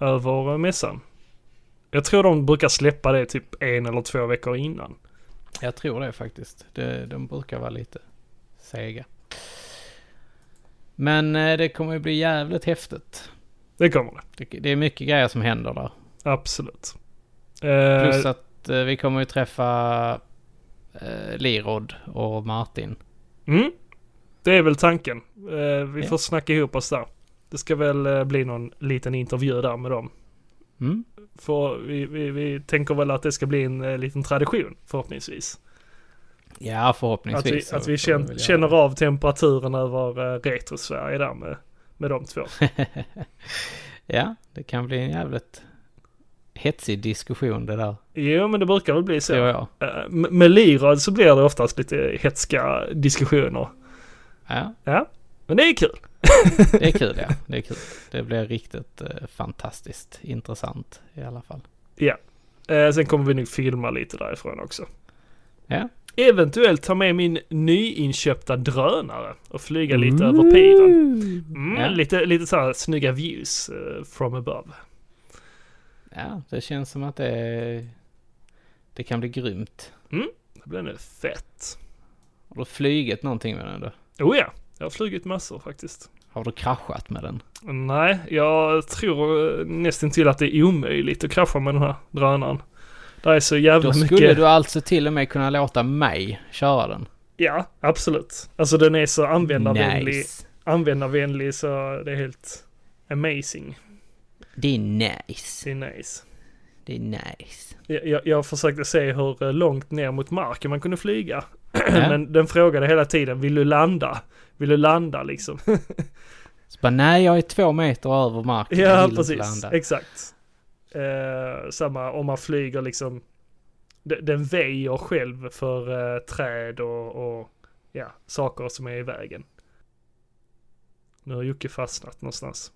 Speaker 2: Över eh, mässan. Jag tror de brukar släppa det typ en eller två veckor innan.
Speaker 1: Jag tror det faktiskt. De, de brukar vara lite sega. Men eh, det kommer ju bli jävligt häftigt.
Speaker 2: Det kommer det.
Speaker 1: Det, det är mycket grejer som händer där.
Speaker 2: Absolut.
Speaker 1: Plus
Speaker 2: Eh,
Speaker 1: att eh, vi kommer ju träffa eh, Lirod och Martin.
Speaker 2: mm, det är väl tanken. Eh, vi
Speaker 1: Ja.
Speaker 2: får snacka ihop oss där. Det ska väl eh, bli någon liten intervju där med dem.
Speaker 1: Mm?
Speaker 2: För vi, vi, vi tänker väl att det ska bli en eh, liten tradition förhoppningsvis.
Speaker 1: Ja,
Speaker 2: Att vi,
Speaker 1: förhoppningsvis. så
Speaker 2: att vi
Speaker 1: får
Speaker 2: kän,
Speaker 1: väl göra
Speaker 2: känner
Speaker 1: det.
Speaker 2: av temperaturen över eh, retro-Sverige där med, med de två.
Speaker 1: ja, det kan bli en jävligt hetsig diskussion det där.
Speaker 2: Jo, men det brukar väl bli så.
Speaker 1: Tror jag.
Speaker 2: Eh, m- Med Lirad så blir det oftast lite hetska diskussioner.
Speaker 1: Ja,
Speaker 2: Men det är kul.
Speaker 1: det är kul ja. Det är kul. Det blir riktigt eh, fantastiskt intressant i alla fall.
Speaker 2: Eh, Sen kommer vi nog filma lite därifrån också.
Speaker 1: Ja.
Speaker 2: Eventuellt ta med min nyinköpta drönare och flyga lite över piren. Mm,
Speaker 1: Ja.
Speaker 2: Lite, lite så här snygga views eh, from above.
Speaker 1: Ja, det känns som att det, det kan bli grymt.
Speaker 2: Det blir nog fett.
Speaker 1: Har du flugit någonting med den då?
Speaker 2: Oh ja, jag har flugit massor faktiskt.
Speaker 1: Har du kraschat med den?
Speaker 2: Nej, jag tror eh, nästan till att det är omöjligt att krascha med den här drönaren. Det är så jävla
Speaker 1: Då
Speaker 2: mycket...
Speaker 1: skulle du alltså till och med kunna låta mig köra den.
Speaker 2: Ja, absolut. Alltså den är så användarvänlig.
Speaker 1: Nice.
Speaker 2: Användarvänlig så det är helt amazing.
Speaker 1: Det är
Speaker 2: Det
Speaker 1: nice.
Speaker 2: är nice.
Speaker 1: Det är nice.
Speaker 2: Jag, jag, jag försökte se hur eh, långt ner mot marken man kunde flyga.
Speaker 1: Ja.
Speaker 2: Men den frågade hela tiden, vill du landa? Vill du landa liksom?
Speaker 1: Så bara, nej, jag är två meter över marken. Jag
Speaker 2: ja,
Speaker 1: vill inte
Speaker 2: precis.
Speaker 1: landa.
Speaker 2: Exakt. Eh, samma om man flyger liksom. de- Den väjer själv för eh, träd och, och ja, saker som är i vägen. Nu har Jocke fastnat någonstans.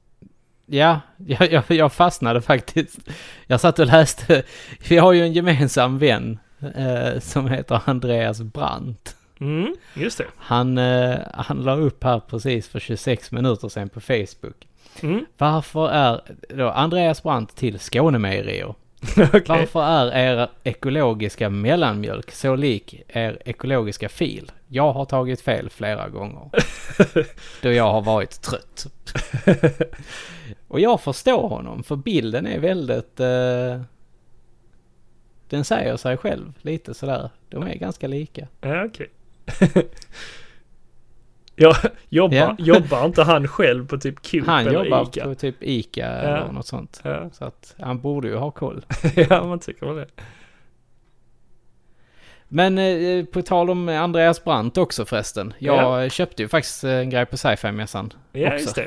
Speaker 1: Ja, jag, jag, jag fastnade faktiskt. Jag satt och läste. Vi har ju en gemensam vän eh, som heter Andreas Brandt.
Speaker 2: Mm, just det.
Speaker 1: Han, eh, han la upp här precis för 26 minuter sedan på Facebook.
Speaker 2: Mm,
Speaker 1: Varför är då Andreas Brandt till Skånemejerier?
Speaker 2: Okej.
Speaker 1: Varför är er ekologiska mellanmjölk så lik er ekologiska fil? Jag har tagit fel flera gånger. då jag har varit trött. Och jag förstår honom, för bilden är väldigt... Eh, den säger sig själv lite sådär. De är ganska lika.
Speaker 2: Ja, okej. ja, jobbar,
Speaker 1: Ja.
Speaker 2: jobbar inte han själv på typ Coop
Speaker 1: Han
Speaker 2: eller
Speaker 1: jobbar
Speaker 2: Ica?
Speaker 1: på typ Ica eller något sånt.
Speaker 2: Ja,
Speaker 1: Så att han borde ju ha koll.
Speaker 2: ja, man tycker väl det.
Speaker 1: Men eh, på tal om Andreas Brandt också förresten. Jag köpte ju faktiskt eh, en grej på sci-fi-mässan.
Speaker 2: Ja,
Speaker 1: Också.
Speaker 2: just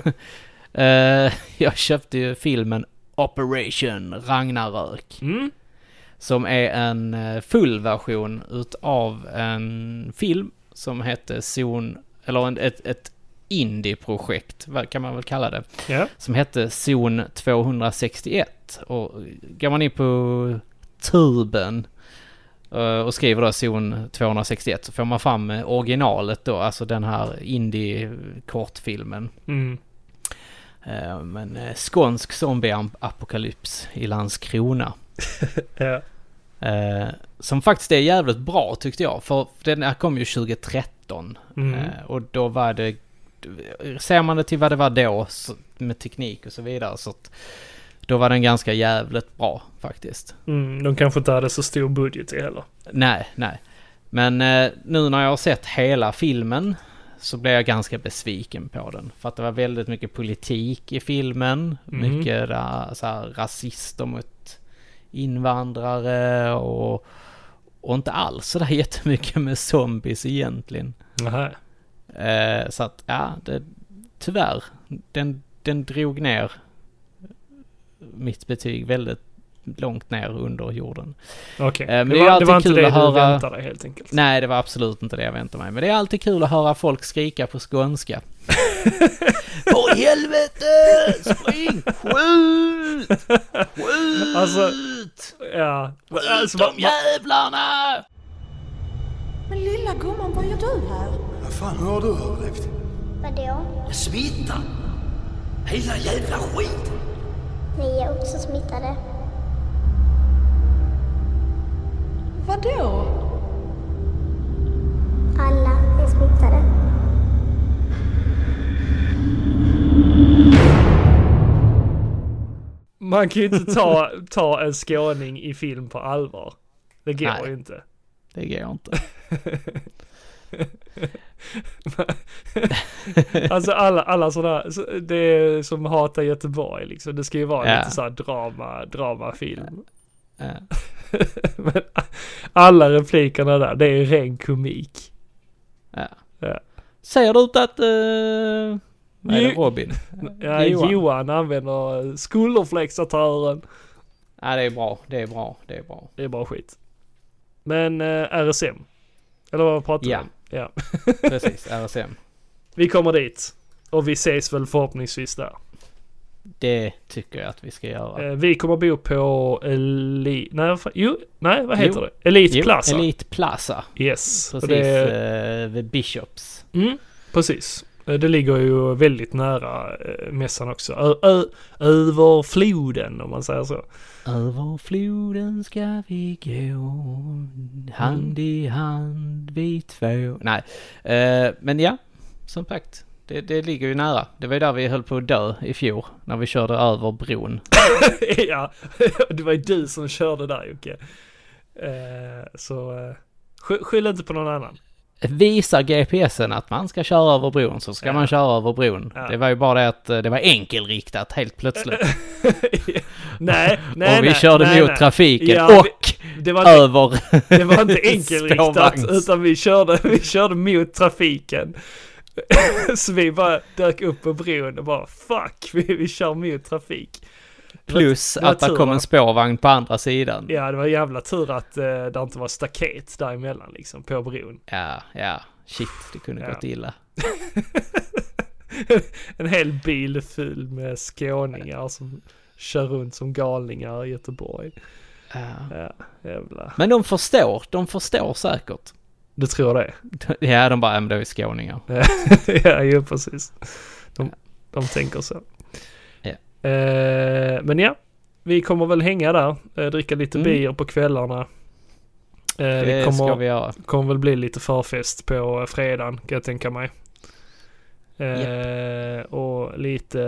Speaker 2: det.
Speaker 1: Eh, jag köpte ju filmen Operation Ragnarök.
Speaker 2: Mm,
Speaker 1: Som är en eh, full version utav en film som hette Zon, eller en, ett, ett indie-projekt, vad kan man väl kalla det,
Speaker 2: ja.
Speaker 1: som hette Zon 261. Och går man in på tuben eh, och skriver då Zon 261 så får man fram eh, originalet då, alltså den här indie-kortfilmen.
Speaker 2: Mm.
Speaker 1: Eh, Men eh, skånsk zombie-apokalyps i Landskrona.
Speaker 2: Ja.
Speaker 1: Eh, som faktiskt är jävligt bra tyckte jag. För den här kom ju 2013.
Speaker 2: Mm.
Speaker 1: Eh, och då var det... Ser man det till vad det var då så, med teknik och så vidare så att... Då var den ganska jävligt bra faktiskt.
Speaker 2: Mm, de kanske inte hade så stor budget heller.
Speaker 1: Nej, nej. Men eh, nu när jag har sett hela filmen så blev jag ganska besviken på den. För att det var väldigt mycket politik i filmen.
Speaker 2: Mm.
Speaker 1: Mycket ra- så här, rasister mot invandrare och, och inte alls sådär jättemycket med zombies egentligen.
Speaker 2: Nähä.
Speaker 1: Eh, så att ja, det, tyvärr. Den, den drog ner mitt betyg väldigt långt ner under jorden.
Speaker 2: Okej.
Speaker 1: Eh, men
Speaker 2: Det,
Speaker 1: det är
Speaker 2: var- det
Speaker 1: alltid
Speaker 2: var inte
Speaker 1: kul
Speaker 2: det
Speaker 1: att
Speaker 2: du
Speaker 1: höra-
Speaker 2: väntade dig helt enkelt.
Speaker 1: Nej, det var absolut inte det jag väntade mig. Men det är alltid kul att höra folk skrika på skånska. För helvete! Spring! Skjut! Skjut!
Speaker 2: Alltså, Ja. Alltså,
Speaker 1: De
Speaker 2: vad, vad,
Speaker 1: jävlarna!
Speaker 5: Men lilla gumman, vad gör du här?
Speaker 6: Vad fan har du överlevt?
Speaker 7: Vadå?
Speaker 6: Smittan! Hela jävla skiten!
Speaker 7: Ni är också smittade.
Speaker 5: Vadå?
Speaker 7: Alla är smittade.
Speaker 2: man kan ju inte ta, ta en skåning i film på allvar. Det går
Speaker 1: Nej.
Speaker 2: ju inte.
Speaker 1: Det går inte.
Speaker 2: Alltså alla, alla sådana, så- det är som hatar Göteborg liksom. Det ska ju vara
Speaker 1: Ja.
Speaker 2: lite såhär drama, dramafilm.
Speaker 1: Ja.
Speaker 2: Men alla replikerna där, det är ju ren komik.
Speaker 1: Ja.
Speaker 2: Ja.
Speaker 1: Säger du inte att... Uh, vad är det,
Speaker 2: Jo-
Speaker 1: Robin?
Speaker 2: Ja, Johan.
Speaker 1: Johan.
Speaker 2: använder eh, skulderflexatören.
Speaker 1: Ja, det är bra. Det är bra. Det är bra.
Speaker 2: Det är bara skit. Men eh, RSM. Eller vad pratar vi
Speaker 1: Ja.
Speaker 2: om? Ja.
Speaker 1: Precis, RSM.
Speaker 2: Vi kommer dit. Och vi ses väl förhoppningsvis där.
Speaker 1: Det tycker jag att vi ska göra.
Speaker 2: Eh, Vi kommer bo på Eli... Nej, vad fan- jo, nej vad heter
Speaker 1: Jo.
Speaker 2: det? Elite Plaza.
Speaker 1: Elite Plaza.
Speaker 2: Yes. och
Speaker 1: Precis,
Speaker 2: Det,
Speaker 1: eh, vid Bishops.
Speaker 2: mm, precis. Eh, Det ligger ju väldigt nära eh, mässan också. Ö, ö, över floden om man säger så.
Speaker 1: Över floden ska vi gå Hand i hand vi två Nej, eh, men ja, som sagt. Det, det ligger ju nära. Det var ju där vi höll på att dö i fjol. När vi körde över bron.
Speaker 2: ja, det var ju du som körde där Jocke. Eh, Så eh, sk- skyll inte på någon annan.
Speaker 1: Visar GPSen att man ska köra över bron så ska
Speaker 2: Ja.
Speaker 1: man köra över bron.
Speaker 2: Ja.
Speaker 1: Det var ju bara det att eh, det var enkelriktat helt plötsligt.
Speaker 2: nej, nej,
Speaker 1: och vi
Speaker 2: nej,
Speaker 1: körde
Speaker 2: nej,
Speaker 1: mot
Speaker 2: nej.
Speaker 1: trafiken
Speaker 2: Ja,
Speaker 1: och
Speaker 2: Det var inte,
Speaker 1: över
Speaker 2: det var inte enkelriktat
Speaker 1: Spårvagns.
Speaker 2: utan vi körde, vi körde mot trafiken. Så vi bara dök upp på bron och bara fuck, vi, vi kör mot trafik. Det var-
Speaker 1: plus
Speaker 2: det var
Speaker 1: att det
Speaker 2: tur,
Speaker 1: kom
Speaker 2: va?
Speaker 1: en spårvagn på andra sidan.
Speaker 2: Ja, det var jävla tur att eh, det inte var staket däremellan liksom, på bron.
Speaker 1: Ja, ja. Shit, det kunde
Speaker 2: Ja.
Speaker 1: gått illa.
Speaker 2: En hel bil full med skåningar som kör runt som galningar i Göteborg.
Speaker 1: Ja.
Speaker 2: Ja, jävla.
Speaker 1: Men de förstår, de förstår säkert.
Speaker 2: Du tror det?
Speaker 1: Ja, de bara, ja men det är ju skåningar.
Speaker 2: ja, ju precis. De, de tänker så. Eh, men ja, vi kommer väl hänga där, eh, dricka lite
Speaker 1: Mm.
Speaker 2: bier på kvällarna. Eh,
Speaker 1: Det
Speaker 2: det
Speaker 1: ska
Speaker 2: kommer,
Speaker 1: vi göra.
Speaker 2: kommer väl bli lite förfest på eh, fredagen kan jag tänka mig. Eh, Och lite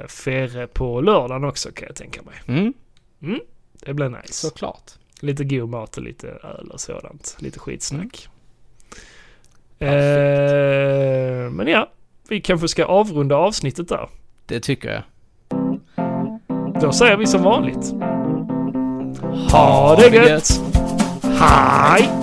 Speaker 2: eh, färre på lördagen också kan jag tänka mig.
Speaker 1: Mm,
Speaker 2: Det blir nice.
Speaker 1: såklart.
Speaker 2: Lite god mat och lite öl och sådant. Lite skitsnack. Eh, men ja, vi kanske ska avrunda avsnittet där.
Speaker 1: Det tycker jag.
Speaker 2: Då säger vi som vanligt. Ha det gött! Hej!